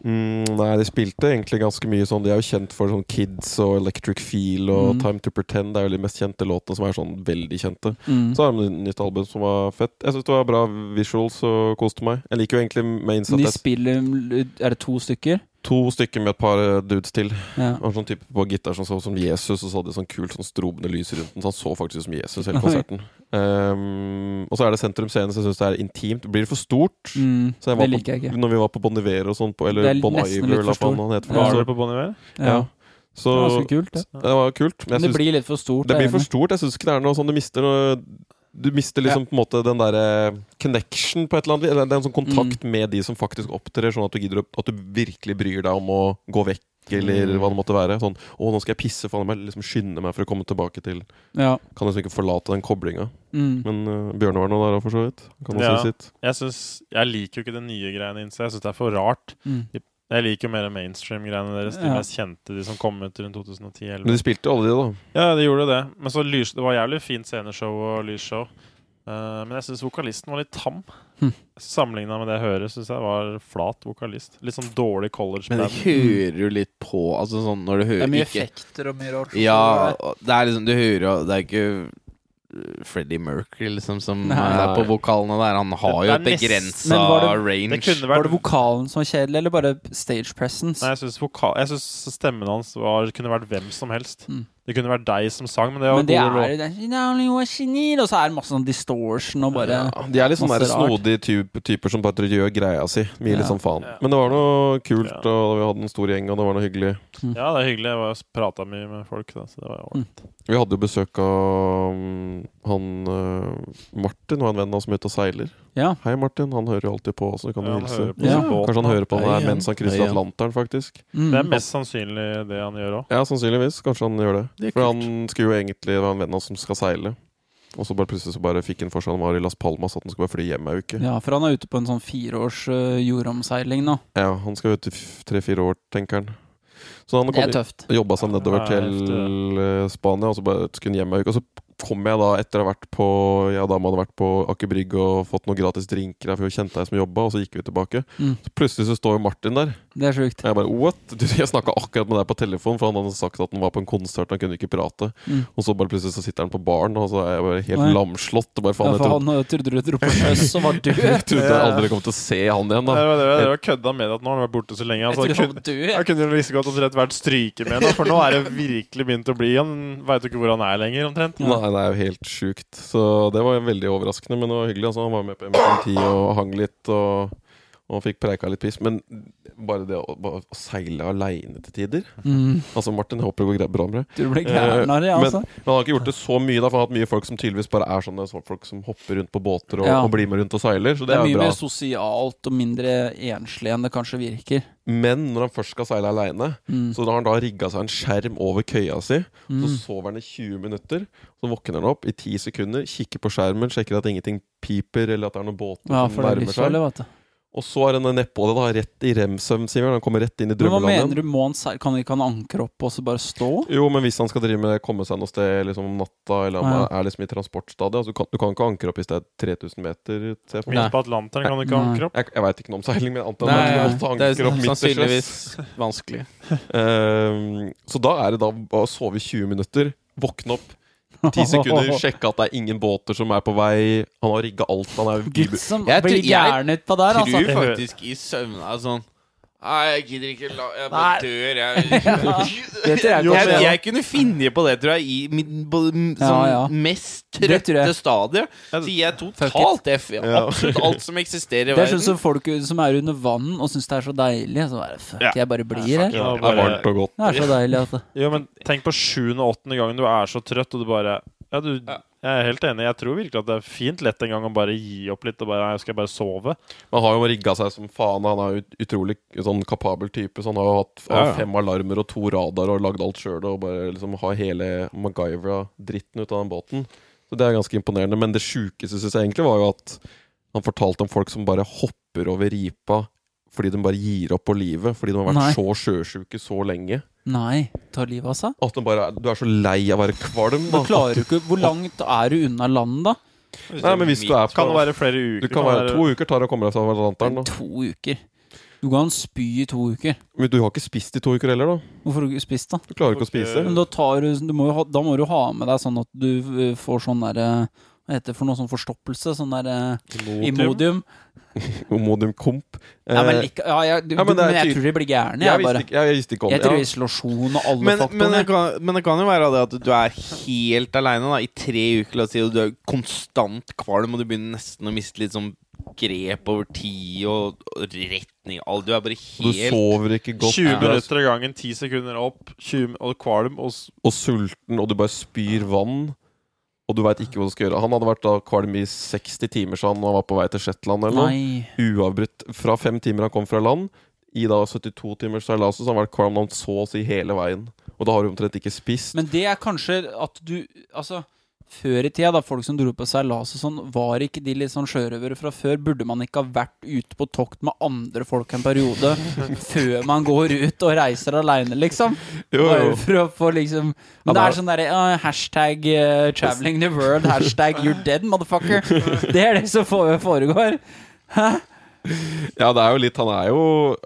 Speaker 3: Mm, nei, de spilte egentlig ganske mye sånn De er jo kjent for sånn Kids og Electric Feel og
Speaker 2: Mm.
Speaker 3: Time to Pretend. Det er jo de mest kjente låtene som er sånn veldig kjente.
Speaker 2: Mm.
Speaker 3: Så har de et nytt album som var fett. Jeg syns det var bra visuals og koste meg. Jeg liker jo egentlig med
Speaker 2: De
Speaker 3: innsatt
Speaker 2: spiller Er det to stykker?
Speaker 3: to stykker med et par eh, dudes til.
Speaker 2: Ja.
Speaker 3: Det var sånn type på gitar som så ut som Jesus, og så hadde de sånn kult sånn strobende lys rundt den. Så han så faktisk ut som Jesus hele
Speaker 2: Oi.
Speaker 3: konserten. Ehm, og så er det Sentrum Scene, så jeg syns det er intimt. Blir det for stort?
Speaker 2: Mm.
Speaker 3: Så jeg var
Speaker 2: det
Speaker 3: på-
Speaker 2: liker jeg ikke.
Speaker 3: Når vi var på Bon Iver og sånn, på- eller
Speaker 2: Det er
Speaker 3: Bon
Speaker 2: nesten litt
Speaker 3: Iver, eller hva
Speaker 2: for
Speaker 3: faen han heter for
Speaker 2: Ja.
Speaker 3: noe.
Speaker 4: Var
Speaker 3: så-
Speaker 4: dere på Bon Iver?
Speaker 2: Ja.
Speaker 3: Ja.
Speaker 2: Det
Speaker 3: Så
Speaker 2: var ganske kult, det.
Speaker 3: det var kult.
Speaker 2: Men
Speaker 3: Men jeg
Speaker 2: det
Speaker 3: synes,
Speaker 2: blir litt for stort. jeg
Speaker 3: det
Speaker 2: er
Speaker 3: blir for
Speaker 2: enig.
Speaker 3: stort. Jeg syns ikke det er noe sånn Du mister noe Du mister liksom på en måte den derre connection på et eller annet vis. Eller Det er en sånn kontakt med de som faktisk opptrer, sånn at du gidder å- at du virkelig bryr deg om å gå vekk. Eller hva det måtte være. Sånn 'Å, nå skal jeg pisse, faen meg liksom skynde meg for å komme tilbake til
Speaker 2: Ja.
Speaker 3: Kan liksom ikke forlate den koblinga.
Speaker 2: Mm.
Speaker 3: Men øh, Bjørne var nå der òg, for så vidt. Kan også
Speaker 4: Ja.
Speaker 3: si sitt.
Speaker 4: Jeg, synes- jeg liker jo ikke det nye greiene innse. Jeg syns det er for rart.
Speaker 2: Mm.
Speaker 4: Jeg liker jo mer mainstream-greiene deres, de
Speaker 2: Ja.
Speaker 4: mest kjente, de som kom ut rundt 2010-2011.
Speaker 3: Men de spilte jo alle de, da.
Speaker 4: Ja, det gjorde det. Men så lys, det var jævlig fint sceneshow og lysshow. Eh, men jeg syns vokalisten var litt tam.
Speaker 2: Hm.
Speaker 4: Sammenligna med det jeg hører, syns jeg var flat vokalist. Litt sånn dårlig college
Speaker 1: Men det
Speaker 4: band.
Speaker 1: hører jo litt på Altså sånn når du hører
Speaker 2: Det er mye
Speaker 1: ikke-
Speaker 2: effekter og mye rart.
Speaker 1: Ja, og det er liksom Du hører jo Det er ikke uh, Freddie Mercury liksom som
Speaker 2: Nei.
Speaker 1: er på vokalene der. Han har
Speaker 4: Det-
Speaker 1: jo
Speaker 4: det
Speaker 1: et
Speaker 4: er
Speaker 1: begrensa
Speaker 4: nesten-
Speaker 2: Men var det-
Speaker 1: range.
Speaker 4: Det kunne
Speaker 2: Var det
Speaker 4: vært
Speaker 2: vokalen som var kjedelig, eller bare stage presence?
Speaker 4: Nei, jeg syns vokal... Jeg synes stemmen hans var, kunne vært hvem som helst.
Speaker 2: Mm.
Speaker 4: Det kunne vært deg som sang, men det var
Speaker 2: Men det
Speaker 4: gode låter.
Speaker 2: er, det er "She's only what she need", Og så er det masse sånn distortion og bare
Speaker 3: Ja, de er litt sånn
Speaker 2: Masse
Speaker 3: der
Speaker 2: rart.
Speaker 3: snodige typ, typer som bare gjør greia si. Mye litt
Speaker 2: Ja.
Speaker 3: sånn faen.
Speaker 4: Ja.
Speaker 3: Men det var noe kult,
Speaker 4: Ja.
Speaker 3: og vi hadde en stor gjeng, og det var noe hyggelig.
Speaker 2: Hm.
Speaker 4: Ja, det er hyggelig. Jeg var- prata mye med folk, da, så det var jo
Speaker 2: Mm.
Speaker 3: Vi hadde jo besøk av mm, han eh, Martin og en venn av oss som er ute og seiler.
Speaker 2: Ja.
Speaker 3: Hei, Martin. Han hører jo alltid på oss, så du kan
Speaker 4: Ja,
Speaker 3: jo
Speaker 4: han hører
Speaker 3: hilse.
Speaker 4: på
Speaker 2: Ja.
Speaker 4: sin båt,
Speaker 3: Kanskje han
Speaker 4: da.
Speaker 3: hører på den
Speaker 1: Hei
Speaker 3: her
Speaker 1: igjen.
Speaker 3: mens han krysser
Speaker 1: Hei igjen.
Speaker 3: Atlanteren, faktisk.
Speaker 2: Mm.
Speaker 4: Det er mest sannsynlig det han gjør òg.
Speaker 3: Ja, sannsynligvis. Kanskje han gjør det.
Speaker 1: Det er
Speaker 3: For
Speaker 1: kult.
Speaker 3: han skulle jo egentlig være en venn av oss som skal seile. Og så bare plutselig så bare fikk han for seg han var i Las Palmas, at han skulle bare fly hjem ei uke. Ja.
Speaker 2: Ja, for han er ute på en sånn fireårs øh, jordomseiling nå.
Speaker 3: han skal jo ut i f- tre-fire år, tenker han. Så han
Speaker 2: Det
Speaker 3: kom
Speaker 2: er tøft.
Speaker 3: Jobba seg sånn nedover
Speaker 4: Ja,
Speaker 3: til
Speaker 4: heftig,
Speaker 3: eh, Spania, og så bare skulle hjem ei uke. Og så kom jeg da, etter å ha vært på Jeg og dama hadde vært på Aker Brygge og fått noen gratis drinker der, for vi kjente ei som jobba, og så gikk vi tilbake.
Speaker 2: Mm.
Speaker 3: Så plutselig så står jo Martin der,
Speaker 2: Det er sjukt.
Speaker 3: og jeg bare What? Du, jeg snakka akkurat med deg på telefon, for han hadde sagt at han var på en konsert, han kunne ikke prate.
Speaker 2: Mm.
Speaker 3: Og så bare plutselig så sitter han på baren, og så er jeg bare helt
Speaker 2: Nei.
Speaker 3: lamslått. og Bare
Speaker 2: Ja,
Speaker 3: faen, jeg
Speaker 2: for
Speaker 3: trodde,
Speaker 2: han øh, trodde du dro på sjøs og var død.
Speaker 3: jeg trodde jeg aldri kom til å se han igjen, da.
Speaker 4: Det var det, det var kødda med at nå har han vært borte så lenge.
Speaker 2: Jeg trodde han
Speaker 4: Altså, det kunne,
Speaker 2: var død.
Speaker 4: jeg kunne jo like så godt omtrent vært stryke med nå, for nå er det virkelig begynt å bli Han veit jo ikke hvor han er lenger, omtrent.
Speaker 2: Ja.
Speaker 3: Nei, det er jo helt sjukt. Så det var veldig overraskende, men det var hyggelig. Altså, han var med på MTMT og hang litt og, og fikk preika litt piss. Men bare det å, bare å seile aleine til tider
Speaker 2: Mm.
Speaker 3: Altså, Martin, jeg håper det går greit- bra med deg.
Speaker 2: Du ble gæren av det,
Speaker 3: Eh, Men-
Speaker 2: altså.
Speaker 3: Men han har ikke gjort det så mye, da, for han har hatt mye folk som tydeligvis bare er sånne sånne folk som hopper rundt på båter og,
Speaker 2: Ja.
Speaker 3: og blir med rundt og seiler. Så
Speaker 2: Det
Speaker 3: det,
Speaker 2: er
Speaker 3: er
Speaker 2: mye
Speaker 3: jo bra.
Speaker 2: mer sosialt og mindre enslig enn det kanskje virker.
Speaker 3: Men når han først skal seile aleine,
Speaker 2: Mm.
Speaker 3: så da har han da rigga seg en skjerm over køya si. Så
Speaker 2: Mm.
Speaker 3: sover han i 20 minutter, så våkner han opp i 10 sekunder, kikker på skjermen, sjekker at ingenting piper, eller at det er noen båter
Speaker 2: Ja,
Speaker 3: som
Speaker 2: for det er
Speaker 3: nærmer seg.
Speaker 2: livsfarlig, vet du.
Speaker 3: Og så er han nedpå det, da. Rett i remsøvn, Sivert. Han kommer rett inn i
Speaker 2: Men hva mener
Speaker 3: drømmelandet.
Speaker 2: du? Må han seil- kan ikke han ankre opp og så bare stå?
Speaker 3: Jo, men hvis han skal drive med komme seg noe sted liksom om natta, eller om
Speaker 2: Ja.
Speaker 3: han er liksom i transportstadiet altså, du, kan, du kan ikke ankre opp hvis det er 3000 meter. ser jeg for meg.
Speaker 4: Midt på Atlanteren kan du ikke
Speaker 2: Nei.
Speaker 4: ankre opp.
Speaker 3: Jeg, jeg veit ikke noe om seiling, men jeg antar
Speaker 1: Nei,
Speaker 3: han
Speaker 1: det
Speaker 3: måtte ankre
Speaker 1: er
Speaker 3: opp midt til sjøs. Eh,
Speaker 1: sannsynligvis vanskelig.
Speaker 3: Ehm, så da er det da å sove i 20 minutter, våkne opp, Ti sekunder, sjekke at det er ingen båter som er på vei. Han har rigga alt. Han er
Speaker 2: Gud som
Speaker 1: Jeg
Speaker 2: blir
Speaker 1: tror- jeg
Speaker 2: gæren utpå der,
Speaker 1: Tror
Speaker 2: altså.
Speaker 1: faktisk i søvne er sånn Nei, jeg gidder ikke la Jeg
Speaker 2: Nei.
Speaker 1: bare dør, jeg.
Speaker 2: Det tror
Speaker 1: Jeg,
Speaker 2: jeg ikke.
Speaker 1: jeg, kunne finne på det, tror jeg, i mitt på, m-
Speaker 2: Ja,
Speaker 1: sånn
Speaker 2: ja.
Speaker 1: mest
Speaker 2: Det tror
Speaker 1: trøtte
Speaker 2: jeg.
Speaker 1: stadie. Så gir jeg totalt F i absolutt alt som eksisterer i
Speaker 2: Det er sånn
Speaker 1: verden.
Speaker 2: som folk som er under vann og syns det er så deilig. Så bare, fuck,
Speaker 4: Ja.
Speaker 2: jeg bare blir her.
Speaker 4: Ja,
Speaker 3: Det er varmt og godt.
Speaker 2: Det er så deilig, altså.
Speaker 4: Jo, men tenk på sjuende-åttende gangen du er så trøtt, og du bare Ja, du
Speaker 1: Ja.
Speaker 4: Jeg er helt enig. Jeg tror virkelig at det er fint lett en gang å bare gi opp litt og bare Nei, skal jeg bare sove?
Speaker 3: Man har jo rigga seg som faen. Han er jo ut- utrolig sånn kapabel type. Så han har jo hatt
Speaker 4: Ja, ja.
Speaker 3: fem alarmer og to radarer og lagd alt sjøl og bare liksom har hele MacGyver-dritten ut av den båten. Så det er ganske imponerende. Men det sjukeste syns jeg egentlig var jo at han fortalte om folk som bare hopper over ripa fordi de bare gir opp på livet. Fordi de har vært
Speaker 2: Nei.
Speaker 3: så sjøsjuke så lenge.
Speaker 2: Nei, tar livet av seg.
Speaker 3: At de bare er, du er så lei av å være kvalm.
Speaker 2: Du
Speaker 3: da.
Speaker 2: klarer jo ikke Hvor langt er du unna land, da?
Speaker 3: Nei, men hvis du er på
Speaker 4: Kan det være flere uker?
Speaker 3: Du kan være to uker tar det å komme deg fra Atlanteren. da.
Speaker 2: To uker. Du kan spy i to uker.
Speaker 3: Men du har ikke spist i to uker heller, da.
Speaker 2: Hvorfor har du ikke spist, da?
Speaker 3: Du klarer ikke å spise.
Speaker 2: Men da, tar du, du må jo ha, da må du ha med deg sånn at du eh, får sånn derre Hva heter det for noe sånn forstoppelse? Sånn derre Imodium?
Speaker 3: Omodium komp. Eh,
Speaker 2: Ja, men, like, ja, jeg, du,
Speaker 3: ja, men
Speaker 2: men,
Speaker 3: det er
Speaker 2: jeg
Speaker 3: tydelig.
Speaker 2: tror de blir gærne,
Speaker 3: jeg,
Speaker 2: jeg,
Speaker 3: visste
Speaker 2: bare.
Speaker 3: ikke, jeg visste ikke om
Speaker 2: Jeg tror
Speaker 3: det. Ja.
Speaker 2: isolasjon og alle
Speaker 1: Men, men, det
Speaker 2: faktorene.
Speaker 1: kan, men det kan jo være det at du er helt aleine i tre uker, la oss si, og du er konstant kvalm, og du begynner nesten å miste litt sånn grep over tid og, og retning Alt. Du er bare
Speaker 3: Du
Speaker 1: helt
Speaker 3: sover ikke godt,
Speaker 4: 20
Speaker 3: du er s-
Speaker 4: minutter av gangen, 10 sekunder opp, 20, og kvalm og s-
Speaker 3: og sulten, og du bare spyr vann. Og du veit ikke hva du skal gjøre. Han hadde vært da kvalm i 60 timer sa han, når han var på vei til Shetland. Eller noe.
Speaker 2: Nei.
Speaker 3: Uavbrutt fra fem timer han kom fra land. I da 72 timers seilas så har han vært kvalm han så å si hele veien. Og da har du omtrent ikke spist.
Speaker 2: Men det er kanskje at du Altså, før i tida, da folk som dro på seilas og sånn, var ikke de litt sånn sjørøvere fra før? Burde man ikke ha vært ute på tokt med andre folk en periode før man går ut og reiser aleine, liksom?
Speaker 3: Jo,
Speaker 2: Bare
Speaker 3: jo.
Speaker 2: for å få liksom Men det
Speaker 3: da-
Speaker 2: er sånn derre ja, hashtag eh, 'traveling the world', hashtag 'you're dead, motherfucker'. Det er det som fore- foregår.
Speaker 3: Ja, det er jo litt Han er jo,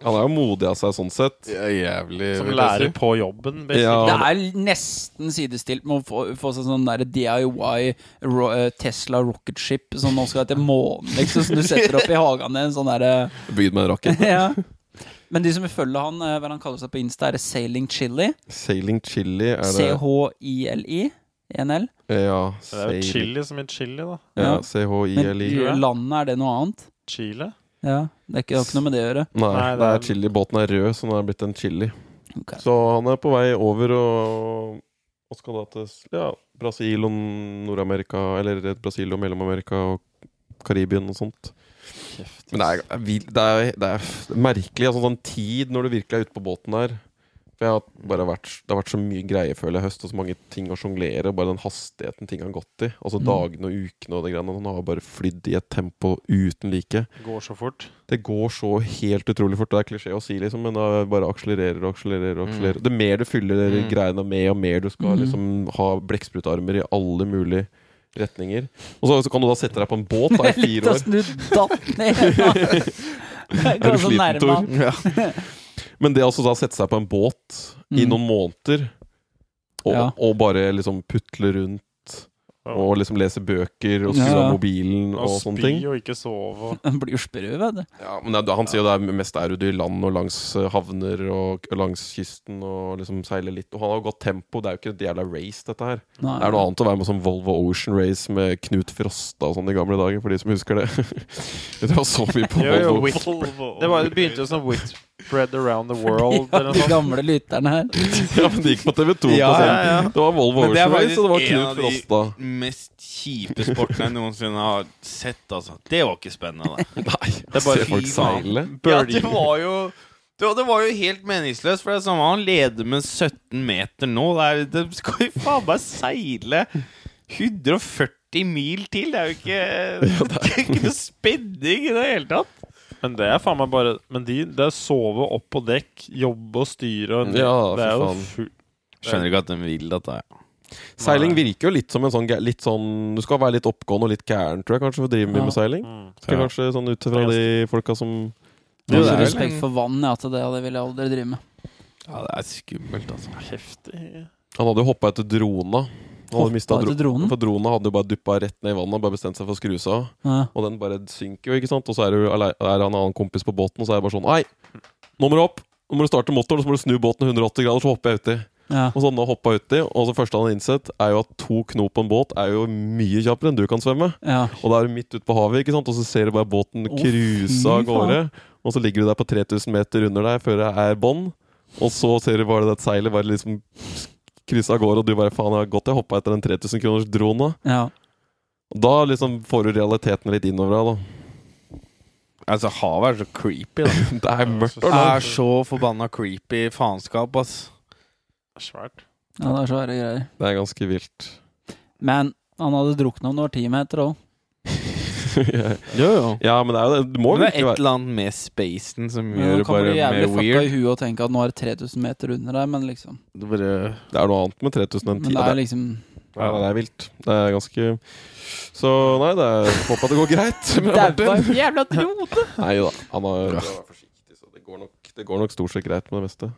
Speaker 3: han er jo modig av seg sånn sett.
Speaker 1: jævlig
Speaker 4: som lærer på jobben.
Speaker 3: Ja.
Speaker 4: basically.
Speaker 2: Det er nesten sidestilt med å få, få seg sånn der DIY ro, eh, Tesla rocket ship som nå skal til månen, liksom, som du setter opp i hagen din. Sånn derre
Speaker 3: Bygd med en rakett.
Speaker 2: ja. Men de som vil følge han, eh, hva er det han kaller seg på Insta, er det Sailing Chili.
Speaker 3: Sailing chili er det
Speaker 2: C-H-I-L-I. 1L.
Speaker 3: Ja,
Speaker 4: Det er jo
Speaker 3: sail,
Speaker 4: chili som i chili, da.
Speaker 3: ja,
Speaker 2: ja. Men
Speaker 3: C-H-I-L-I.
Speaker 4: tror jeg.
Speaker 2: landet, er det noe annet?
Speaker 4: Chile.
Speaker 2: Ja, Det er ikke, det har ikke noe med det å gjøre.
Speaker 3: Nei,
Speaker 4: Nei,
Speaker 3: det
Speaker 4: det
Speaker 3: er
Speaker 4: er-
Speaker 3: chili. Båten er rød, så den er blitt en chili.
Speaker 2: Ok.
Speaker 3: Så han er på vei over og, og skal da til ja, Brasil og Nord-Amerika Eller Brasil og Mellom-Amerika og Karibien og sånt. Men det er, vil- det er, det er merkelig. Altså, sånn tid når du virkelig er ute på båten der. For jeg har bare vært, Det har vært så mye greier føler jeg i høst, og så mange ting å sjonglere. Bare den hastigheten ting har gått i. Altså
Speaker 2: Mm.
Speaker 3: Dagene og ukene og de greiene. Han har bare flydd i et tempo uten like.
Speaker 4: Går så fort.
Speaker 3: Det går så helt utrolig fort. Det er klisjé å si, liksom, men det bare akselererer og akselererer. og akselererer. Det mer du fyller
Speaker 1: Mm.
Speaker 3: greiene med, og mer du skal
Speaker 2: Mm.
Speaker 3: liksom ha blekksprutarmer i alle mulige retninger. Og så, så kan du da sette deg på en båt da, i
Speaker 2: Litt sånn-
Speaker 3: fire år.
Speaker 2: åssen du datt ned! da. Jeg
Speaker 3: Er
Speaker 2: kom
Speaker 3: du
Speaker 2: så nærme
Speaker 3: sliten, Tor?
Speaker 2: altså han.
Speaker 3: Men det å altså da sette seg på en båt i
Speaker 2: Mm.
Speaker 3: noen måneder, og,
Speaker 2: Ja.
Speaker 3: og bare liksom putle rundt, og liksom lese bøker, og skru
Speaker 2: Ja,
Speaker 3: av
Speaker 2: ja.
Speaker 3: mobilen og,
Speaker 4: Og
Speaker 3: sånne
Speaker 4: spy
Speaker 3: ting.
Speaker 4: og ikke sove. Og.
Speaker 2: Han blir jo sprø, vet du.
Speaker 3: Ja, men det, er- Han sier jo det er mest er ute i land og langs eh, havner og k- langs kysten og liksom seiler litt. Og han har jo godt tempo, det er jo ikke et jævla race, dette her.
Speaker 2: Nei.
Speaker 3: Det er noe annet å være med som Volvo Ocean Race med Knut Frosta og sånn i gamle dager, for de som husker det. Jeg tror jeg så mye på
Speaker 4: Jo, jo,
Speaker 3: Volvo.
Speaker 4: Whit- Det, var, det begynte jo som Whitbread Around the World.
Speaker 2: Ja,
Speaker 4: eller
Speaker 2: de
Speaker 4: noe sånt.
Speaker 2: gamle lytterne her.
Speaker 3: Ja, men det gikk på TV2.
Speaker 1: Ja,
Speaker 3: på
Speaker 1: ja, ja.
Speaker 3: scenen. Det var Volvo
Speaker 1: Men det er
Speaker 3: Ocean Race, og det var
Speaker 1: faktisk en av
Speaker 3: Knut
Speaker 1: de-
Speaker 3: Frosta.
Speaker 1: Mest kjipe sporten jeg noensinne har sett, altså. Det var ikke spennende. Det.
Speaker 3: Nei,
Speaker 1: er bare
Speaker 3: se folk
Speaker 1: fy faen.
Speaker 3: seile.
Speaker 1: Ja, det var jo det, det var jo helt meningsløst, for det er samme han leder med 17 meter nå. Det, er, det skal jo faen meg seile 140 mil til! Det er jo ikke, det er ikke noe spenning i det hele tatt.
Speaker 4: Men det er faen meg bare Men de, det er sove opp på dekk, jobbe og styre og
Speaker 3: Ja,
Speaker 4: Det
Speaker 3: fy
Speaker 4: er jo
Speaker 3: faen.
Speaker 4: fu-
Speaker 1: Skjønner ikke at de vil dette.
Speaker 3: Seiling virker jo litt som en sånn, gæ- litt sånn Du skal være litt oppgående og litt gæren, tror jeg, kanskje, for å drive mye
Speaker 2: Ja.
Speaker 3: med seiling.
Speaker 4: mm.
Speaker 3: Skal
Speaker 1: Ja.
Speaker 3: kanskje sånn ut fra de folka som
Speaker 1: Jo, det
Speaker 2: Jeg
Speaker 1: er
Speaker 2: har så
Speaker 1: vel-
Speaker 2: respekt for vann, ja, at det, det vil jeg aldri drive med.
Speaker 1: Ja, det er skummelt, altså.
Speaker 4: Heftig.
Speaker 3: Han hadde jo hoppa etter drona. Han hadde mistet
Speaker 2: Hoppa
Speaker 3: dro
Speaker 2: etter dronen?
Speaker 3: For dronen hadde jo bare duppa rett ned i vannet og bare bestemt seg for å skru seg av.
Speaker 2: Ja.
Speaker 3: Og den bare synker jo, ikke sant. Og så er det jo alle- er det en annen kompis på båten, og så er det bare sånn Hei, nå må du opp! Nå må du starte motoren, og så må du snu båten 180 grader, så hopper jeg uti.
Speaker 2: Ja.
Speaker 3: Og så hadde han hoppa uti, og det første han hadde innsett, er jo at to knop på en båt er jo mye kjappere enn du kan svømme.
Speaker 2: Ja.
Speaker 3: Og da er du midt ute på havet, ikke sant? og så ser du bare båten
Speaker 2: Å,
Speaker 3: cruise
Speaker 2: fy
Speaker 3: av gårde. Og så ligger du der på 3000 meter under deg før det er bånd. Og så ser du bare det seilet bare liksom krysse av gårde, og du bare faen, jeg har godt jeg hoppa etter den 3000 kroners drona.
Speaker 2: ja.
Speaker 3: Og Da liksom får du realiteten litt innover deg,
Speaker 1: Altså, havet er så creepy, da.
Speaker 3: da. Det er mørkt.
Speaker 1: Det er så forbanna creepy faenskap, ass.
Speaker 4: Svært.
Speaker 2: ja, det er svære greier.
Speaker 3: Det er ganske vilt.
Speaker 2: Men han hadde drukna når ti meter òg.
Speaker 1: Jo, jo.
Speaker 3: ja, men det er jo det. Du må
Speaker 1: Men
Speaker 3: jo
Speaker 1: det er
Speaker 3: ikke
Speaker 1: et
Speaker 3: være
Speaker 1: eller annet med spacen som gjør
Speaker 2: Du
Speaker 1: det
Speaker 2: kan
Speaker 1: bare
Speaker 2: bli jævlig
Speaker 1: mer
Speaker 2: fucka i
Speaker 1: weird.
Speaker 2: huet og tenke at nå er det 3000 meter under deg, men liksom
Speaker 1: Det bare
Speaker 3: Det er noe annet med 3000 enn
Speaker 2: Men
Speaker 3: 10.
Speaker 2: det er liksom
Speaker 3: Ja, det er vilt. Det er ganske Så nei, det er håper at det går greit. med Martin.
Speaker 2: en jævla idiot!
Speaker 3: Nei da. Han har det går, nok, det går nok stort sett greit med det meste.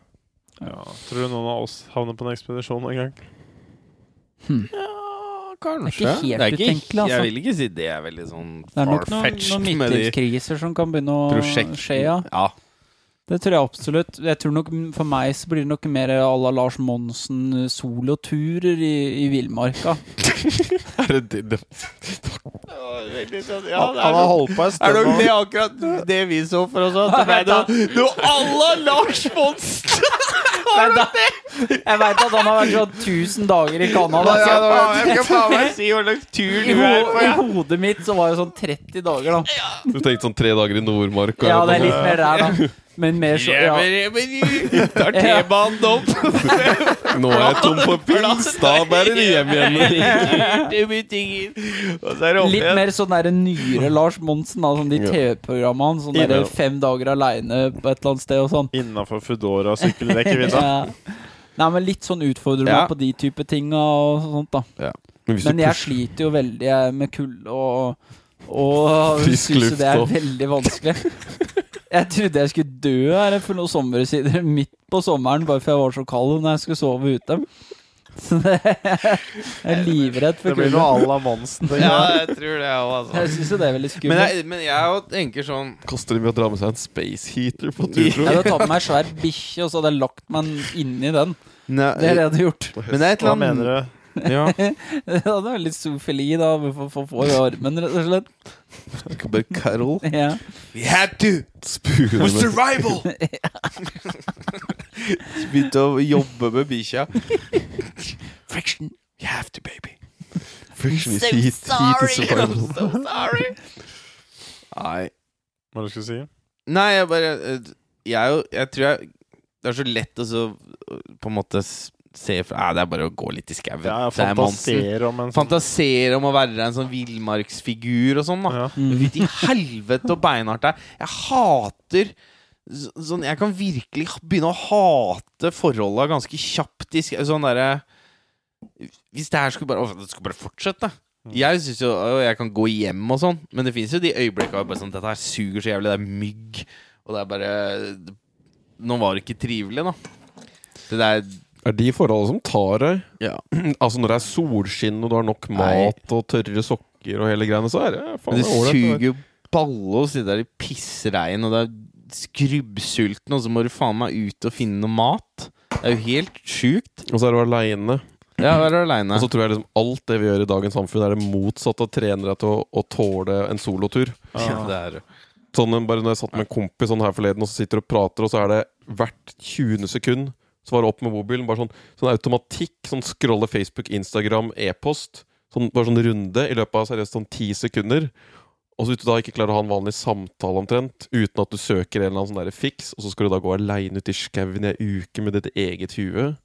Speaker 4: Ja. Tror du noen av oss havner på en ekspedisjon en gang?
Speaker 2: Hm.
Speaker 1: Ja,
Speaker 2: Det
Speaker 1: kanskje.
Speaker 2: er ikke helt utenkelig, altså.
Speaker 1: Jeg vil ikke si det er veldig sånn
Speaker 2: Det er nok noen, noen
Speaker 1: far-fetched med de
Speaker 2: midtlivskriser som kan begynne å skje, ja.
Speaker 1: prosjektene. Ja.
Speaker 2: Det tror jeg absolutt. Jeg tror nok For meg så blir det nok mer à la Lars Monsen eh, soloturer i, i villmarka.
Speaker 3: Er det det, det?
Speaker 1: Ja, det er nok-
Speaker 4: holdt på en
Speaker 1: er nok det akkurat det vi så for oss òg. Det ble noe, noe à la Lars Monsen!
Speaker 2: Nei, da- Jeg veit at han har vært sånn 1000 dager i Canada.
Speaker 1: Ja,
Speaker 2: så-
Speaker 1: det var- Jeg skal faen meg si hva slags tur
Speaker 2: I,
Speaker 1: du er
Speaker 2: ho
Speaker 1: på.
Speaker 2: I
Speaker 1: ja.
Speaker 2: hodet mitt så var det sånn 30 dager, da.
Speaker 3: Du tenkte sånn tre dager i Nordmark?
Speaker 2: Ja, det er litt mer der, da. Men mer så ja.
Speaker 1: Jebber-jebber, Tar T-banen opp.
Speaker 3: Nå er jeg tom for pils! Da bærer det hjem igjen!
Speaker 1: Det blir ting. Og så er det opp
Speaker 2: Litt
Speaker 1: igjen.
Speaker 2: mer sånn der nyere Lars Monsen, da, sånn de TV-programmene hans. Sånn
Speaker 3: Ja.
Speaker 2: der fem dager aleine på et eller annet sde og sånn.
Speaker 4: Innafor Foodora-sykkelrekkevidda.
Speaker 2: Ja. Nei, men litt sånn utfordrer meg
Speaker 1: Ja.
Speaker 2: på de type tinga og sånt, da.
Speaker 3: Men hvis du
Speaker 2: Men jeg
Speaker 3: pusher-
Speaker 2: sliter jo veldig jeg, med kulde og Og
Speaker 3: Frisk
Speaker 2: syns jo det er
Speaker 3: luft og-
Speaker 2: veldig vanskelig. Jeg trodde jeg skulle dø her for noen somre siden, midt på sommeren, bare for jeg var så kald når jeg skulle sove ute. Så det, jeg er livredd
Speaker 4: Det
Speaker 2: for
Speaker 4: blir noe
Speaker 2: kulde.
Speaker 4: à la Monsen. tenker jeg.
Speaker 1: Ja, jeg tror det òg, altså.
Speaker 2: Jeg syns jo det er veldig
Speaker 1: Men
Speaker 2: skummelt.
Speaker 1: jeg, men jeg jo tenker sånn
Speaker 3: Koster det mye å dra med seg en space heater på tur,
Speaker 2: Jeg
Speaker 3: tror du?
Speaker 2: hadde tatt med meg ei svær bikkje, og så hadde jeg lagt meg inni den. Det er det jeg hadde gjort.
Speaker 1: Men det er et
Speaker 4: Hva
Speaker 1: eller
Speaker 4: mener
Speaker 1: annet
Speaker 4: du?
Speaker 1: ja.
Speaker 2: Det hadde vært litt zoofili, da, med for for få i armen, rett og slett. Ja.
Speaker 1: We had to
Speaker 3: Spune
Speaker 1: for
Speaker 3: med
Speaker 1: survival! Begynte å jobbe med bikkja.
Speaker 2: Friction.
Speaker 1: You have to, baby.
Speaker 3: friction is heat, heat is survival.
Speaker 1: so sorry. Nei.
Speaker 4: Hva du skulle si?
Speaker 1: Nei, jeg bare eh, Jeg er jo Jeg tror jeg Det er så lett å så eh, på en måte s- se fra Nei, det er bare å gå litt i skauen.
Speaker 4: Ja, jeg
Speaker 1: Det er Monsen.
Speaker 4: fantaserer om en sånn
Speaker 1: Fantasere om å være en sånn villmarksfigur og sånn, da.
Speaker 4: ja.
Speaker 2: Mm.
Speaker 1: Ut i helvete og beinhardt det er. Jeg hater så- Sånn, jeg kan virkelig h- begynne å hate forholda ganske kjapt i sk- sånn derre Hvis det her skulle bare, å, det skulle bare fortsette. Jeg synes jo å, jeg kan gå hjem og sånn, men det fins jo de øyeblikka hvor jeg bare sånn Dette her suger så jævlig, det er mygg, og det er bare Nå var det ikke trivelig, da. Det der
Speaker 3: Er de forholdene som tar deg
Speaker 1: Ja.
Speaker 3: Altså når det er solskinn og du har nok
Speaker 1: Nei.
Speaker 3: mat og tørre sokker og hele greiene, så er det faen
Speaker 1: Men det
Speaker 3: det er ålreit, det
Speaker 1: suger jo balle å sitte der i pissregn, og det er skrubbsulten, og så må du faen meg ut og finne noe mat. Det er jo helt sjukt.
Speaker 3: der. Og så er du aleine.
Speaker 1: Ja, være aleine.
Speaker 3: Og så tror jeg liksom alt det vi gjør i dagens samfunn, er det motsatte av trenere til å, å tåle en solotur.
Speaker 1: Ja, det er
Speaker 3: Sånn en- bare når jeg satt med en kompis sånn her forleden og så sitter og prater, og så er det hvert 20. sekund så var det opp med mobilen. Bare sånn, sånn automatikk. Sånn scrolle Facebook, Instagram, e-post. Sånn, bare sånn runde i løpet av seriøst sånn ti sekunder. Og så hvis du da ikke klarer å ha en vanlig samtale omtrent, uten at du søker en eller annen sånn der fiks, og så skal du da gå aleine ut i skauen i ei uke med ditt eget hue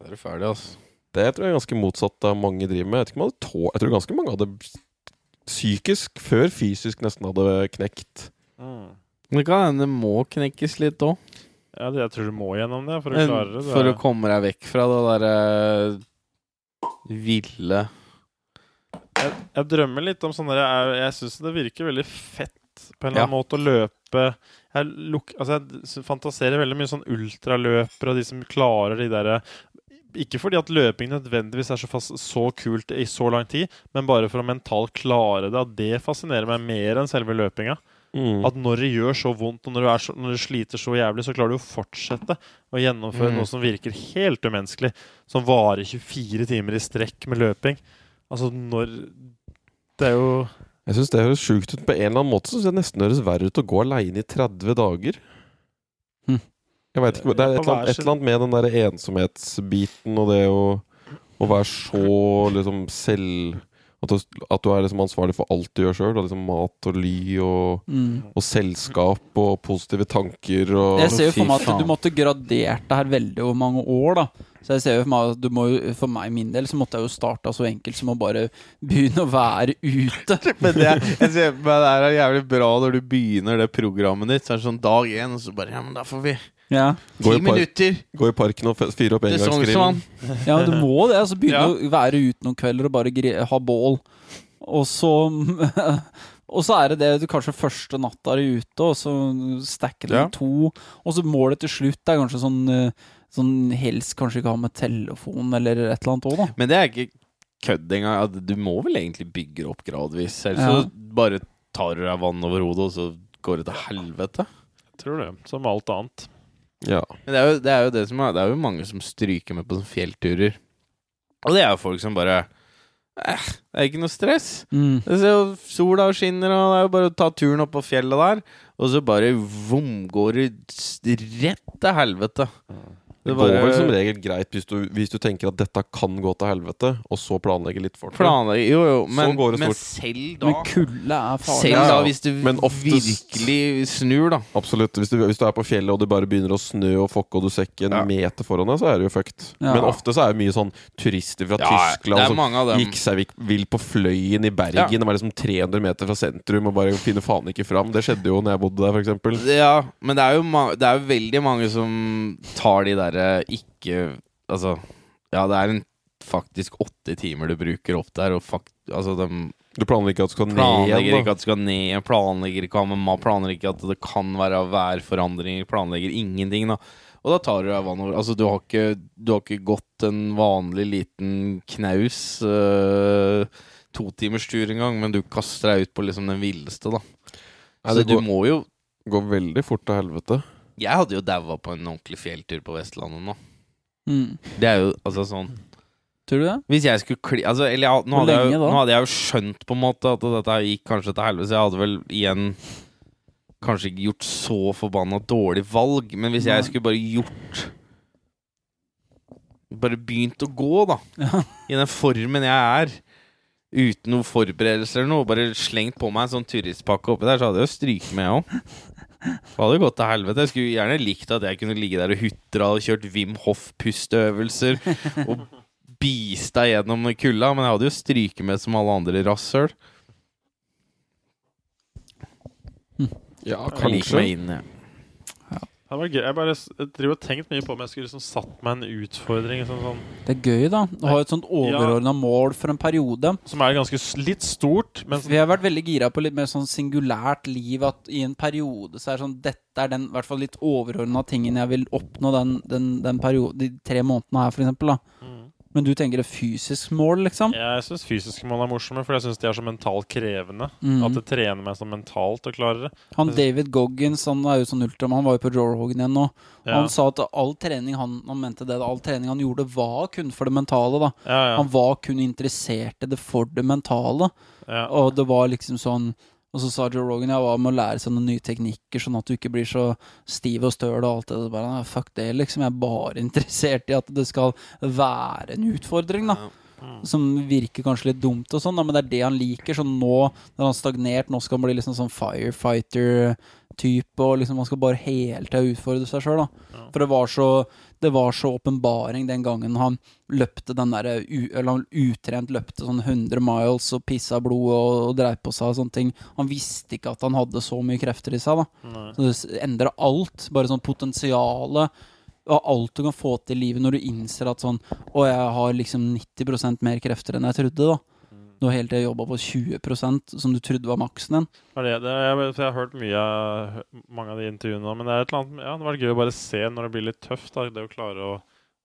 Speaker 1: Da er du ferdig, altså.
Speaker 3: Det tror jeg er ganske motsatt av mange driver med. Jeg, vet ikke om hadde tå jeg tror ganske mange hadde psykisk før fysisk nesten hadde knekt.
Speaker 4: Mm.
Speaker 1: Det kan hende det må knekkes litt òg.
Speaker 4: Ja, det- jeg tror du må gjennom det for å klare det.
Speaker 1: For å komme deg vekk fra det derre ville
Speaker 4: jeg, jeg drømmer litt om sånne Jeg, jeg syns det virker veldig fett på en eller annen måte å løpe Jeg, luk, altså jeg s- fantaserer veldig mye sånn ultraløpere og de som klarer de derre Ikke fordi at løping nødvendigvis er så, fas så kult i så lang tid, men bare for å mentalt klare det. At det fascinerer meg mer enn selve løpinga.
Speaker 3: Mm.
Speaker 4: At når det gjør så vondt, og når du, er så, når du sliter så jævlig, så klarer du å fortsette å gjennomføre
Speaker 1: Mm.
Speaker 4: noe som virker helt umenneskelig. Som varer 24 timer i strekk med løping. Altså, når Det er jo
Speaker 3: Jeg syns det høres sjukt ut. På en eller annen måte syns jeg nesten høres verre ut å gå aleine i 30 dager.
Speaker 2: Hm.
Speaker 3: Jeg vet ikke, hvor- Det er et
Speaker 4: På
Speaker 3: eller
Speaker 4: hver
Speaker 3: annet, et
Speaker 4: sin-
Speaker 3: eller annet med den der ensomhetsbiten og det å, å være så liksom selv At du, at du er liksom ansvarlig for alt du gjør sjøl. Liksom mat og ly og,
Speaker 2: Mm.
Speaker 3: og selskap og positive tanker og
Speaker 2: Jeg ser jo
Speaker 1: fy
Speaker 2: for meg at
Speaker 1: faen.
Speaker 2: du måtte gradert det her veldig over mange år, da. Så jeg ser jo for meg at du må jo- For meg min del så måtte jeg jo starta så enkelt som å bare begynne å være ute.
Speaker 1: Men det, jeg ser på meg, det her er jævlig bra når du begynner det programmet ditt. Så er det sånn dag én, og så bare Ja, men da får vi
Speaker 2: Ja,
Speaker 3: Gå
Speaker 1: ti
Speaker 3: i, park,
Speaker 1: minutter
Speaker 3: gå i parken og f- fyre opp
Speaker 1: til Sognsvann.
Speaker 3: engangskrim.
Speaker 2: ja men du må det. Altså begynne
Speaker 1: Ja.
Speaker 2: å være ute noen kvelder og bare gre ha bål. Og så Og så er det det du kanskje første natta er ute, og så stacker du
Speaker 1: Ja.
Speaker 2: to. Og så målet til slutt er kanskje sånn eh, Sånn helst kanskje ikke ha med telefon eller et eller annet òg, da.
Speaker 1: Men det er ikke kødd engang. at Du må vel egentlig bygge det opp gradvis. Ellers
Speaker 2: Ja.
Speaker 1: så bare tar du deg vann over hodet, og så går det til helvete.
Speaker 4: Jeg tror det. Som alt annet.
Speaker 3: Ja.
Speaker 1: Men det er jo det, er jo det som er Det er jo mange som stryker med på sånne fjellturer. Og det er jo folk som bare eh, Det er ikke noe stress.
Speaker 2: Mm.
Speaker 1: Det ser jo sola og skinner, og det er jo bare å ta turen opp på fjellet der. Og så bare vom, går det s- rett til helvete.
Speaker 3: Det går vel som regel greit hvis du, hvis du tenker at dette kan gå til helvete, og så planlegger litt for det.
Speaker 1: planlegger Jo, jo, men,
Speaker 3: Sånn går det
Speaker 1: men
Speaker 3: stort.
Speaker 1: selv da
Speaker 2: Men kulde er farlig.
Speaker 1: Selv
Speaker 3: Ja,
Speaker 1: da,
Speaker 3: ja.
Speaker 1: hvis du
Speaker 3: Men oftest-
Speaker 1: virkelig snur, da.
Speaker 3: Absolutt. Hvis du, hvis du er på fjellet og det bare begynner å snø og fokke, og du ser ikke en
Speaker 1: Ja.
Speaker 3: meter foran deg, så er det jo fucked.
Speaker 2: Ja.
Speaker 3: Men ofte så er det mye sånn turister fra
Speaker 1: det er
Speaker 3: Tyskland som
Speaker 1: mange av dem.
Speaker 3: gikk seg vik- vill på Fløyen i
Speaker 1: Ja.
Speaker 3: Bergen. De var liksom 300 meter fra sentrum og bare finner faen ikke fram. Det skjedde jo når jeg bodde der, f.eks.
Speaker 1: Ja, men det er jo ma det er jo veldig mange som tar de derre ikke Altså, ja, det er en faktisk åtte timer du bruker opp der, og fakt... Altså, de
Speaker 3: Du planlegger ikke at du skal ned
Speaker 1: planlegger
Speaker 3: igjen. da.
Speaker 1: ikke at du skal ned, planlegger ikke mamma, planlegger ikke at det kan være værforandringer, planlegger ingenting, da. Og da tar du deg vann over. Altså, du har ikke, du har ikke gått en vanlig liten knaus øh, to timers tur engang, men du kaster deg ut på liksom den villeste, da.
Speaker 3: Nei,
Speaker 1: Så
Speaker 3: det
Speaker 1: du
Speaker 3: går,
Speaker 1: må jo
Speaker 3: går veldig fort til helvete.
Speaker 1: Jeg hadde jo daua på en ordentlig fjelltur på Vestlandet nå.
Speaker 2: Mm.
Speaker 1: Det er jo altså sånn
Speaker 2: Tror du det?
Speaker 1: Hvis jeg skulle kli... Altså, eller ja, nå,
Speaker 2: Hvor
Speaker 1: hadde jeg,
Speaker 2: lenge
Speaker 1: jo-
Speaker 2: da?
Speaker 1: nå hadde jeg jo skjønt på en måte at dette her gikk kanskje til helvete, så jeg hadde vel igjen kanskje ikke gjort så forbanna dårlig valg, men hvis
Speaker 2: Nei.
Speaker 1: jeg skulle bare gjort Bare begynt å gå, da,
Speaker 2: Ja.
Speaker 1: i den formen jeg er, uten noe forberedelse eller noe, bare slengt på meg en sånn turistpakke oppi der, så hadde jeg jo stryket med, jeg òg. Det hadde jo gått til helvete. Jeg skulle gjerne likt at jeg kunne ligge der og hutra og kjørt Wim Hoff-pusteøvelser og bista gjennom kulda, men jeg hadde jo stryket med som alle andre rasshøl.
Speaker 3: Ja,
Speaker 1: Jeg liker
Speaker 3: kanskje.
Speaker 1: meg inn, jeg.
Speaker 4: Det var gøy. Jeg bare s- jeg driver og tenkt mye på om jeg skulle liksom satt meg en utfordring sånn, sånn,
Speaker 2: Det er gøy, da. Å ha et sånt overordna mål for en periode.
Speaker 4: som er ganske s- litt stort, men sånn,
Speaker 2: Vi har vært veldig gira på litt mer sånn singulært liv. At i en periode så er sånn Dette er den i hvert fall litt overordna tingen jeg vil oppnå den, den, den perioden, de tre månedene her, for eksempel. Da.
Speaker 4: Mm.
Speaker 2: Men du tenker et fysisk mål, liksom?
Speaker 4: Jeg syns fysiske mål er morsomme, for jeg syns de er så mentalt krevende.
Speaker 2: Mm.
Speaker 4: At det trener meg sånn mentalt å klare det.
Speaker 2: Han David Goggins, han er jo sånn ultramann, han var jo på Joe Rogan igjen nå. Og
Speaker 4: Ja.
Speaker 2: Han sa at all trening han, han mente det, da, all trening han gjorde, var kun for det mentale. da
Speaker 4: Ja, ja,
Speaker 2: Han var kun interessert i det for det mentale.
Speaker 4: ja.
Speaker 2: Og det var liksom sånn Og så sa Joe Rogan jeg var med å lære seg noen nye teknikker, sånn at du ikke blir så stiv og støl og alt det der. Bare, nei, Fuck det, liksom. Jeg er bare interessert i at det skal være en utfordring, da. Som virker kanskje litt dumt og sånn, da, men det er det han liker. Så nå, når han har stagnert, nå skal han bli liksom sånn firefighter-type, og liksom han skal bare hele tida utfordre seg sjøl, da.
Speaker 4: Ja.
Speaker 2: For det var så det var så åpenbaring den gangen han løpte den der, u- eller han utrent løpte sånn 100 miles og pissa blod og, og dreiv på seg og sånne ting. Han visste ikke at han hadde så mye krefter i seg, da.
Speaker 4: Nei.
Speaker 2: Så det s- endrer alt. Bare sånn potensialet og alt du kan få til i livet når du innser at sånn Å, jeg har liksom 90 mer krefter enn jeg trodde, da. Du har hele tida jobba på 20 som du trodde var maksen din.
Speaker 4: Det er det, det er, jeg, vet- for jeg har hørt mye av- mange av de intervjuene, nå, men det er et eller annet, ja, det var gøy å bare se når det blir litt tøft. Da, det å klare å,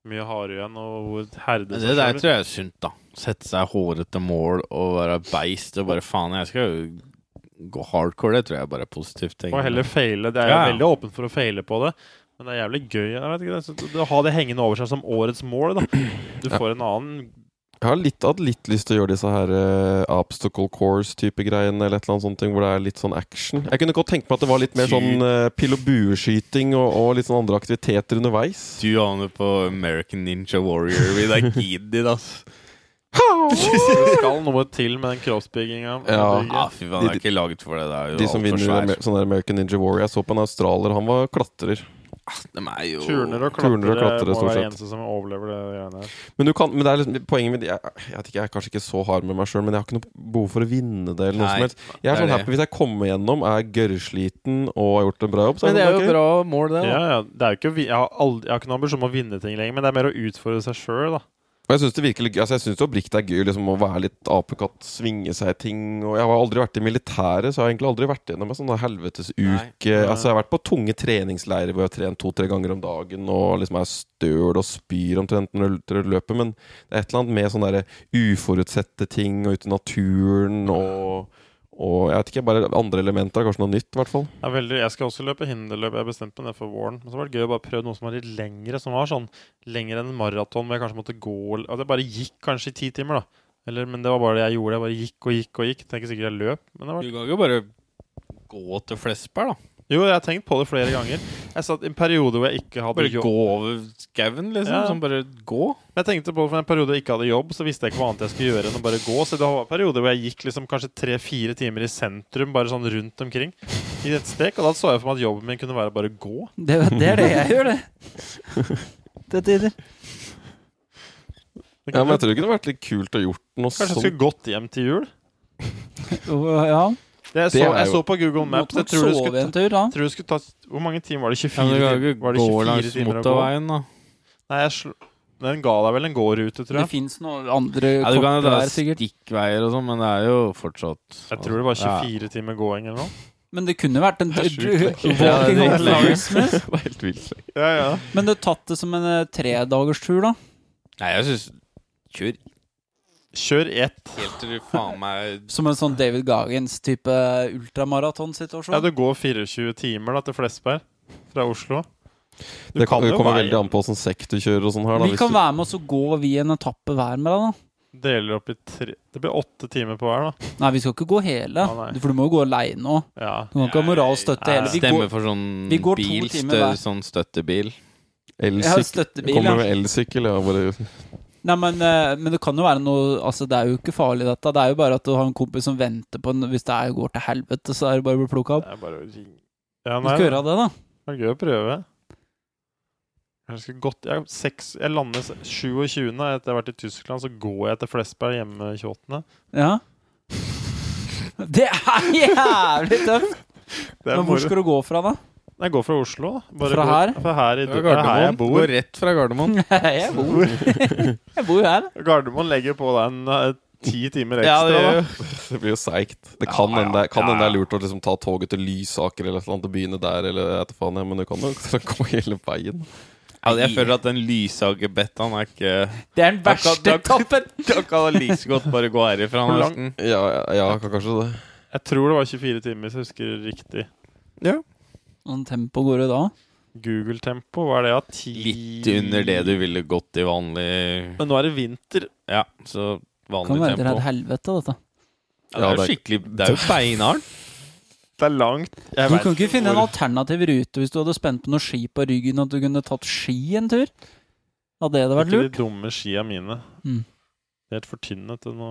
Speaker 4: mye hardere igjen, og hvor herde
Speaker 1: Det der tror jeg er sunt, da. Sette seg hårete mål og være beist og bare faen, jeg skal jo gå hardcore. Det tror jeg bare er positivt. egentlig.
Speaker 4: Og heller feile. Det er jo
Speaker 1: Ja, ja.
Speaker 4: veldig åpen for å feile på det. Men det er jævlig gøy. Jeg vet ikke, det, er så- å ha det hengende over seg som årets mål, da. Du
Speaker 3: Ja.
Speaker 4: får en annen
Speaker 3: Jeg har litt, hatt litt lyst til å gjøre disse her eh, obstacle course-type greiene, eller et eller annet sånt, ting, hvor det er litt sånn action. Jeg kunne godt tenke meg at det var litt mer sånn eh, pil- og bueskyting og, og litt sånn andre aktiviteter underveis.
Speaker 1: Du aner på American Ninja Warrior. Vi er giddy, ass.
Speaker 4: Det skal noe til med den kroppsbygginga.
Speaker 3: Ja.
Speaker 1: Ja, fy faen, det er ikke laget for det. Det er jo
Speaker 3: De som
Speaker 1: altfor
Speaker 3: vinner
Speaker 1: svært.
Speaker 3: Amer- sånn der American Ninja Warrior. Jeg så på en australier, han var klatrer.
Speaker 1: De er jo
Speaker 4: Turner og klatrere
Speaker 3: Turner og klatrere,
Speaker 4: må
Speaker 3: stort
Speaker 4: være
Speaker 3: sett.
Speaker 4: eneste som overlever det greiene her.
Speaker 3: Men, du kan, men det er liksom, poenget mitt jeg, jeg vet ikke, jeg er kanskje ikke så hard med meg sjøl, men jeg har ikke noe behov for å vinne det. eller
Speaker 1: Nei,
Speaker 3: noe som helst Jeg er
Speaker 1: det er
Speaker 3: sånn
Speaker 1: det.
Speaker 3: happy hvis jeg kommer gjennom, er gørrsliten og har gjort en bra jobb. Så
Speaker 1: Men det
Speaker 3: jeg
Speaker 1: er jo
Speaker 3: sånn, ok.
Speaker 1: bra mål, det.
Speaker 4: Ja,
Speaker 1: da.
Speaker 4: ja. Det er jo ikke, å vi- jeg, har aldri, jeg har ikke noen ambisjon om å vinne ting lenger, men det er mer å utfordre seg sjøl, da.
Speaker 3: Og jeg syns det virkelig altså jeg synes det oppriktig er gøy liksom, å være litt apekatt, svinge seg i ting. Og jeg har aldri vært i militæret, så jeg har egentlig aldri vært gjennom en sånn
Speaker 1: Nei.
Speaker 3: helvetesuke. Altså, jeg har vært på tunge treningsleirer hvor jeg har trent to-tre ganger om dagen og liksom er støl og spyr omtrent når du løper, men det er et eller annet med sånne der uforutsette ting og ute i naturen og og jeg vet ikke, bare andre elementer. Kanskje noe nytt, i hvert fall.
Speaker 4: Jeg, er veldig, jeg skal også løpe hinderløp. Jeg bestemte meg ned for våren. Men så var det gøy å bare prøve noe som var litt lengre, som var sånn lengre enn en maraton, hvor jeg kanskje måtte gå eller- At jeg bare gikk kanskje i ti timer, da. Eller, men det var bare det jeg gjorde. Jeg bare gikk og gikk og gikk. Det er ikke sikkert jeg løp, men det var
Speaker 1: Du kan ikke bare gå til Flesberg, da.
Speaker 4: Jo, jeg har tenkt på det flere ganger. Jeg satt i en periode hvor jeg ikke hadde
Speaker 1: Bare
Speaker 4: jobb.
Speaker 1: gå over skauen, liksom.
Speaker 4: Ja.
Speaker 1: Sånn, bare gå.
Speaker 4: Men jeg tenkte på det, for en periode jeg ikke hadde jobb, så visste jeg ikke hva annet jeg skulle gjøre enn å bare gå. Så det var perioder hvor jeg gikk liksom kanskje tre-fire timer i sentrum, bare sånn rundt omkring, i et stek. Og da så jeg for meg at jobben min kunne være å bare gå.
Speaker 2: Det, det er det jeg gjør, det. Til tider.
Speaker 4: Det
Speaker 3: Ja, men
Speaker 4: kunne-
Speaker 3: jeg tror sånn- ikke det hadde vært litt kult å gjort noe
Speaker 4: Kanskje jeg
Speaker 3: sånt.
Speaker 4: skulle gått hjem til jul?
Speaker 2: Og, Ja.
Speaker 4: Det jeg,
Speaker 3: Det
Speaker 4: så,
Speaker 3: er
Speaker 4: jeg
Speaker 3: jo-
Speaker 4: så på Google
Speaker 2: Må
Speaker 4: Maps. Jeg
Speaker 2: nok
Speaker 4: tror det
Speaker 2: sove
Speaker 4: skulle,
Speaker 2: en tur, da.
Speaker 4: ta- tror det skulle ta Hvor mange timer var det? 24
Speaker 1: Ja, men du kan
Speaker 4: timer?
Speaker 1: ikke
Speaker 4: Var det
Speaker 1: gå
Speaker 4: 24
Speaker 1: langs
Speaker 4: timer å gå?
Speaker 1: motorveien, da.
Speaker 4: Nei, jeg sl den ga deg vel en gårute, tror
Speaker 2: Det
Speaker 4: jeg.
Speaker 2: fins noen andre
Speaker 1: Ja, du kan jo
Speaker 2: kortere
Speaker 1: dra
Speaker 2: der, sikkert.
Speaker 1: stikkveier og sånn, men det er jo fortsatt
Speaker 4: Jeg tror det var 24 timer gåing eller noe.
Speaker 2: Men det kunne vært en
Speaker 3: Det er sjukt, det.
Speaker 1: Ja, det
Speaker 2: walking
Speaker 1: er
Speaker 2: on
Speaker 1: helt
Speaker 2: Christmas.
Speaker 3: Det var helt vilt.
Speaker 4: Ja, ja.
Speaker 2: Men du tatt det som en eh, tredagerstur, da?
Speaker 1: Nei, jeg syns Kjør
Speaker 4: Kjør ett.
Speaker 1: helt til du faen meg
Speaker 2: Som en sånn David eh, Gagens-type
Speaker 4: Ja,
Speaker 2: ultramaratonsituasjon?
Speaker 4: det går 24 timer da til Flesberg fra Oslo. Du
Speaker 3: Det kan,
Speaker 4: kan jo
Speaker 3: kommer
Speaker 4: være-
Speaker 3: veldig an på åssen sekk du kjører og sånn her. Da,
Speaker 2: Vi
Speaker 3: hvis
Speaker 2: kan
Speaker 3: du-
Speaker 2: være med oss og gå vi en etappe hver med deg, da.
Speaker 4: Deler opp i tre Det blir åtte timer på hver, da.
Speaker 2: Nei, vi skal ikke gå hele.
Speaker 4: Ah, nei.
Speaker 2: For du må jo gå aleine òg.
Speaker 4: Ja.
Speaker 2: Du kan ikke ha moralstøtte
Speaker 4: Nei,
Speaker 2: hele. Vi
Speaker 1: Stemme
Speaker 2: går,
Speaker 1: for sånn
Speaker 2: vi går to
Speaker 1: bil,
Speaker 2: timer
Speaker 1: stø,
Speaker 2: hver.
Speaker 1: sånn støttebil.
Speaker 3: Elsykkel-
Speaker 2: jeg har støttebil,
Speaker 3: Kommer
Speaker 2: ja.
Speaker 3: med elsykkel, ja. Bare
Speaker 2: Nei, men, eh, men det kan jo være noe Altså, det er jo ikke farlig, dette. Det er jo bare at du har en kompis som venter på en Hvis det er går til helvete, så er det bare å bli plukka opp.
Speaker 4: Det er bare å ringe Ja,
Speaker 2: Du
Speaker 4: nei,
Speaker 2: skal gjøre det, da.
Speaker 4: det er gøy å prøve. Jeg skal godt Jeg, seks, jeg lander se- 27. etter jeg har vært i Tyskland, så går jeg til Flesberg hjemme 28.
Speaker 2: Ja. Det er jævlig tøft!
Speaker 4: Det er
Speaker 2: Men hvor
Speaker 4: moro.
Speaker 2: skal du gå fra, da?
Speaker 4: Jeg går fra Oslo, da. Bare
Speaker 2: Fra
Speaker 4: går-
Speaker 2: her?
Speaker 4: Fra her, i, det er her jeg
Speaker 1: Går
Speaker 4: bor.
Speaker 1: rett fra Gardermoen.
Speaker 2: Jeg bor, jeg bor jo her.
Speaker 4: Gardermoen legger på deg en eh, ti timer ekstra.
Speaker 1: Ja, det gjør
Speaker 4: da.
Speaker 3: Det blir jo seigt. Det kan hende det kan hende det er lurt å liksom ta toget til Lysaker eller et eller annet og begynne der, eller jeg vet faen, jeg, men du kan jo gå hele veien.
Speaker 1: Ja, altså, jeg føler at den Lysager-bettaen er ikke
Speaker 2: Det er den
Speaker 1: Da kan-
Speaker 2: verste
Speaker 1: da kan-
Speaker 2: etappen!
Speaker 1: Da kan det like så godt bare gå herifra,
Speaker 4: Hvor lang-
Speaker 1: nesten.
Speaker 3: Ja, ja, ja kan kanskje det.
Speaker 4: Jeg tror det var 24 timer, hvis jeg husker riktig.
Speaker 2: Sånn tempo går det da.
Speaker 4: Google-tempo, hva er det? Ja, ti
Speaker 1: Litt under det du ville gått i vanlig
Speaker 4: Men nå er det vinter.
Speaker 1: Ja, så
Speaker 2: Kan
Speaker 1: vanlig
Speaker 2: være det er
Speaker 1: tempo.
Speaker 2: et helvete, dette.
Speaker 1: Ja, det er jo
Speaker 3: Ja, det
Speaker 1: skikkelig Det er jo beinhardt.
Speaker 4: Det er langt. Jeg
Speaker 2: Du
Speaker 4: vet
Speaker 2: kan ikke
Speaker 4: ikke
Speaker 2: finne en
Speaker 4: hvor-
Speaker 2: alternativ rute hvis du hadde spent på noe ski på ryggen, at du kunne tatt ski en tur? Hadde det vært
Speaker 4: Ikke
Speaker 2: lurt?
Speaker 4: de dumme skia mine.
Speaker 2: Mm.
Speaker 4: De er helt fortynnet. og nå-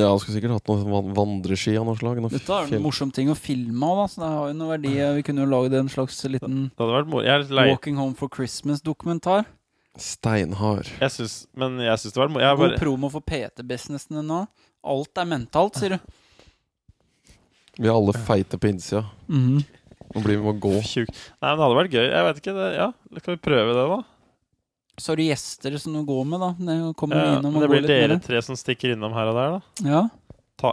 Speaker 3: Ja, han skulle sikkert hatt noen van- vandreski av noe slag. Noe
Speaker 2: Dette er
Speaker 3: fjell.
Speaker 2: en morsom ting å filme av, da, så det har jo noe verdi. Vi kunne jo lagd en slags liten
Speaker 4: Det hadde vært moro. Jeg, er litt lei-
Speaker 2: Walking Home for Christmas-dokumentar.
Speaker 3: Steinhard.
Speaker 4: jeg syns Men jeg syns det var moro. Jeg
Speaker 2: God
Speaker 4: bare
Speaker 2: promo for PT-businessen din nå. Alt er mentalt, sier du.
Speaker 3: Vi er alle feite på innsida.
Speaker 2: Mhm.
Speaker 3: Nå blir vi med å gå.
Speaker 4: Tjukk. Nei, men det hadde vært gøy. Jeg vet ikke. Det, ja, skal vi prøve det, da?
Speaker 2: Så har du gjester som du går med, da. Det kommer
Speaker 4: Ja,
Speaker 2: innom og
Speaker 4: men det
Speaker 2: går
Speaker 4: blir
Speaker 2: litt
Speaker 4: dere
Speaker 2: med
Speaker 4: tre som stikker innom her og der, da.
Speaker 2: det. Ja.
Speaker 4: Ta.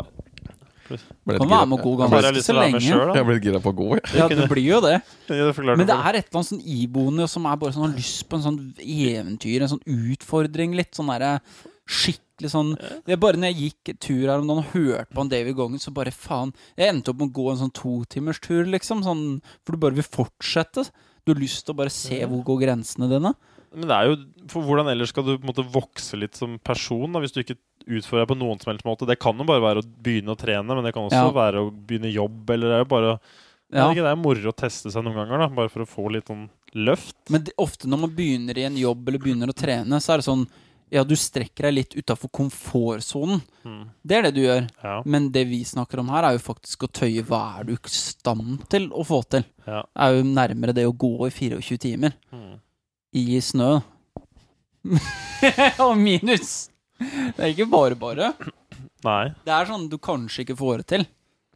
Speaker 3: Ble
Speaker 2: Kan
Speaker 3: litt
Speaker 2: være med
Speaker 3: gira.
Speaker 2: god
Speaker 4: Bare jeg har
Speaker 2: ganske
Speaker 4: lyst til
Speaker 2: så
Speaker 4: å være med
Speaker 2: lenge.
Speaker 4: sjøl, da.
Speaker 3: Jeg ble litt gira på å gå, jeg.
Speaker 2: Ja, det blir jo det.
Speaker 4: Ja, det forklarer
Speaker 2: Men det
Speaker 4: meg.
Speaker 2: er et eller annet sånn iboende som er bare sånn har lyst på en sånn eventyr, en sånn utfordring litt. Sånn derre skikkelig sånn Det er bare når jeg gikk tur her om dagen og hørte på han David Gongen, så bare faen Jeg endte opp med å gå en sånn totimerstur, liksom. Sånn, for du bare vil fortsette. Du har lyst til å bare se hvor går grensene dine.
Speaker 4: Men det er jo, for hvordan ellers skal du på en måte vokse litt som person da, hvis du ikke utfører deg på noen som helst måte? Det kan jo bare være å begynne å trene, men det kan også
Speaker 2: Ja.
Speaker 4: være å begynne jobb. Eller det er jo bare å-
Speaker 2: Ja.
Speaker 4: Jeg vet ikke, Det er moro å teste seg noen ganger, da, bare for å få litt sånn løft.
Speaker 2: Men det, ofte når man begynner i en jobb eller begynner å trene, så er det sånn Ja, du strekker deg litt utafor komfortsonen.
Speaker 4: Mm.
Speaker 2: Det er det du gjør.
Speaker 4: Ja.
Speaker 2: Men det vi snakker om her, er jo faktisk å tøye hva er du i stand til å få til.
Speaker 4: Ja.
Speaker 2: Det er jo nærmere det å gå i 24 timer
Speaker 4: Mm.
Speaker 2: i snø. Og minus! Det er ikke bare bare.
Speaker 4: Nei.
Speaker 2: Det er sånn du kanskje ikke får det til.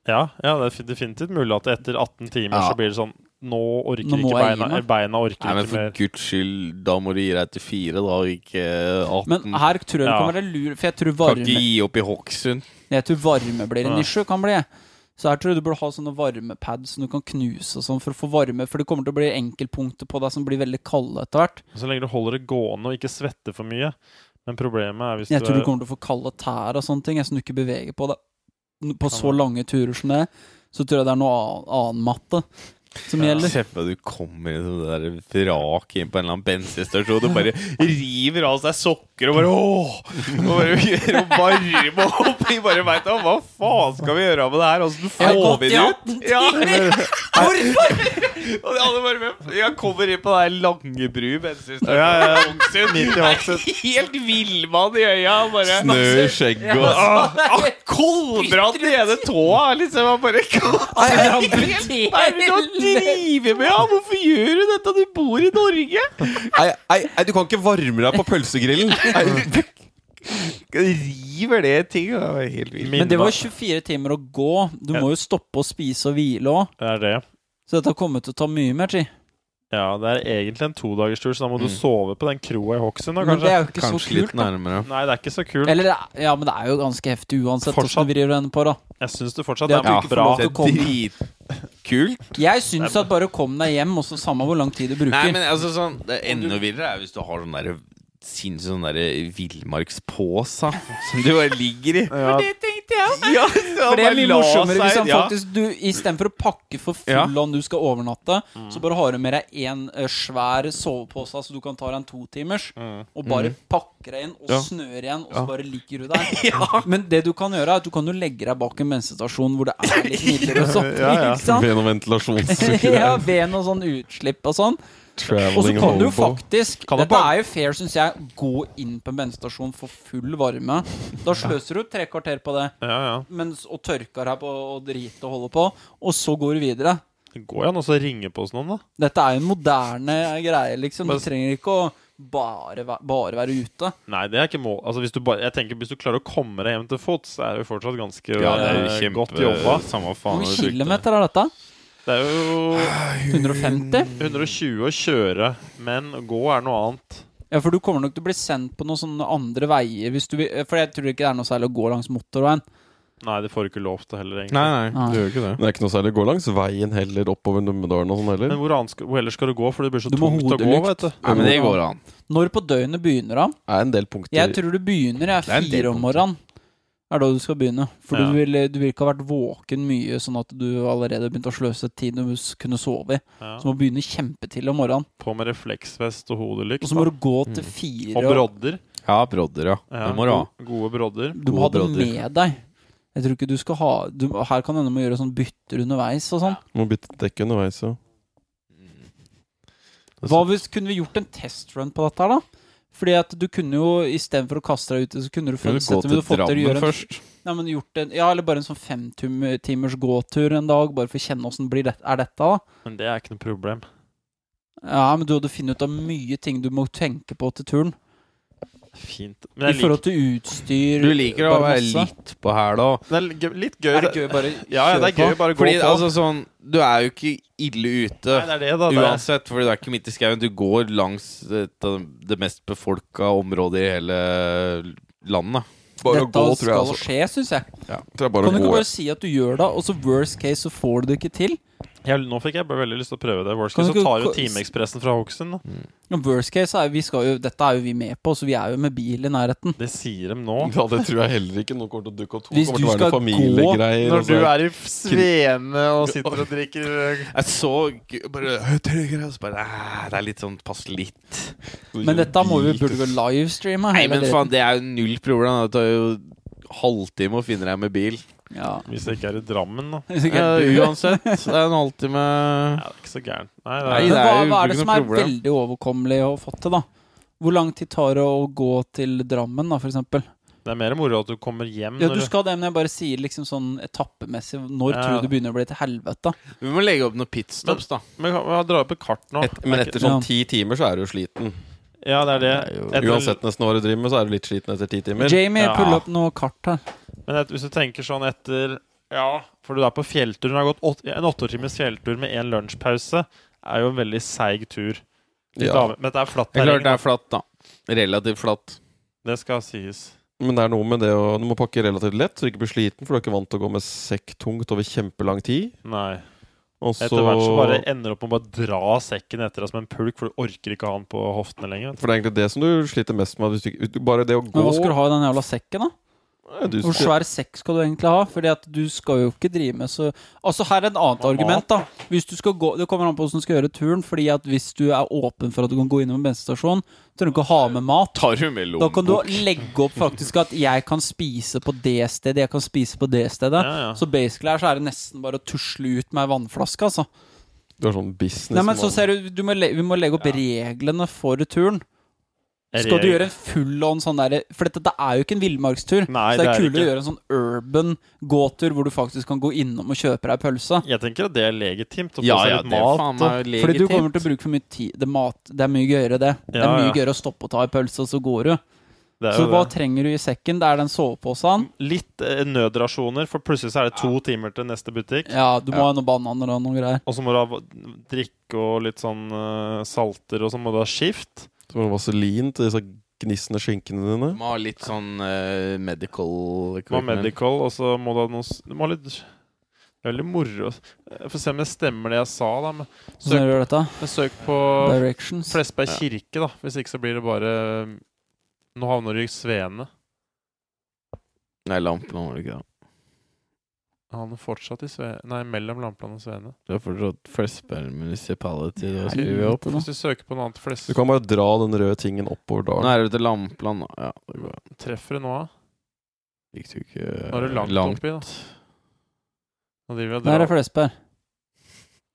Speaker 4: Ja, ja, det er fi- definitivt mulig at etter 18 timer
Speaker 3: Ja.
Speaker 4: så blir det sånn Nå orker
Speaker 2: Nå må
Speaker 4: ikke
Speaker 2: jeg gi
Speaker 4: beina
Speaker 2: meg.
Speaker 4: Beina orker
Speaker 1: Nei, men
Speaker 4: ikke
Speaker 1: for
Speaker 4: mer.
Speaker 1: guds skyld, da må du gi deg til fire, da, og ikke eh, 18.
Speaker 2: Men her tror jeg det kan
Speaker 4: Ja.
Speaker 2: være lur, for jeg tror
Speaker 1: kan ikke
Speaker 2: varme,
Speaker 1: gi opp i Hokksund.
Speaker 2: jeg tror varme blir en
Speaker 4: Ja.
Speaker 2: issue. Kan bli. Så her tror jeg du burde ha sånne varmepads som du kan knuse og sånn for å få varme. For det kommer til å bli enkeltpunkter på deg som blir veldig kalde etter hvert.
Speaker 4: Så lenge du holder det gående og ikke svetter for mye. Men problemet er hvis
Speaker 2: Jeg
Speaker 4: du
Speaker 2: tror
Speaker 4: er
Speaker 2: du kommer til å få kalde tær og sånne ting. Jeg som du ikke beveger på deg. På
Speaker 4: Kan
Speaker 2: så
Speaker 4: være.
Speaker 2: lange turer som det, så tror jeg det er noe annen, annen matte som
Speaker 4: Ja.
Speaker 2: gjelder.
Speaker 1: Se for deg at du kommer inn som det der vrak inn på en eller annen bensinstasjon og bare river av seg sokker og bare åh! Og bare gjør og varme opp. Vi bare veit da hva faen skal vi gjøre med det her? Åssen
Speaker 2: Jeg har
Speaker 1: får
Speaker 2: gått
Speaker 1: vi
Speaker 2: i
Speaker 1: det ut?
Speaker 2: 18
Speaker 1: Ja.
Speaker 2: timer!
Speaker 1: Og de alle bare "Men, Jeg kommer inn på det her Langebru bensinstasjon.
Speaker 4: Ja, ja, ja.
Speaker 1: Hokksund.
Speaker 4: Midt i Hokksund.
Speaker 1: Det er Helt villmann i øya. og Bare
Speaker 3: Snø i skjegget og
Speaker 1: Ah, ah, Koldbrann i ene tåa! Liksom, han bare Hva
Speaker 2: Nei, han
Speaker 1: er det du driver med? ja? Hvorfor gjør du dette? Du bor i Norge!
Speaker 3: Nei, nei, nei, du kan ikke varme deg på pølsegrillen! Nei,
Speaker 1: River det ting? Det var helt vilt.
Speaker 2: Men det var 24 timer å gå. Du må jo stoppe å spise og hvile òg.
Speaker 4: Det er det.
Speaker 2: Så dette kommer til å ta mye mer tid.
Speaker 4: Ja, det er egentlig en todagerstur, så da må du
Speaker 1: Mm.
Speaker 4: sove på den kroa i Hokksund. da,
Speaker 2: Men det
Speaker 4: Kanskje.
Speaker 2: er jo ikke så kult. da.
Speaker 1: nærmere.
Speaker 4: Nei, det er ikke så kult.
Speaker 2: Eller, det er- ja, men det er jo ganske heftig uansett
Speaker 4: Fortsatt.
Speaker 2: hvordan du vrir og vender på det.
Speaker 4: Jeg syns det fortsatt
Speaker 2: Det
Speaker 4: er
Speaker 2: at du
Speaker 4: bra.
Speaker 2: ikke får lov til å komme.
Speaker 1: Kult.
Speaker 2: Jeg syns at bare kom deg hjem, også samme hvor lang tid du bruker.
Speaker 1: Nei, men altså sånn Det enda villere er hvis du har sånn derre sinnssyk sånn derre villmarkspåsa som du bare ligger i.
Speaker 4: Ja.
Speaker 1: For det tenkte jeg òg. Ja, så han
Speaker 2: For det er
Speaker 1: bare
Speaker 2: mye
Speaker 1: la
Speaker 2: morsommere hvis
Speaker 1: seg-
Speaker 2: han
Speaker 1: ja.
Speaker 2: faktisk du, Istedenfor å pakke for full
Speaker 1: Ja. Mm.
Speaker 2: om du skal overnatte, så bare har du med deg en eh, svær sovepose, så du kan ta deg en totimers, og bare pakker deg inn, og
Speaker 1: Mm. Ja.
Speaker 2: snør igjen, og så bare ligger du der. Men det du kan gjøre, er at du kan jo legge deg bak en bensinstasjon hvor det er litt midler og sånt.
Speaker 4: Ja, ja.
Speaker 2: Ikke sant?
Speaker 3: Ven og ventilasjonssukker.
Speaker 2: Ja, ved noe sånn utslipp og sånn. Og så
Speaker 3: Traveling
Speaker 2: kan du jo
Speaker 3: hobo.
Speaker 2: faktisk
Speaker 4: Kan du
Speaker 2: Dette
Speaker 4: bare-
Speaker 2: er jo fair, syns jeg. Gå inn på en bensinstasjon for full varme. Da sløser du tre kvarter på det
Speaker 4: Ja, ja.
Speaker 2: mens, og tørker her på og driter og holder på, og så går du videre.
Speaker 4: Det går jo an også å ringe på hos noen, da.
Speaker 2: Dette er jo en moderne greie, liksom.
Speaker 4: Men-
Speaker 2: Du trenger ikke å bare, væ- bare være ute.
Speaker 4: Nei, det er ikke mål. Altså, hvis du bare, jeg tenker, hvis du klarer å komme deg hjem til fots, så er det jo fortsatt ganske
Speaker 1: Ja, det er jo
Speaker 4: eh,
Speaker 1: kjempe
Speaker 4: godt jobba.
Speaker 1: Samme
Speaker 2: Hvor
Speaker 1: faen.
Speaker 2: mange
Speaker 1: du brukte.
Speaker 2: kilometer er dette?
Speaker 4: Det er jo
Speaker 2: 150?
Speaker 4: 120 å kjøre, men å gå er noe annet.
Speaker 2: Ja, for du kommer nok til å bli sendt på noen sånne andre veier hvis du vil eh, For jeg tror ikke det er noe særlig å gå langs motorveien.
Speaker 4: Nei, det får du ikke lov til heller, egentlig.
Speaker 1: Nei, nei.
Speaker 2: Ah.
Speaker 1: Du gjør ikke det.
Speaker 3: Det er ikke noe særlig å gå langs veien heller oppover Numedalen og sånn heller.
Speaker 4: Men hvor, annet skal, hvor ellers skal du gå? For det blir så
Speaker 2: Du må
Speaker 4: tungt å gå,
Speaker 2: hodelykt.
Speaker 4: vet du.
Speaker 1: Nei, men det går an.
Speaker 2: Når på døgnet begynner han?
Speaker 3: Det er en del punkter
Speaker 2: Jeg tror du begynner jeg
Speaker 1: Det er
Speaker 2: er
Speaker 1: en del
Speaker 2: fire om morgenen. Er da du skal begynne. For
Speaker 4: Ja.
Speaker 2: du, vil, du vil ikke ha vært våken mye, sånn at du allerede har begynt å sløse tid du s- kunne sove i. Så
Speaker 4: Ja.
Speaker 2: må du begynne kjempetidlig om morgenen.
Speaker 4: På med refleksvest og hodelykt.
Speaker 2: Og så må
Speaker 4: da.
Speaker 2: du gå til fire
Speaker 4: Og brodder.
Speaker 1: Ja, brodder, ja.
Speaker 4: Ja,
Speaker 1: Det må du ha.
Speaker 4: go- Gode brodder.
Speaker 2: Du må ha det
Speaker 1: Gode brodder.
Speaker 2: med deg. Jeg tror ikke du skal ha du, Her kan det hende du må gjøre sånn bytter underveis og sånn.
Speaker 3: Må bytte dekk underveis, ja.
Speaker 2: Hva hvis kunne vi gjort en testrun på dette her, da? Fordi at du kunne jo istedenfor å kaste deg ute, så kunne du
Speaker 1: Kan du gå
Speaker 2: fått sett- ville
Speaker 1: til
Speaker 2: du fått til å gjøre
Speaker 1: Drammen
Speaker 2: en-
Speaker 1: først?
Speaker 2: Nei, men gjort en, ja, eller bare en sånn femtimers gåtur en dag, bare for å kjenne åssen det, er dette, da.
Speaker 4: Men det er ikke noe problem.
Speaker 2: Ja, men du hadde funnet ut av mye ting du må tenke på til turen.
Speaker 4: Fint.
Speaker 2: I
Speaker 4: Men jeg liker,
Speaker 2: forhold til utstyr
Speaker 1: Du liker å
Speaker 2: bare
Speaker 1: være
Speaker 2: masse.
Speaker 1: litt på her, da.
Speaker 4: det er g- litt gøy.
Speaker 2: Er det gøy å bare
Speaker 4: Ja, ja, det er gøy å bare gå
Speaker 1: Fordi
Speaker 4: på.
Speaker 1: altså sånn Du er jo ikke ille ute.
Speaker 4: Nei, det er det, da. Det er-
Speaker 1: Uansett, fordi det er ikke midt i skauen. Du går langs eh, det det mest befolka området i hele landet.
Speaker 3: Bare å
Speaker 2: Dette
Speaker 3: gå, tror jeg.
Speaker 2: skal
Speaker 3: Altså.
Speaker 2: skje, syns jeg.
Speaker 3: Tror jeg bare
Speaker 2: Kan du
Speaker 3: å
Speaker 2: ikke
Speaker 3: gå.
Speaker 2: bare si at du gjør det, og så worst case så får du det ikke til?
Speaker 4: Jeg, nå fikk jeg bare veldig lyst til å prøve det. Worst
Speaker 2: Kan
Speaker 4: case,
Speaker 2: du
Speaker 4: så
Speaker 2: ikke Mm.
Speaker 4: tar jo
Speaker 2: ko-
Speaker 4: Timeekspressen fra Hokksund. da.
Speaker 2: Men Worst case er jo, vi skal jo Dette er jo vi med på, så vi er jo med bil i nærheten.
Speaker 4: Det sier de nå.
Speaker 3: Ja, det tror jeg heller ikke. Nå kommer til å dukke opp to.
Speaker 2: Hvis du
Speaker 3: kommer til å være noen
Speaker 2: skal gå
Speaker 3: familiegreier.
Speaker 4: Når
Speaker 3: og så-
Speaker 4: du er i
Speaker 2: sånn.
Speaker 4: svene og sitter og drikker eh,
Speaker 1: Jeg så g- bare «Hø, trykker», og så bare «Æ, Det er litt sånn pass litt.
Speaker 2: Men dette må vi burde vi livestreame.
Speaker 1: Nei,
Speaker 2: hele
Speaker 1: men
Speaker 2: dritten.
Speaker 1: faen, det er jo null problem. da. Det tar jo halvtime å finne deg med bil.
Speaker 2: Ja.
Speaker 4: Hvis det ikke er i Drammen, da.
Speaker 2: Hvis ikke
Speaker 1: Ja,
Speaker 2: helt-
Speaker 1: uansett, det er en halvtime
Speaker 4: Ja, det er ikke så gærent. Nei, det
Speaker 1: Nei,
Speaker 4: er,
Speaker 1: det
Speaker 2: Men
Speaker 1: er
Speaker 2: hva,
Speaker 1: jo
Speaker 2: hva er
Speaker 1: ikke
Speaker 2: det som
Speaker 1: noe
Speaker 2: er
Speaker 1: problem.
Speaker 2: veldig overkommelig å få til, da? Hvor lang tid tar det å gå til Drammen, da, for eksempel?
Speaker 1: Mm.
Speaker 4: det er mer moro at du kommer hjem
Speaker 2: Ja,
Speaker 4: når
Speaker 2: du skal det, men jeg bare sier liksom sånn etappemessig Når
Speaker 4: Ja.
Speaker 2: tror du det begynner å bli til helvete?
Speaker 1: Vi må legge opp noen pitstops, da.
Speaker 4: Men kan- vi drar opp et kart nå.
Speaker 3: Et, men etter sånn ti timer så er du jo sliten.
Speaker 4: Ja, det er det.
Speaker 1: Det er jo-
Speaker 4: Etter,
Speaker 3: Uansett nesten hva du driver med, så er du litt sliten etter ti timer.
Speaker 2: Jamie,
Speaker 4: Ja.
Speaker 2: pull opp noe kart her.
Speaker 4: Men et, hvis du tenker sånn etter Ja, for du er på fjelltur. Du har gått åt, en åttetimes fjelltur med én lunsjpause. Er jo en veldig seig tur.
Speaker 3: Ja.
Speaker 4: Dame- Men dette er flatt
Speaker 1: Det er klart det
Speaker 4: terreng.
Speaker 1: er flatt, da. Relativt flatt.
Speaker 4: Det skal sies.
Speaker 3: Men det er noe med det å Du må pakke relativt lett, så du ikke blir sliten, for du er ikke vant til å gå med sekk tungt over kjempelang tid.
Speaker 4: Nei.
Speaker 3: Og så
Speaker 4: Etter hvert så bare ender du opp med å bare dra sekken etter deg som en pulk, for du orker ikke å ha den på hoftene lenger. vet
Speaker 3: For det er egentlig det som du sliter mest med. Hvis du, ikke- du- bare det å gå
Speaker 2: Men hva skal du ha i den jævla sekken, da?
Speaker 3: Nei, du
Speaker 2: Hvor
Speaker 3: skal-
Speaker 2: svær sekk skal du egentlig ha? Fordi at du skal jo ikke drive med så Altså, her er et annet
Speaker 4: Mat.
Speaker 2: argument, da. Hvis du skal gå Det kommer an på hvordan du skal gjøre turen. Fordi at hvis du er åpen for at du kan gå innom en bensinstasjon, trenger du ikke ha med mat.
Speaker 1: Tar du med
Speaker 2: Da kan du
Speaker 1: lommebok?
Speaker 2: legge opp faktisk at jeg kan spise på det stedet, jeg kan spise på det stedet.
Speaker 4: du. Ja, ja.
Speaker 2: Så basically her så er det nesten bare å tusle ut med ei vannflaske, altså.
Speaker 3: Du er sånn business
Speaker 2: Nei, men så ser du, du må le, Vi må legge opp reglene for turen. Skal du gjøre en full on sånn derre For dette det er jo ikke en villmarkstur. så
Speaker 4: Nei,
Speaker 2: det er
Speaker 4: det er det
Speaker 2: kulere å
Speaker 4: ikke.
Speaker 2: gjøre en sånn urban gåtur hvor du faktisk kan gå innom og kjøpe deg pølse.
Speaker 4: Jeg tenker at det er legitimt. Å få
Speaker 1: Ja,
Speaker 4: seg
Speaker 1: ja,
Speaker 4: litt
Speaker 1: det er
Speaker 4: mat.
Speaker 1: faen meg legitimt.
Speaker 2: Fordi du kommer til å bruke for mye tid. Det, er mat, det er mye gøyere, det. det er
Speaker 4: Ja,
Speaker 2: mye
Speaker 4: ja.
Speaker 2: gøyere å stoppe og ta en pølse, og så går du.
Speaker 4: Det er
Speaker 2: Så
Speaker 4: jo
Speaker 2: hva
Speaker 4: det.
Speaker 2: trenger du i sekken? Det er den soveposen.
Speaker 4: Litt eh, nødrasjoner, for plutselig så er det to timer til neste butikk.
Speaker 2: Ja, du må ha noen bananer og noen greier.
Speaker 4: Og så må du ha v- drikke og litt sånn eh, salter, og så må du ha skift.
Speaker 3: Så må du ha vaselin til disse gnissende skinkene
Speaker 1: Du
Speaker 3: dine.
Speaker 1: må ha litt sånn eh, medical
Speaker 4: Du må ha
Speaker 1: equipment.
Speaker 4: medical, og så må du ha noe s- Du må ha litt Det er veldig moro. Jeg får se om det stemmer det jeg sa, da. Men
Speaker 2: Så
Speaker 4: søk,
Speaker 2: gjør du dette.
Speaker 4: men søk på
Speaker 2: Directions.
Speaker 4: Flesberg kirke, da. Hvis ikke så blir det bare eh, Nå havner du i Svene.
Speaker 1: Nei, lampen var det ikke da.
Speaker 4: Han er fortsatt i Svene Nei, mellom Lampland og Svene.
Speaker 1: Det er fortsatt Flesberg Municipality. Da skriver vi opp.
Speaker 2: Helvete, da.
Speaker 4: Hvis du søker på noe annet flest,
Speaker 3: Du kan bare dra den røde tingen oppover
Speaker 1: Nå
Speaker 3: dagen.
Speaker 1: er det til Lampland, da. Ja, det går.
Speaker 4: treffer du nå, da?
Speaker 1: Gikk du ikke
Speaker 4: Nå er du langt, oppi, da. Nå driver vi og
Speaker 2: Der
Speaker 4: drar.
Speaker 2: er Flesberg.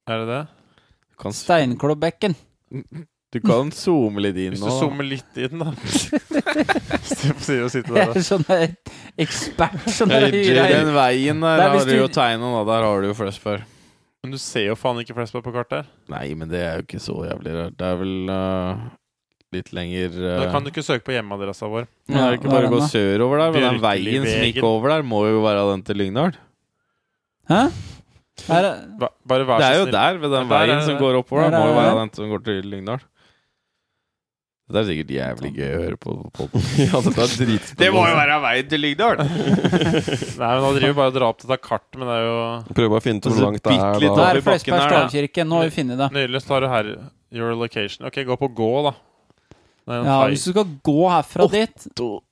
Speaker 4: Er det det?
Speaker 1: Kan s-
Speaker 2: Steinklobbekken.
Speaker 1: Du kan zoome litt inn
Speaker 4: Hvis
Speaker 1: nå.
Speaker 4: du
Speaker 1: da.
Speaker 4: zoomer litt inn, da. Sier å
Speaker 2: Jeg
Speaker 4: sitte der, da.
Speaker 2: er sånn en ekspert som
Speaker 1: Hey,
Speaker 2: dere
Speaker 1: Jay,
Speaker 2: hyrer.
Speaker 1: Den veien der
Speaker 2: Det er hvis
Speaker 1: har du jo
Speaker 2: du-
Speaker 1: tegna, da. Der har du jo Flesberg.
Speaker 4: Men du ser jo faen ikke Flesberg på kartet her.
Speaker 1: Nei, men det er jo ikke så jævlig rart. Det er vel eh, litt lenger
Speaker 4: Da
Speaker 1: eh,
Speaker 4: kan du ikke søke på hjemmeadressa vår.
Speaker 1: Men er det ikke
Speaker 2: Ja,
Speaker 1: bare å
Speaker 2: hva er
Speaker 1: gå
Speaker 2: den
Speaker 1: sørover der? Men den
Speaker 4: Bjørkeli
Speaker 1: veien som gikk
Speaker 4: Vegen.
Speaker 1: over der, må jo være den til Lyngdal.
Speaker 2: Hæ? Er det
Speaker 4: Ba- Bare vær
Speaker 1: Det er
Speaker 4: så
Speaker 1: jo
Speaker 4: snill.
Speaker 1: der, ved den
Speaker 4: Der er
Speaker 1: veien
Speaker 4: det
Speaker 1: som
Speaker 4: det.
Speaker 1: går oppover.
Speaker 2: Der
Speaker 1: Det må
Speaker 2: er
Speaker 1: jo
Speaker 2: det
Speaker 1: være
Speaker 2: det.
Speaker 1: den som går til Lyngdal. Det er sikkert jævlig gøy å høre på. på.
Speaker 3: ja, dette er dritspennende.
Speaker 1: være veien til Lyngdal!
Speaker 4: Nei, men Nå driver vi bare og drar opp dette kartet, men det er jo
Speaker 3: Prøv bare å finne ut hvor
Speaker 1: Altså,
Speaker 3: langt det
Speaker 1: bitte
Speaker 3: er.
Speaker 1: litt
Speaker 3: Da.
Speaker 1: opp.
Speaker 2: Der
Speaker 1: i
Speaker 2: er Flesberg
Speaker 1: bakken her, da.
Speaker 2: stavkirke. Nå har vi funnet det.
Speaker 4: Nydelig. Så tar du her your location. Ok, gå på gå, da. Det er en
Speaker 2: Ja,
Speaker 4: hai.
Speaker 2: hvis du skal gå herfra dit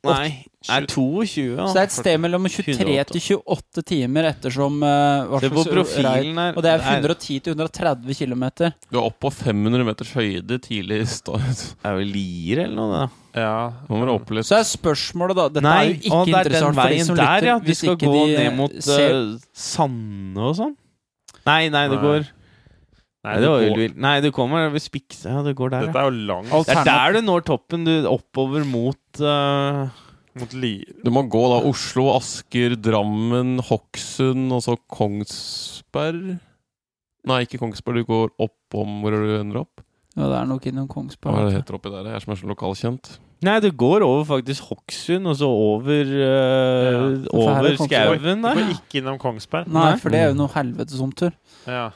Speaker 1: Nei, det er 22. Ja.
Speaker 2: Så det er et sted mellom 23 til 28 timer ettersom eh, hva
Speaker 1: Se på
Speaker 2: slags rei-
Speaker 1: profilen her.
Speaker 2: Og det er 110 til 130 km.
Speaker 6: Du er oppe på 500 meters høyde tidlig i start.
Speaker 1: Det er jo Lier eller noe, det.
Speaker 4: Ja.
Speaker 6: Nå må du opp litt.
Speaker 2: Så er spørsmålet, da Dette er jo ikke
Speaker 1: å, det er den
Speaker 2: interessant for de
Speaker 1: veien
Speaker 2: som
Speaker 1: der,
Speaker 2: lytter.
Speaker 1: ja. Du
Speaker 2: hvis
Speaker 1: skal
Speaker 2: ikke
Speaker 1: gå
Speaker 2: de
Speaker 1: ned mot
Speaker 2: ser,
Speaker 1: eh, Sande og sånn. Nei, nei, det
Speaker 4: Nei.
Speaker 1: går Nei, det
Speaker 4: du
Speaker 1: var
Speaker 4: går-
Speaker 1: jo vilt. Nei, du kommer ved Spikse. Ja, det går der, ja.
Speaker 4: Dette er jo langt
Speaker 1: Det er der du når toppen. Du oppover mot eh,
Speaker 4: mot Li...
Speaker 6: Du må gå da Oslo, Asker, Drammen, Hokksund og så Kongsberg. Nei, ikke Kongsberg. Du går opp om Hvor er det du ender opp?
Speaker 2: Ja, det er nok innom
Speaker 6: Hva er
Speaker 2: Kongsberg.
Speaker 6: det heter oppi der? Jeg er som er så lokalkjent.
Speaker 1: Nei, det går over faktisk Hokksund, og så over eh,
Speaker 2: Ja, for
Speaker 1: Over
Speaker 2: her er sånn Kongsberg.
Speaker 1: skauen
Speaker 4: Du
Speaker 1: der.
Speaker 4: går ikke innom Kongsberg.
Speaker 2: Nei, for det er jo noe helvetes omtur.
Speaker 4: Ja.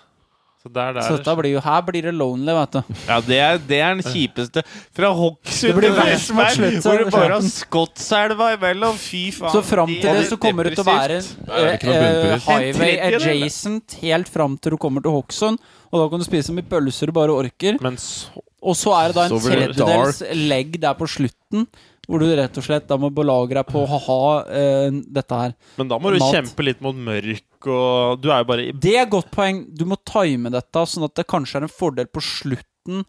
Speaker 4: Så Så der, der.
Speaker 2: Så dette blir jo, her blir det lonely, vet du.
Speaker 1: Ja, det er, det er den kjipeste. Fra Hokksund
Speaker 2: Det blir
Speaker 1: til
Speaker 2: verst mot
Speaker 1: Westberg,
Speaker 2: slutt, så-
Speaker 1: hvor det bare har Skotselva imellom. Fy faen.
Speaker 2: Så fram til
Speaker 1: er
Speaker 2: det så kommer det til å være
Speaker 6: er ikke noe
Speaker 2: eh,
Speaker 6: bunnpris.
Speaker 2: highway
Speaker 1: En tredjedel, eller?
Speaker 2: adjacent helt fram til du kommer til Hokksund. Og da kan du spise så mye pølser du bare orker.
Speaker 4: Men så
Speaker 2: Og så er det da en
Speaker 6: Så blir det
Speaker 2: tredjedels legg der på slutten, hvor du rett og slett da må belage deg på ha-ha eh, dette her.
Speaker 4: Men da må du
Speaker 2: Mat.
Speaker 4: kjempe litt mot mørk, og du er jo bare i
Speaker 2: Det er et godt poeng. Du må time dette, sånn at det kanskje er en fordel på slutten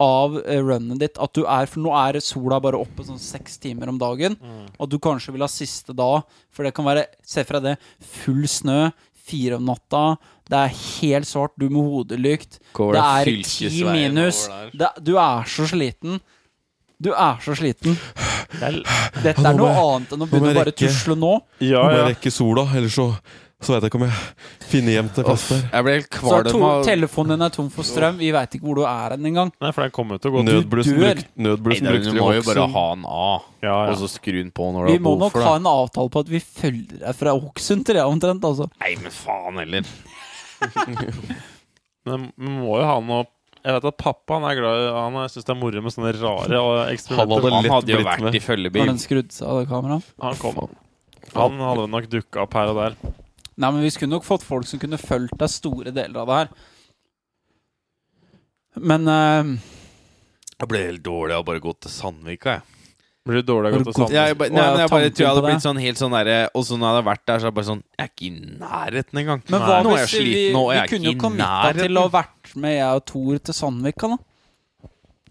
Speaker 2: av eh, runnet ditt. At du er, For nå er sola bare oppe sånn seks timer om dagen. At du kanskje vil ha siste da, for det kan være Se for deg det. Full snø, fire om natta, det er helt svart, du med hodelykt.
Speaker 1: Går
Speaker 2: Det
Speaker 1: det
Speaker 2: er ti
Speaker 1: fylkesveien
Speaker 2: minus.
Speaker 1: over der?
Speaker 2: Det, du er så sliten. Du er så sliten. Dette er noe annet enn å
Speaker 3: må
Speaker 2: begynne å
Speaker 3: jeg
Speaker 2: bare
Speaker 3: rekke.
Speaker 2: tusle nå.
Speaker 4: Ja,
Speaker 3: Må
Speaker 4: ja.
Speaker 3: jeg rekke sola, ellers så, så veit jeg ikke om jeg finner hjem til plass der.
Speaker 1: Jeg ble helt
Speaker 2: Så er
Speaker 1: kvalm
Speaker 2: to,
Speaker 1: av
Speaker 2: telefonen din er tom for strøm, vi veit ikke hvor du er hen engang.
Speaker 4: Nei, for den kommer jo til å gå til
Speaker 3: Nødblussen
Speaker 2: dør.
Speaker 3: brukt, nødblussen
Speaker 1: Nei,
Speaker 3: brukt
Speaker 1: Du
Speaker 3: i
Speaker 1: må jo bare
Speaker 3: Hokksund.
Speaker 1: ha den av,
Speaker 4: Ja,
Speaker 1: og
Speaker 4: ja.
Speaker 1: så skru den på når du
Speaker 2: Vi
Speaker 1: har
Speaker 2: må
Speaker 1: behov
Speaker 2: nok
Speaker 1: for
Speaker 2: ha
Speaker 1: det.
Speaker 2: en avtale på at vi følger deg fra Hokksund til det, omtrent. altså
Speaker 1: Nei, men faen heller.
Speaker 4: Men vi må jo ha noe Jeg vet at pappa han er glad i Han er- synes det er moro med sånne rare og
Speaker 3: Han hadde
Speaker 4: eksperimenter.
Speaker 1: Han
Speaker 3: lett
Speaker 1: hadde jo
Speaker 3: blitt
Speaker 1: vært
Speaker 3: med.
Speaker 1: i følgebil.
Speaker 2: Har den skrudd seg av det kameraet?
Speaker 4: Han kom. Han hadde nok dukka opp her og der.
Speaker 2: Nei, men vi skulle nok fått folk som kunne fulgt deg store deler av det her. Men eh,
Speaker 1: Jeg ble helt dårlig av å bare gå til Sandvika, jeg.
Speaker 4: Blir det dårlig å gå til
Speaker 2: Har du
Speaker 4: Sandnes?
Speaker 1: Ja, jeg, bare- nei,
Speaker 2: Og
Speaker 1: men jeg bare
Speaker 2: tanken
Speaker 1: tror jeg hadde
Speaker 2: på det.
Speaker 1: blitt sånn helt sånn derre Og så når jeg hadde vært der, så er det bare sånn Jeg er ikke i nærheten engang.
Speaker 2: Men
Speaker 4: Nei.
Speaker 2: hva
Speaker 1: Nå er
Speaker 2: hvis
Speaker 1: jeg
Speaker 2: vi,
Speaker 1: sliten, og
Speaker 2: vi
Speaker 1: jeg er
Speaker 2: kunne jo
Speaker 1: ikke i
Speaker 2: committa til å
Speaker 1: nærheten.
Speaker 2: ha vært med jeg og Thor til Sandvika, da?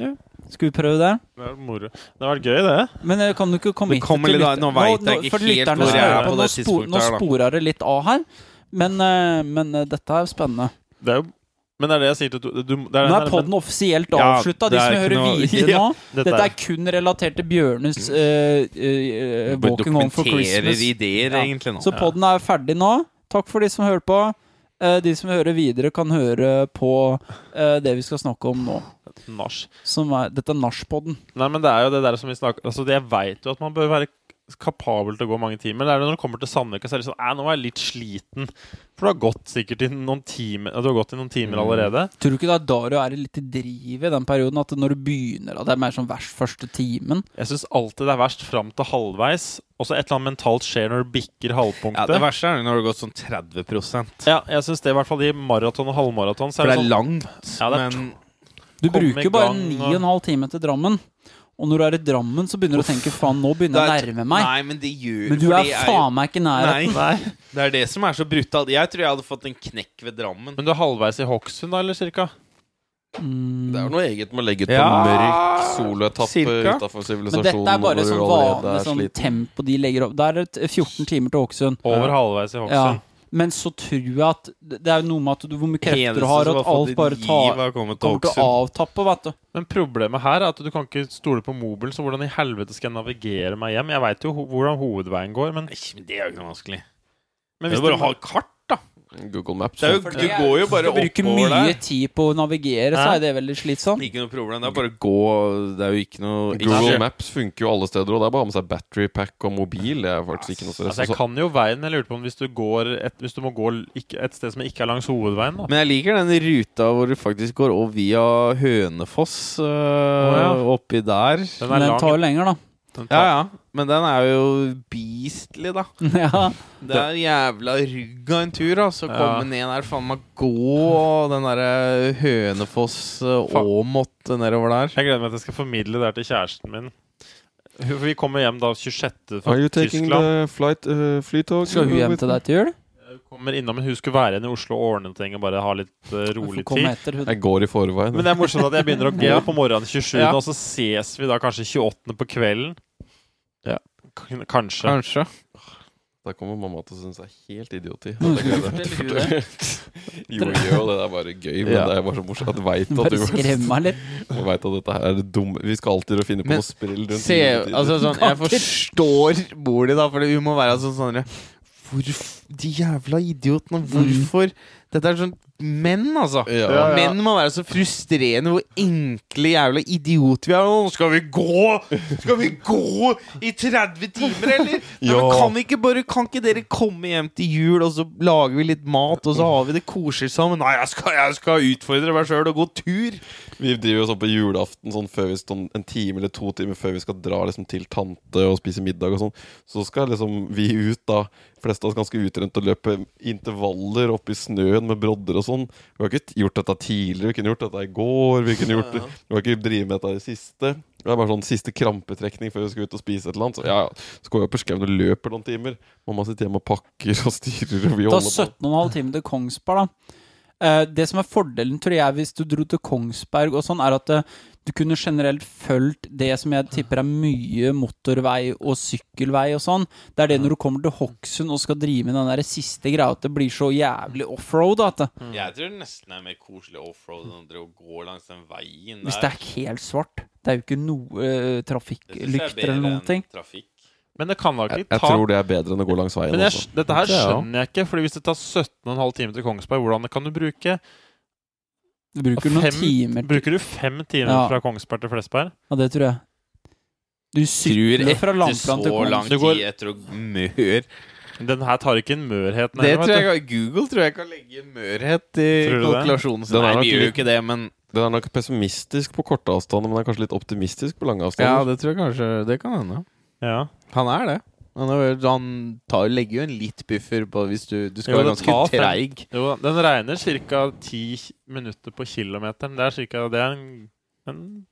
Speaker 4: Ja.
Speaker 2: Skal vi prøve det?
Speaker 4: Det er moro. Det har vært gøy, det.
Speaker 2: Men eh, kan du ikke komme
Speaker 1: Det kommer litt an- nå vet jeg ikke helt hvor
Speaker 4: jeg er
Speaker 1: på det tidspunktet
Speaker 2: Nå
Speaker 1: her, da.
Speaker 2: sporer det litt av her, men, eh, men eh, dette er jo spennende.
Speaker 4: det er jo, men det er det jeg sier til du, du, det er
Speaker 2: Nå
Speaker 4: den
Speaker 2: er
Speaker 4: der-
Speaker 2: podden offisielt
Speaker 4: Ja,
Speaker 2: avslutta. De
Speaker 4: det
Speaker 2: som
Speaker 4: er ikke
Speaker 2: hører
Speaker 4: noe-
Speaker 2: videre nå
Speaker 4: men
Speaker 2: Dette er kun relatert til Bjørnes eh, eh, eh,
Speaker 1: Bare
Speaker 2: Walking Home for
Speaker 1: Dokumenterer
Speaker 2: Christmas.
Speaker 1: ideer,
Speaker 2: Ja.
Speaker 1: egentlig, nå.
Speaker 2: Så podden er ferdig nå. Takk for de som hører på. Eh, de som hører videre, kan høre på eh, det vi skal snakke om nå.
Speaker 4: Nach.
Speaker 2: Som er, dette er nachpodden.
Speaker 4: Nei, men det er jo det der som vi snakker Altså, det- Jeg veit jo at man bør være kapabel til å gå mange timer. Det er det når du kommer til Sandvika, så er det sånn Æ, nå er jeg litt sliten. For du har gått sikkert i noen timer Du har gått i noen timer
Speaker 2: Mm.
Speaker 4: allerede.
Speaker 2: Tror du ikke det er da du er litt i drivet i den perioden? At når du begynner, at det er mer sånn vers første timen?
Speaker 4: Jeg syns alltid det er verst fram til halvveis, og så et eller annet mentalt skjer når du bikker
Speaker 1: ja,
Speaker 4: halvpunktet.
Speaker 1: det
Speaker 4: Ja,
Speaker 1: verste er når det har gått sånn 30
Speaker 4: jeg syns det, i hvert fall i maraton og halvmaraton,
Speaker 1: For
Speaker 4: så er
Speaker 1: det
Speaker 4: det
Speaker 1: er
Speaker 4: sånn
Speaker 1: langt,
Speaker 4: Ja, det er
Speaker 1: men
Speaker 2: Du
Speaker 4: Kom i
Speaker 2: bruker jo bare
Speaker 4: gang,
Speaker 2: ni
Speaker 4: og-
Speaker 2: og en halv time til Drammen. Og når du er i Drammen, så begynner du å tenke faen, nå begynner jeg å nærme meg.
Speaker 1: Nei, men det gjør
Speaker 2: Men du
Speaker 1: for
Speaker 2: er
Speaker 1: det jo-
Speaker 2: faen meg ikke nær.
Speaker 1: Nei. Det er det som er så brutalt. Jeg tror jeg hadde fått en knekk ved Drammen.
Speaker 4: sånn, Men du er halvveis i Hokksund, da, eller cirka?
Speaker 2: Mm.
Speaker 3: Det er jo noe eget med å legge ut på
Speaker 1: Ja.
Speaker 3: mørk soloetappe
Speaker 1: Ah, Cirka.
Speaker 3: utafor
Speaker 2: Men
Speaker 3: sivilisasjonen.
Speaker 2: dette er bare
Speaker 3: hvor du
Speaker 2: sånn
Speaker 3: allerede
Speaker 2: vanlig
Speaker 3: er
Speaker 2: sånn
Speaker 3: sliten.
Speaker 2: tempo de legger opp. Det er et 14 timer til Hokksund.
Speaker 4: Over halvveis i
Speaker 2: Ja.
Speaker 4: Hokksund.
Speaker 2: Men så tror jeg at det det er jo noe med at du, hvor mye krefter
Speaker 1: Eneste
Speaker 2: du har,
Speaker 1: som har
Speaker 2: at
Speaker 1: fått
Speaker 2: alt
Speaker 1: et
Speaker 2: bare
Speaker 1: liv,
Speaker 2: tar,
Speaker 1: har kommet til
Speaker 2: kommer til å
Speaker 1: Hokksund.
Speaker 2: avtappe, vet du.
Speaker 4: Men problemet her er at du kan ikke stole på mobilen, så hvordan i helvete skal jeg navigere meg hjem? Jeg veit jo ho- hvordan hovedveien går, men,
Speaker 1: Nei, men det er jo ikke noe vanskelig.
Speaker 4: men
Speaker 1: Det
Speaker 4: hvis
Speaker 1: er bare å
Speaker 4: du-
Speaker 1: ha kart.
Speaker 3: Google Maps.
Speaker 1: Det er jo,
Speaker 2: For
Speaker 1: du
Speaker 2: det er-
Speaker 1: går jo bare
Speaker 2: Du bruker
Speaker 1: oppover der.
Speaker 2: mye tid på å navigere, så
Speaker 4: Hæ?
Speaker 2: er det veldig slitsomt.
Speaker 1: Ikke noe problem. Det er bare å gå Det er jo ikke noe
Speaker 3: Google
Speaker 1: ikke-
Speaker 3: Maps funker jo alle steder, og det er bare å ha med seg battery pack og mobil. Det er faktisk ikke noe stress.
Speaker 4: Altså, jeg kan jo veien, men jeg lurte på om hvis du, går et, hvis du må gå l- ikke, et sted som ikke er langs hovedveien, da.
Speaker 1: Men jeg liker den ruta hvor du faktisk går over via Hønefoss øh,
Speaker 4: Å,
Speaker 1: oppi der.
Speaker 4: Den
Speaker 2: Men
Speaker 4: er
Speaker 2: den
Speaker 4: lang.
Speaker 2: tar jo lenger, da.
Speaker 4: Den
Speaker 1: Ja,
Speaker 4: tar,
Speaker 1: ja. Men den er jo beastly, da.
Speaker 2: ja.
Speaker 1: Det er jævla rygg av en tur, da. Så
Speaker 4: Ja.
Speaker 1: komme ned der, faen meg gå og den øh, derre Hønefoss-Åmot øh, nedover der.
Speaker 4: Jeg gleder meg til jeg skal formidle det her til kjæresten min. Hun- For vi kommer hjem da 26. fra
Speaker 3: Are you taking
Speaker 4: Tyskland.
Speaker 3: the flight, uh, flytog?
Speaker 2: Skal hun hjem til deg til jul?
Speaker 4: Kommer innom, men Hun skulle være igjen i Oslo og ordne ting og bare ha litt eh,
Speaker 2: Du får
Speaker 4: rolig tid.
Speaker 2: komme etter hun.
Speaker 3: Jeg går i forveien.
Speaker 4: Men det er morsomt at jeg begynner å gå
Speaker 1: Ja.
Speaker 4: på morgenen 27.,
Speaker 1: Ja.
Speaker 4: og så ses vi da kanskje 28. på kvelden.
Speaker 1: Ja.
Speaker 4: K- Kanskje.
Speaker 1: Kanskje.
Speaker 3: Da kommer mamma til å synes jeg er helt idioti.
Speaker 2: Hun
Speaker 3: Jeg
Speaker 2: skulle
Speaker 3: gleder meg til å
Speaker 2: fortelle
Speaker 3: fortelle. Jo, jo, det er bare gøy, men
Speaker 1: Ja.
Speaker 3: det er bare så morsomt. Jeg vet at
Speaker 2: Bare
Speaker 3: du
Speaker 2: skremme henne litt.
Speaker 3: Jeg vet at dette her er det dumme Vi skal alltid finne på
Speaker 1: Men
Speaker 3: noe sprell rundt
Speaker 1: Se,
Speaker 3: juletider.
Speaker 1: altså sånn, jeg forstår mor di, da, for hun Mm. må være sånn sånn Hvorfor De jævla idiotene, hvorfor Dette er sånn menn, altså.
Speaker 3: Ja.
Speaker 4: Ja, ja.
Speaker 1: Menn må være så frustrerende hvor enkle jævla idioter vi er. Nå skal vi gå! Skal vi gå i 30 timer, eller? Nei, men
Speaker 3: Ja.
Speaker 1: kan, ikke bare, kan ikke dere komme hjem til jul, og så lager vi litt mat, og så har vi det koselig sammen? Nei, jeg skal, jeg skal utfordre meg sjøl og gå tur!
Speaker 3: Vi driver jo sånn på julaften sånn før vi, sånn, en time eller to timer før vi skal dra liksom, til tante og spise middag og sånn. Så skal liksom vi ut, da. Fleste av oss ganske utrent og løpe intervaller opp i snøen med brodder og sånn. Vi har ikke gjort dette tidligere, vi kunne gjort dette i går, vi kunne gjort det Vi har ikke drevet med dette i det siste. Det er bare sånn siste krampetrekning før vi skal ut og spise et eller annet. Så ja, ja. Så går vi opp på skauen og løper noen timer. Mamma sitter hjemme og pakker og styrer, og vi
Speaker 2: Ta
Speaker 3: holder på.
Speaker 2: 17,5 timer til Kongsberg, da. Eh, Det som er fordelen, tror jeg, hvis du dro til Kongsberg og sånn, er at eh, du kunne generelt fulgt det som jeg tipper er mye motorvei og sykkelvei og sånn. Det er det når du kommer til Hokksund og skal drive med den der siste greia, at det blir så jævlig offroad. da, At eh,
Speaker 4: Mm.
Speaker 2: det,
Speaker 1: Jeg tror nesten det er mer koselig offroad enn å gå langs den veien
Speaker 2: hvis det er helt svart Det er jo ikke noe eh, trafikklykter eller noen ting.
Speaker 1: trafikk.
Speaker 4: Men det kan da ikke
Speaker 3: Jeg, jeg
Speaker 4: ta
Speaker 3: tror det er bedre enn å gå langs veien.
Speaker 4: Men jeg,
Speaker 3: altså.
Speaker 4: dette her
Speaker 3: Det er jo-
Speaker 4: skjønner jeg ikke, Fordi hvis det tar 17,5 timer til Kongsberg, hvordan kan du bruke
Speaker 2: Du bruker noen
Speaker 4: fem,
Speaker 2: timer til
Speaker 4: Bruker du fem timer
Speaker 2: Ja.
Speaker 4: fra Kongsberg til Flesberg?
Speaker 2: Ja, det tror jeg. Du sykler fra
Speaker 1: så
Speaker 2: landplan til
Speaker 1: lang
Speaker 2: Kongsberg.
Speaker 4: Det går-
Speaker 1: tid etter å mør
Speaker 4: Den her tar ikke en mørhet
Speaker 1: Det
Speaker 4: ned. vet
Speaker 1: tror
Speaker 4: du.
Speaker 1: jeg, Google tror jeg kan legge mørhet i
Speaker 4: Tror du det?
Speaker 1: kalkulasjonen sin.
Speaker 3: Den er
Speaker 1: Nei,
Speaker 3: nok
Speaker 1: vi gjør jo
Speaker 3: litt-
Speaker 1: ikke det, men
Speaker 3: Den er nok pessimistisk på korte avstander, men den er kanskje litt optimistisk på lange avstander.
Speaker 1: det tror jeg kanskje Det kan hende.
Speaker 4: Ja.
Speaker 1: Han er det. Han, er, han tar, legger jo en litt buffer på hvis du Du skal
Speaker 4: Jo,
Speaker 1: være
Speaker 4: det tar
Speaker 1: ganske
Speaker 4: fem.
Speaker 1: treig.
Speaker 4: Jo, da, den regner ca. ti minutter på kilometeren. Det er cirka, det er en, en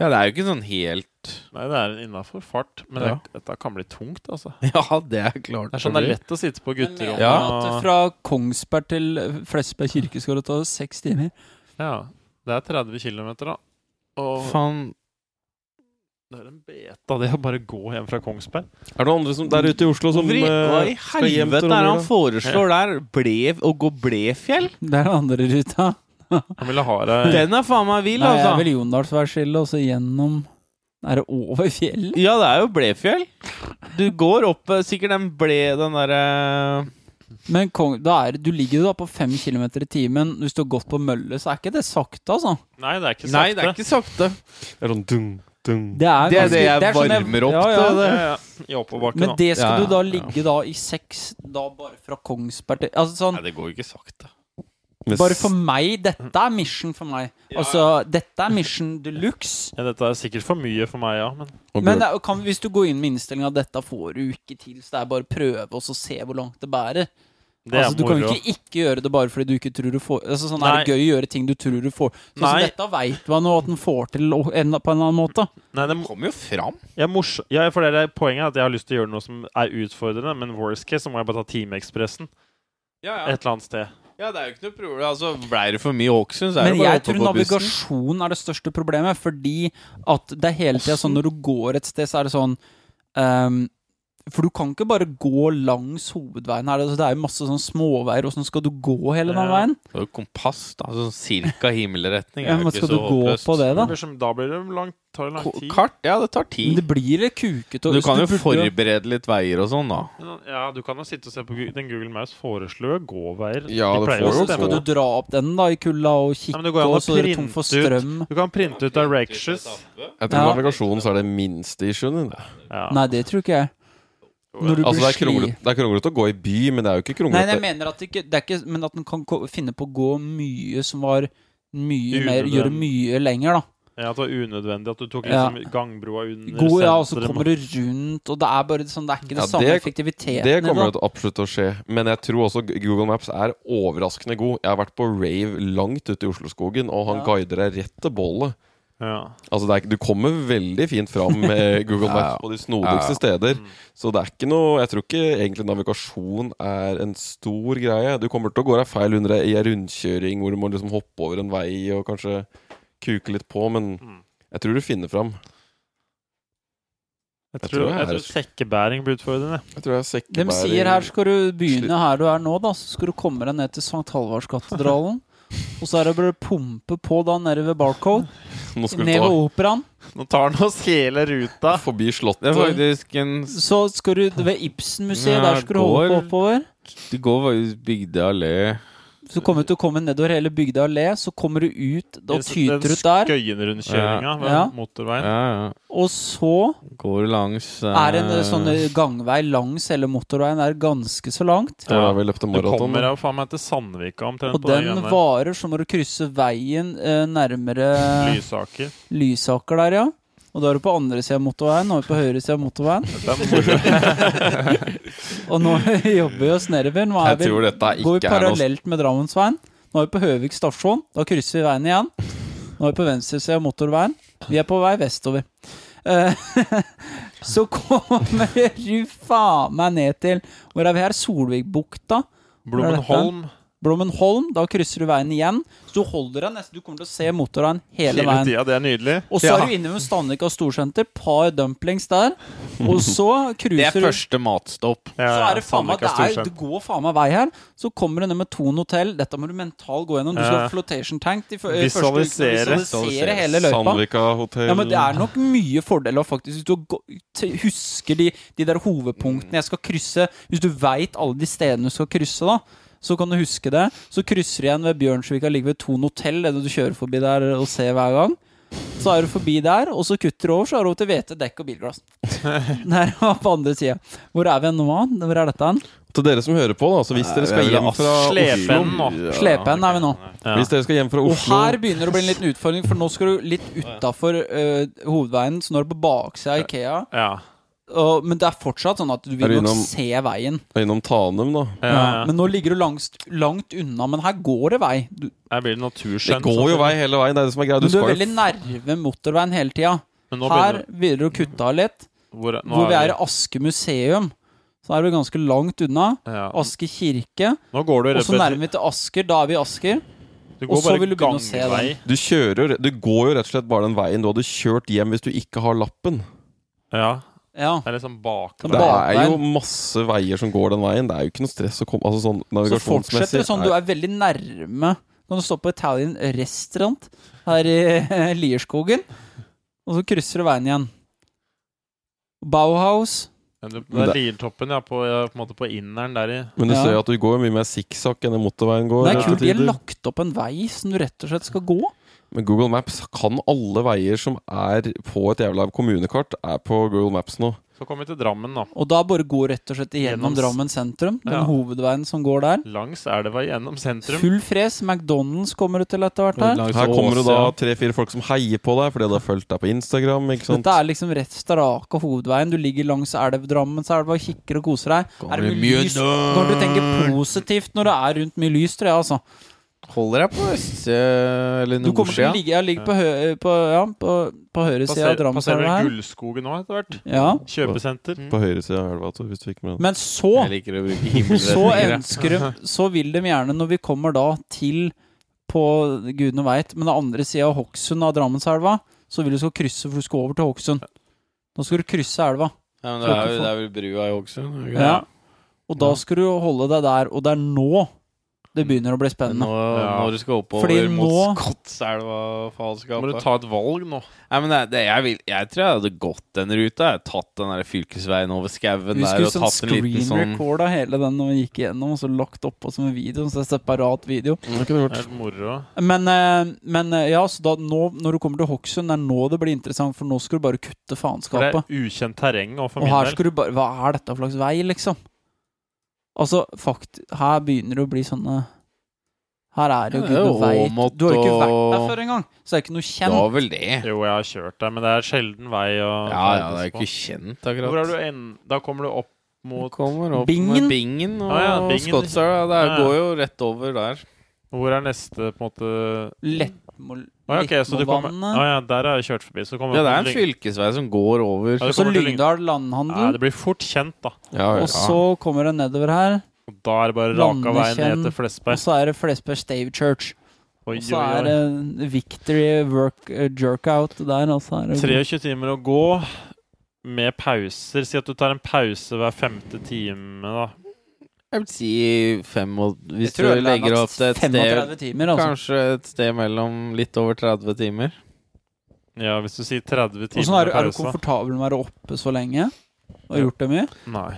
Speaker 1: Ja, det er jo ikke sånn helt
Speaker 4: Nei, det er innafor fart. Men
Speaker 1: Ja.
Speaker 4: det, dette kan bli tungt, altså.
Speaker 1: Ja, det er klart.
Speaker 4: Det er sånn det er lett å sitte på gutterommet.
Speaker 1: Ja.
Speaker 2: Men at
Speaker 4: og-
Speaker 2: Fra Kongsberg til Flesberg kirke skal det ta seks timer.
Speaker 4: ja. Det er 30 km, da. Og
Speaker 1: Faen.
Speaker 4: det er en beta, det å bare gå hjem fra Kongsberg.
Speaker 3: Er det noen andre som, der ute i Oslo som
Speaker 1: Hvorfor i- Hva i
Speaker 3: eh, skal hjem
Speaker 1: helvete
Speaker 3: til
Speaker 1: er det han
Speaker 3: Romula?
Speaker 1: foreslår der? Blev, å gå Blefjell?
Speaker 2: Det er den andre ruta.
Speaker 4: Han ville ha deg
Speaker 1: Den er faen meg vill,
Speaker 2: Nei, jeg er
Speaker 1: altså.
Speaker 2: vel Jondalsværskillet, og så gjennom Er det over fjellet?
Speaker 1: Ja, det er jo Blefjell. Du går opp eh, sikkert den ble... Den eh, derre
Speaker 2: Men Kong, da er, det- du ligger jo da på fem kilometer i timen. Hvis du har gått på mølle, så er ikke det sakte, altså.
Speaker 4: Nei, det er ikke
Speaker 1: Nei, det
Speaker 4: sakte.
Speaker 1: er ikke sakte.
Speaker 3: Det er sånn dung, dung.
Speaker 2: Det er,
Speaker 1: Det er
Speaker 2: ganske-
Speaker 1: det jeg
Speaker 2: er sånn
Speaker 1: varmer opp
Speaker 2: ja, ja.
Speaker 1: til, det.
Speaker 4: Ja, ja. I oppoverbakken,
Speaker 2: Men
Speaker 4: da.
Speaker 2: det skal
Speaker 1: Ja, ja,
Speaker 2: du da
Speaker 1: ja.
Speaker 2: ligge da i seks, da bare fra Kongsberg til Altså sånn
Speaker 1: det går jo ikke sakte.
Speaker 3: Med
Speaker 2: Bare for meg, dette er mission for meg. Altså, dette er mission de luxe.
Speaker 4: Ja, dette er sikkert for mye for meg, ja. Men
Speaker 3: s- og
Speaker 2: Men
Speaker 3: bjørn.
Speaker 2: det er- kan, hvis du går inn med innstillinga at dette får du ikke til, så det er bare å prøve og så se hvor langt det bærer
Speaker 4: det
Speaker 2: altså, Du
Speaker 4: er moro.
Speaker 2: kan jo ikke ikke gjøre det bare fordi du ikke tror du får altså, sånn, Er det
Speaker 4: Nei.
Speaker 2: gøy å gjøre ting du tror du får Sånn som
Speaker 4: Nei.
Speaker 2: dette veit man jo at den får til og- en- på en eller annen måte.
Speaker 4: Nei, det,
Speaker 1: Kommer jo fram.
Speaker 4: jeg er mors ja, for det er poenget er at jeg har lyst til å gjøre noe som er utfordrende, men worst case så må jeg bare ta Timeekspressen
Speaker 1: Ja,
Speaker 4: et eller annet sted.
Speaker 1: Ja, det er jo ikke noe problem. Altså, Blei det for mye Hokksund, så er
Speaker 2: Men
Speaker 1: det bare
Speaker 2: jeg
Speaker 1: å
Speaker 2: tror
Speaker 1: hoppe på bussen.
Speaker 2: navigasjon er det største problemet, fordi at det er hele tida sånn når du går et sted, så er det sånn ehm, For du kan ikke bare gå langs hovedveien her. Altså, det er jo masse sånn småveier. Åssen skal du gå hele den
Speaker 4: Ja.
Speaker 2: veien?
Speaker 1: Det er jo kompass, da. Sånn cirka himmelretning. er
Speaker 2: Ja,
Speaker 1: jo
Speaker 2: men
Speaker 1: ikke
Speaker 2: skal
Speaker 1: så
Speaker 2: du gå
Speaker 1: håpløst.
Speaker 2: på det, da?
Speaker 4: Det blir som, da blir det langt, tar det lang
Speaker 1: Ko-
Speaker 4: tid.
Speaker 1: Kart? Ja, det tar
Speaker 2: Men
Speaker 1: tid.
Speaker 2: det blir litt kukete. og
Speaker 1: Du
Speaker 2: hvis
Speaker 1: kan jo
Speaker 2: burde-
Speaker 1: forberede litt veier og sånn, da.
Speaker 4: Men, Ja, du kan jo sitte og se på Gu- den Google Mouse foreslår gåveier.
Speaker 3: Ja,
Speaker 4: De
Speaker 3: det får
Speaker 4: pleier jo å
Speaker 2: Så
Speaker 3: jo
Speaker 2: skal
Speaker 4: stemme.
Speaker 2: du dra opp den da i kulda og kikke,
Speaker 4: men det går an å
Speaker 2: og så er det tom
Speaker 4: printe
Speaker 2: for
Speaker 4: ut.
Speaker 2: strøm.
Speaker 4: Du kan printe ut directions.
Speaker 3: Jeg tror
Speaker 2: Ja.
Speaker 3: navigasjon så er det minste issuen. din.
Speaker 4: Ja.
Speaker 2: Nei, det tror ikke jeg. Når du
Speaker 3: Altså, det
Speaker 2: blir
Speaker 3: er kronglete-
Speaker 2: sli...
Speaker 3: det er kronglete å gå i by, men det er jo ikke
Speaker 2: Nei, nei, jeg
Speaker 3: kronglete.
Speaker 2: mener at det ikke, det er ikke Men at den kan gå- finne på å gå mye som var mye
Speaker 4: Unødvendig.
Speaker 2: mer Gjøre mye lenger, da.
Speaker 4: Ja, det var unødvendig at du tok
Speaker 2: Ja.
Speaker 4: liksom gangbroa under
Speaker 2: Gå, ja, og så
Speaker 4: sentrum.
Speaker 2: kommer du rundt, og det er bare sånn Det er ikke det
Speaker 3: Ja,
Speaker 2: samme
Speaker 3: det-
Speaker 2: effektiviteten
Speaker 3: Det
Speaker 2: i
Speaker 3: kommer jo
Speaker 2: det.
Speaker 3: til absolutt til å skje. Men jeg tror også Google Maps er overraskende god. Jeg har vært på rave langt ute i Osloskogen, og han
Speaker 2: Ja.
Speaker 3: guider deg rett til bålet.
Speaker 4: Ja.
Speaker 3: Altså, det er, ikke- du kommer veldig fint fram med Google
Speaker 1: Ja,
Speaker 3: Maps
Speaker 1: ja.
Speaker 3: på de snodigste steder. Så det er ikke noe Jeg tror ikke egentlig navigasjon er en stor greie. Du kommer til å gå deg feil under ei ei rundkjøring hvor du må liksom hoppe over en vei og kanskje kuke litt på, men
Speaker 4: Mm.
Speaker 3: jeg tror du finner fram.
Speaker 4: Jeg
Speaker 3: Jeg
Speaker 4: tror,
Speaker 3: tror jeg
Speaker 4: jeg
Speaker 3: er-
Speaker 4: tror sekkebæring blir utfordrende.
Speaker 3: Jeg tror jeg er
Speaker 2: De
Speaker 3: sekkebærer
Speaker 2: sier her skal du begynne her du er nå, da. Så skal du komme deg ned til Sankt Halvardskatedralen. Og så er det bare å pumpe på da nede ved Barcode.
Speaker 3: Nå skal du
Speaker 2: Ned ved Operaen.
Speaker 4: Nå tar han oss hele ruta.
Speaker 3: ta forbi
Speaker 1: Det
Speaker 3: Slottet.
Speaker 1: er faktisk en
Speaker 2: Så skal du ved Ibsen-museet,
Speaker 1: Ja,
Speaker 2: der skal du holde på
Speaker 1: går.
Speaker 2: oppover.
Speaker 1: Du går faktisk Bygdøy allé
Speaker 2: Så kommer du til å komme nedover hele Bygdøy allé, så kommer du ut og tyter ut der.
Speaker 4: Skøyenrundkjøringa ved
Speaker 2: Ja.
Speaker 4: motorveien.
Speaker 1: Ja, ja.
Speaker 2: Og så
Speaker 1: Går langs eh,
Speaker 2: er en eh, sånn eh, gangvei langs hele motorveien er ganske så langt.
Speaker 3: Det var vel etter
Speaker 4: Du
Speaker 3: maraton.
Speaker 4: kommer
Speaker 3: da.
Speaker 4: jo faen meg til Sandvika omtrent.
Speaker 2: Og den
Speaker 4: greiene der.
Speaker 2: varer, så må du krysse veien eh, nærmere
Speaker 4: Lysaker.
Speaker 2: Lysaker der, ja. Og da er du på andre sida av motorveien, nå er du på høyre sida av motorveien.
Speaker 4: Det er moro.
Speaker 2: Og nå jobber vi oss nedover. Nå er
Speaker 3: Jeg
Speaker 2: vi,
Speaker 3: tror dette
Speaker 2: går vi
Speaker 3: ikke er noe
Speaker 2: parallelt med Drammensveien. Nå er vi på Høvik stasjon. Da krysser vi veien igjen. Nå er vi på venstre side av motorveien. Vi er på vei vestover. Eh, Så kommer du faen meg ned til Hvor er vi her? Solvikbukta.
Speaker 4: Blommenholm.
Speaker 2: Blommenholm. Da krysser du veien igjen. Så du holder deg nesten Du kommer til å se motorveien hele
Speaker 4: Hele
Speaker 2: veien.
Speaker 4: tida, det er nydelig.
Speaker 2: Og så er du inne ved Sandvika storsenter. Par dumplings der. Og så
Speaker 1: Det er
Speaker 2: cruiser du
Speaker 1: første matstopp.
Speaker 4: Ja,
Speaker 2: så
Speaker 4: ja,
Speaker 2: er det faen meg
Speaker 4: Sandvika
Speaker 2: det, er,
Speaker 4: Storsenter.
Speaker 2: det går faen meg vei her. Så kommer du ned med Thon hotell. Dette må du mental gå gjennom. Du skal
Speaker 4: Ja.
Speaker 2: ha flotation tank. De fø- første ukene.
Speaker 4: Visualisere.
Speaker 2: visualisere hele løypa.
Speaker 3: Sandvika hotell
Speaker 2: Ja, men Det er nok mye fordeler faktisk hvis du gå- t- husker de, de der hovedpunktene jeg skal krysse. Hvis du veit alle de stedene du skal krysse, da, så kan du huske det. Så krysser du igjen ved Bjørnsvika, ligger ved Thon hotell, det du kjører forbi der og ser hver gang. Så er du forbi der, og så kutter du over, så er du over til hvete, dekk og bilglass. Der var på andre sida. Hvor er vi nå? da? Hvor er dette hen?
Speaker 3: Til dere som hører på, da. Så hvis dere skal
Speaker 1: Jeg vil
Speaker 3: hjem
Speaker 1: ha
Speaker 3: fra Oslo
Speaker 4: Slepen nå.
Speaker 2: Slepen er vi nå.
Speaker 4: Ja.
Speaker 3: Hvis dere skal hjem fra
Speaker 2: Og
Speaker 3: Oslo
Speaker 2: her begynner det å bli en liten utfordring, for nå skal du litt utafor hovedveien. Så nå er du på baksida av Ikea.
Speaker 4: Ja.
Speaker 2: Og, men det er fortsatt sånn at du vil
Speaker 3: Er du
Speaker 2: nok
Speaker 3: innom-
Speaker 2: se veien.
Speaker 3: og innom Tanum, da
Speaker 4: Ja, ja.
Speaker 2: Men nå ligger du langt, langt unna, men her går det vei. Du,
Speaker 4: Her blir det
Speaker 3: Det
Speaker 4: naturskjønt.
Speaker 3: går jo vei hele veien. Det er det som er
Speaker 2: men
Speaker 3: greia. Du
Speaker 2: du er
Speaker 3: skal
Speaker 2: veldig
Speaker 3: jo
Speaker 2: nærme motorveien hele tida.
Speaker 4: Men nå
Speaker 2: Her
Speaker 4: begynner
Speaker 2: begynner du å kutte av litt.
Speaker 4: hvor, nå
Speaker 2: Hvor vi er i Aske museum, så er du ganske langt unna.
Speaker 4: ja.
Speaker 2: Aske kirke.
Speaker 4: Nå går du
Speaker 2: Og så
Speaker 4: rett
Speaker 2: nærmer vi til Asker. Da er vi i Asker.
Speaker 4: Du
Speaker 2: og
Speaker 4: går
Speaker 2: så
Speaker 4: bare
Speaker 2: vil du begynne å se
Speaker 4: gangvei.
Speaker 3: Du kjører jo re- Du går jo rett og slett bare den veien du hadde kjørt hjem hvis du ikke har lappen.
Speaker 4: Ja.
Speaker 2: Ja.
Speaker 4: Det er liksom bak
Speaker 2: Den
Speaker 3: Det er
Speaker 2: bakveien.
Speaker 3: jo masse veier som går den veien. Det er jo ikke noe stress å komme Altså sånn
Speaker 2: Så
Speaker 3: navigasjonsmessig
Speaker 2: fortsetter det sånn. Du er veldig nærme. Kan du stå på Italian Restaurant her i eh, Lierskogen, og så krysser du veien igjen. Bauhaus.
Speaker 4: Men du- Det
Speaker 3: Men
Speaker 4: er
Speaker 3: det-
Speaker 4: Liertoppen, ja. På, ja, på en måte på inneren der i
Speaker 3: Men du
Speaker 2: Ja.
Speaker 3: ser jo at du går jo mye mer sikksakk enn den motorveien går.
Speaker 2: Det er
Speaker 3: til
Speaker 2: kult. De har
Speaker 3: tider.
Speaker 2: lagt opp en vei som du rett og slett skal gå.
Speaker 3: Men Google Maps kan alle veier som er på et jævla kommunekart, er på Google Maps nå.
Speaker 4: Så kommer vi til Drammen, da.
Speaker 2: Og da bare gå rett og slett gjennom
Speaker 4: Gjennom s-
Speaker 2: Drammen sentrum. Den
Speaker 4: Ja.
Speaker 2: hovedveien som går der.
Speaker 4: Langs elva gjennom sentrum.
Speaker 2: Full fres. McDonald's kommer du til etter hvert her.
Speaker 3: Her kommer det da tre-fire folk som heier på deg fordi de har fulgt deg på Instagram. ikke sant?
Speaker 2: Dette er liksom rett strake hovedveien. Du ligger langs elv, Drammenselva, kikker og koser deg. Er det mye lys? Når du tenker positivt når det er rundt mye lys, tror jeg, altså.
Speaker 1: Holder deg på øst... Eller
Speaker 2: Du kommer til
Speaker 1: nordsida?
Speaker 2: å ligge, jeg ligger på, hø på, ja, på, på høyre side av
Speaker 4: Passer-
Speaker 2: Drammenselva
Speaker 4: Passerer du
Speaker 2: her.
Speaker 4: Gullskogen nå etter hvert?
Speaker 2: Ja.
Speaker 4: Kjøpesenter.
Speaker 3: På høyre side av elva. Tor, hvis du fikk med den.
Speaker 2: Men så
Speaker 1: Jeg liker å bruke
Speaker 2: Så
Speaker 1: himmelretninger.
Speaker 2: ønsker de Så vil de gjerne, når vi kommer da til På gudene veit, men den andre sida av Hokksund av Drammenselva, så vil du skal krysse, for du skal over til Hokksund. Da skal du krysse elva.
Speaker 1: Ja, men det er jo det er vel brua i Hokksund? er det ikke
Speaker 2: Ja. Og da skal du holde deg der, og det er nå det begynner å bli
Speaker 1: det? Nå,
Speaker 2: spennende.
Speaker 1: Når du skal oppover
Speaker 2: Fordi
Speaker 1: mot
Speaker 2: nå-
Speaker 1: Skotselva og
Speaker 4: Må du
Speaker 1: faenskapet
Speaker 4: ta et valg nå.
Speaker 1: Nei, men det, det, jeg, vil, jeg tror jeg hadde gått den ruta. Jeg hadde tatt den der fylkesveien over skauen
Speaker 2: Vi
Speaker 1: der
Speaker 2: skulle
Speaker 1: og
Speaker 2: sånn
Speaker 1: tatt en
Speaker 2: screen
Speaker 1: liten sånn
Speaker 2: record av hele den når vi gikk igjennom, og så lagt oppå som en video. Så det er separat video.
Speaker 3: Det kunne du
Speaker 4: Det er
Speaker 3: gjort.
Speaker 4: helt moro.
Speaker 2: Men, eh, men eh, ja, så da nå, når du kommer til Hokksund, det er nå det blir interessant, for nå skal du bare kutte
Speaker 4: For det
Speaker 2: faenskapet.
Speaker 4: er ukjent terreng og for
Speaker 2: Og
Speaker 4: min
Speaker 2: her
Speaker 4: del.
Speaker 2: skal du bare Hva er dette for slags vei, liksom? Altså, fakt, her begynner det å bli sånne Her er det
Speaker 1: Ja, det
Speaker 2: jo
Speaker 1: er
Speaker 2: gud
Speaker 1: jo
Speaker 2: og veit.
Speaker 1: Åmot
Speaker 2: Du har jo ikke vært der
Speaker 1: og-
Speaker 2: før engang, så det er ikke noe
Speaker 1: Det
Speaker 2: kjent.
Speaker 1: var vel det.
Speaker 4: Jo, jeg har kjørt der, men det er sjelden vei å
Speaker 1: Ja, ja, det er ikke kjent, akkurat.
Speaker 4: Hvor er du en... Da kommer du opp mot
Speaker 1: Kommer opp
Speaker 2: Bingen?
Speaker 1: med Bingen og
Speaker 4: Ah,
Speaker 1: ah,
Speaker 4: ja, Bingen.
Speaker 1: Det
Speaker 4: Ja, ja.
Speaker 1: går jo rett over der.
Speaker 4: Hvor er neste, på en måte
Speaker 2: Lettmo...
Speaker 4: Å ja, ok, så du kommer Å
Speaker 2: Lettmovannet.
Speaker 4: ja, der har jeg kjørt forbi. Så kommer
Speaker 1: Ja, det er en
Speaker 4: Lyng-
Speaker 1: fylkesvei som går over.
Speaker 4: Ja,
Speaker 2: Og så
Speaker 4: kommer til Lyng-
Speaker 2: Lyngdal
Speaker 4: Nei,
Speaker 2: landhandel.
Speaker 4: det blir fort kjent, da.
Speaker 3: Ja, ja.
Speaker 2: Og så kommer det nedover her,
Speaker 4: Og da er det bare raka veien
Speaker 2: Landekjenn.
Speaker 4: ned til
Speaker 2: og
Speaker 4: Flesberg.
Speaker 2: så er det Flesberg Stave Church.
Speaker 4: Oi,
Speaker 2: Og så
Speaker 4: oi,
Speaker 2: er
Speaker 4: oi.
Speaker 2: det Victory work, eh, Jerkout der, og så er det
Speaker 4: 23 timer å gå med pauser. Si at du tar en pause hver femte time, da.
Speaker 1: Jeg vil si fem og Hvis du
Speaker 2: tror det er
Speaker 1: legger opp til et sted
Speaker 2: 35 timer, altså.
Speaker 1: Kanskje et sted mellom litt over 30 timer.
Speaker 4: Ja, hvis du sier 30
Speaker 2: Og
Speaker 4: timer
Speaker 2: sånn er,
Speaker 4: med
Speaker 2: du- er du
Speaker 4: pause.
Speaker 2: komfortabel med å være oppe så lenge? Og har gjort det mye?
Speaker 4: Nei.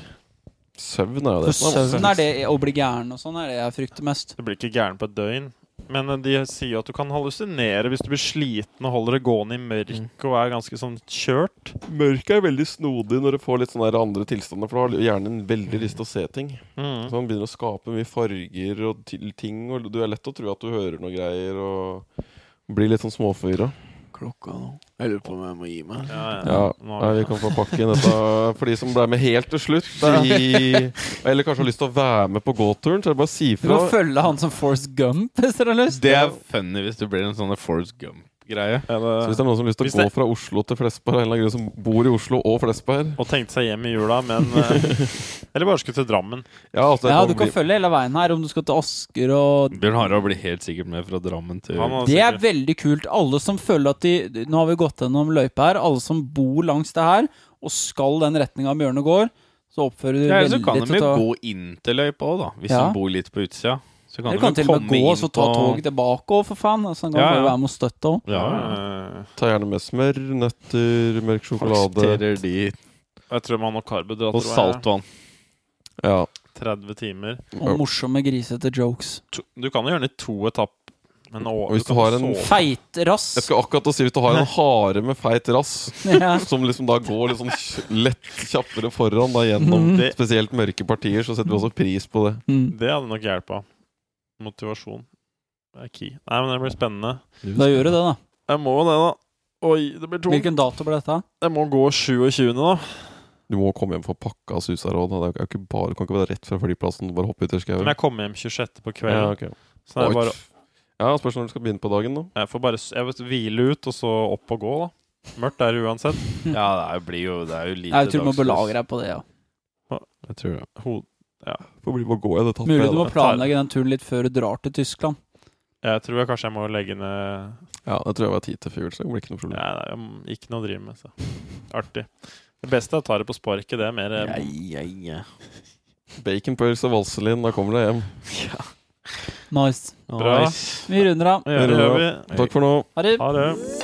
Speaker 3: Søvn er jo
Speaker 2: For
Speaker 3: det. som er
Speaker 2: søvn er det å bli gæren og sånn er det jeg frykter mest.
Speaker 4: Du blir ikke gæren på et døgn. Men eh, de sier jo at du kan hallusinere hvis du blir sliten og holder det gående i mørket og er ganske sånn kjørt.
Speaker 3: vanskelig. Mørket er veldig snodig når du får litt sånne her andre tilstander, for da har hjernen veldig lyst til å se ting.
Speaker 4: Mm.
Speaker 3: Så han begynner å skape mye farger og til ting, og du er lett å tro at du hører noe greier, og blir litt sånn småforvirra.
Speaker 5: Klokka nå. Jeg lurer på om jeg må gi meg.
Speaker 4: Ja, ja.
Speaker 3: Ja,
Speaker 4: Nå
Speaker 3: nei,
Speaker 4: har vi-
Speaker 3: vi kan få pakke inn dette for de som ble med helt til slutt. I, eller kanskje har lyst til å være med på gåturen, så er det bare å si
Speaker 2: Du må
Speaker 3: fra.
Speaker 2: følge han som Forrest Gump hvis dere har lyst.
Speaker 1: Det er funny hvis du blir en sånn Forrest Gump-greie.
Speaker 4: Er
Speaker 3: Så hvis
Speaker 4: det-
Speaker 3: det er noen som har lyst til
Speaker 4: Hvis
Speaker 3: å gå
Speaker 4: det-
Speaker 3: fra Oslo til Flesberg, av en eller annen grunn som bor i Oslo og Flesberg
Speaker 4: Og tenkte seg hjem i jula, men eh, Eller bare skulle til Drammen.
Speaker 3: Ja, altså, det
Speaker 2: Ja,
Speaker 3: kan
Speaker 2: du kan
Speaker 3: bli-
Speaker 2: følge hele veien her om du skal til Asker og
Speaker 1: Bjørn Harald blir helt sikkert med fra Drammen til
Speaker 4: Han har
Speaker 2: Det er
Speaker 4: sikkert-
Speaker 2: veldig kult. Alle som føler at de Nå har vi gått gjennom løypa her. Alle som bor langs det her, og skal den retninga Bjørne går, så oppfører du
Speaker 1: Ja, eller så
Speaker 2: veldig
Speaker 1: kan de
Speaker 2: til
Speaker 1: jo
Speaker 2: å ta-
Speaker 1: gå inn til løypa òg, da. Hvis
Speaker 2: Ja.
Speaker 1: de bor litt på utsida. Så
Speaker 2: Eller kan
Speaker 1: de
Speaker 2: til og med
Speaker 1: komme
Speaker 2: gå og
Speaker 1: inn
Speaker 2: så ta
Speaker 1: på-
Speaker 2: toget tilbake òg, for faen. Altså, han kan
Speaker 1: Ja,
Speaker 2: bare
Speaker 1: ja.
Speaker 2: være med og støtte òg.
Speaker 1: Ja, ja.
Speaker 4: Ja.
Speaker 3: Ta gjerne med smør, nøtter, mørk sjokolade
Speaker 1: Aksepterer de
Speaker 4: Jeg tror man har karbohydrater
Speaker 1: og saltvann.
Speaker 3: ja.
Speaker 4: hver 30 timer.
Speaker 2: Og morsomme, grisete jokes.
Speaker 4: To, du kan jo gjøre den i to etapper. Men å,
Speaker 3: Og hvis
Speaker 4: kan
Speaker 3: du har
Speaker 4: jo
Speaker 3: en-
Speaker 4: sove.
Speaker 2: Feitrass.
Speaker 3: Jeg skal akkurat å si hvis du har en hare med feit rass
Speaker 2: Ja.
Speaker 3: som liksom da går litt sånn kj- lett kjappere foran da gjennom
Speaker 4: Det-
Speaker 3: spesielt mørke partier, så setter vi også pris på det.
Speaker 2: Mm.
Speaker 4: Det hadde nok hjelpa. Motivasjon er key. Nei, men det blir spennende.
Speaker 2: Da gjør du det, da.
Speaker 4: Jeg må jo det, da. Oi, det blir tungt.
Speaker 2: Hvilken dato ble dette?
Speaker 4: Jeg må gå 27., da.
Speaker 3: Du må komme hjem for pakka av Susaråd. Det er jo ikke bare, du kan ikke være rett fra flyplassen og bare hoppe ut i skauen.
Speaker 4: Men jeg kommer hjem 26. på
Speaker 3: Ja,
Speaker 4: kvelden.
Speaker 3: ok.
Speaker 4: Så jeg,
Speaker 3: Oi.
Speaker 4: bare,
Speaker 3: ja, spørs når du skal begynne på dagen, da.
Speaker 4: jeg får bare s- jeg vet, hvile ut, og så opp og gå, da. Mørkt er det uansett.
Speaker 1: Ja, det er jo- blir jo Det er jo lite
Speaker 2: Jeg tror du må
Speaker 1: dagslys.
Speaker 2: belage deg på det, ja.
Speaker 1: Jeg tror det.
Speaker 4: Ho-
Speaker 3: Får bli med å gå igjen. Det tapper
Speaker 2: Mulig
Speaker 3: jeg,
Speaker 2: du
Speaker 3: da.
Speaker 2: må planlegge den turen litt før du drar til Tyskland.
Speaker 4: Jeg tror jeg kanskje jeg må legge ned
Speaker 3: Ja, det tror jeg var tid til fugl, så det blir ikke noe problem.
Speaker 4: Nei, det er jo ikke noe å drive med, så. Artig. Det beste er å ta det på sparket. Det er mer eh,
Speaker 3: Baconpølse og Valselin, da kommer du hjem.
Speaker 2: Nice.
Speaker 4: Bra.
Speaker 1: Nice.
Speaker 2: Vi runder av.
Speaker 4: Ja, det gjør vi.
Speaker 3: Takk for nå.
Speaker 2: Ha det.
Speaker 4: Ha det.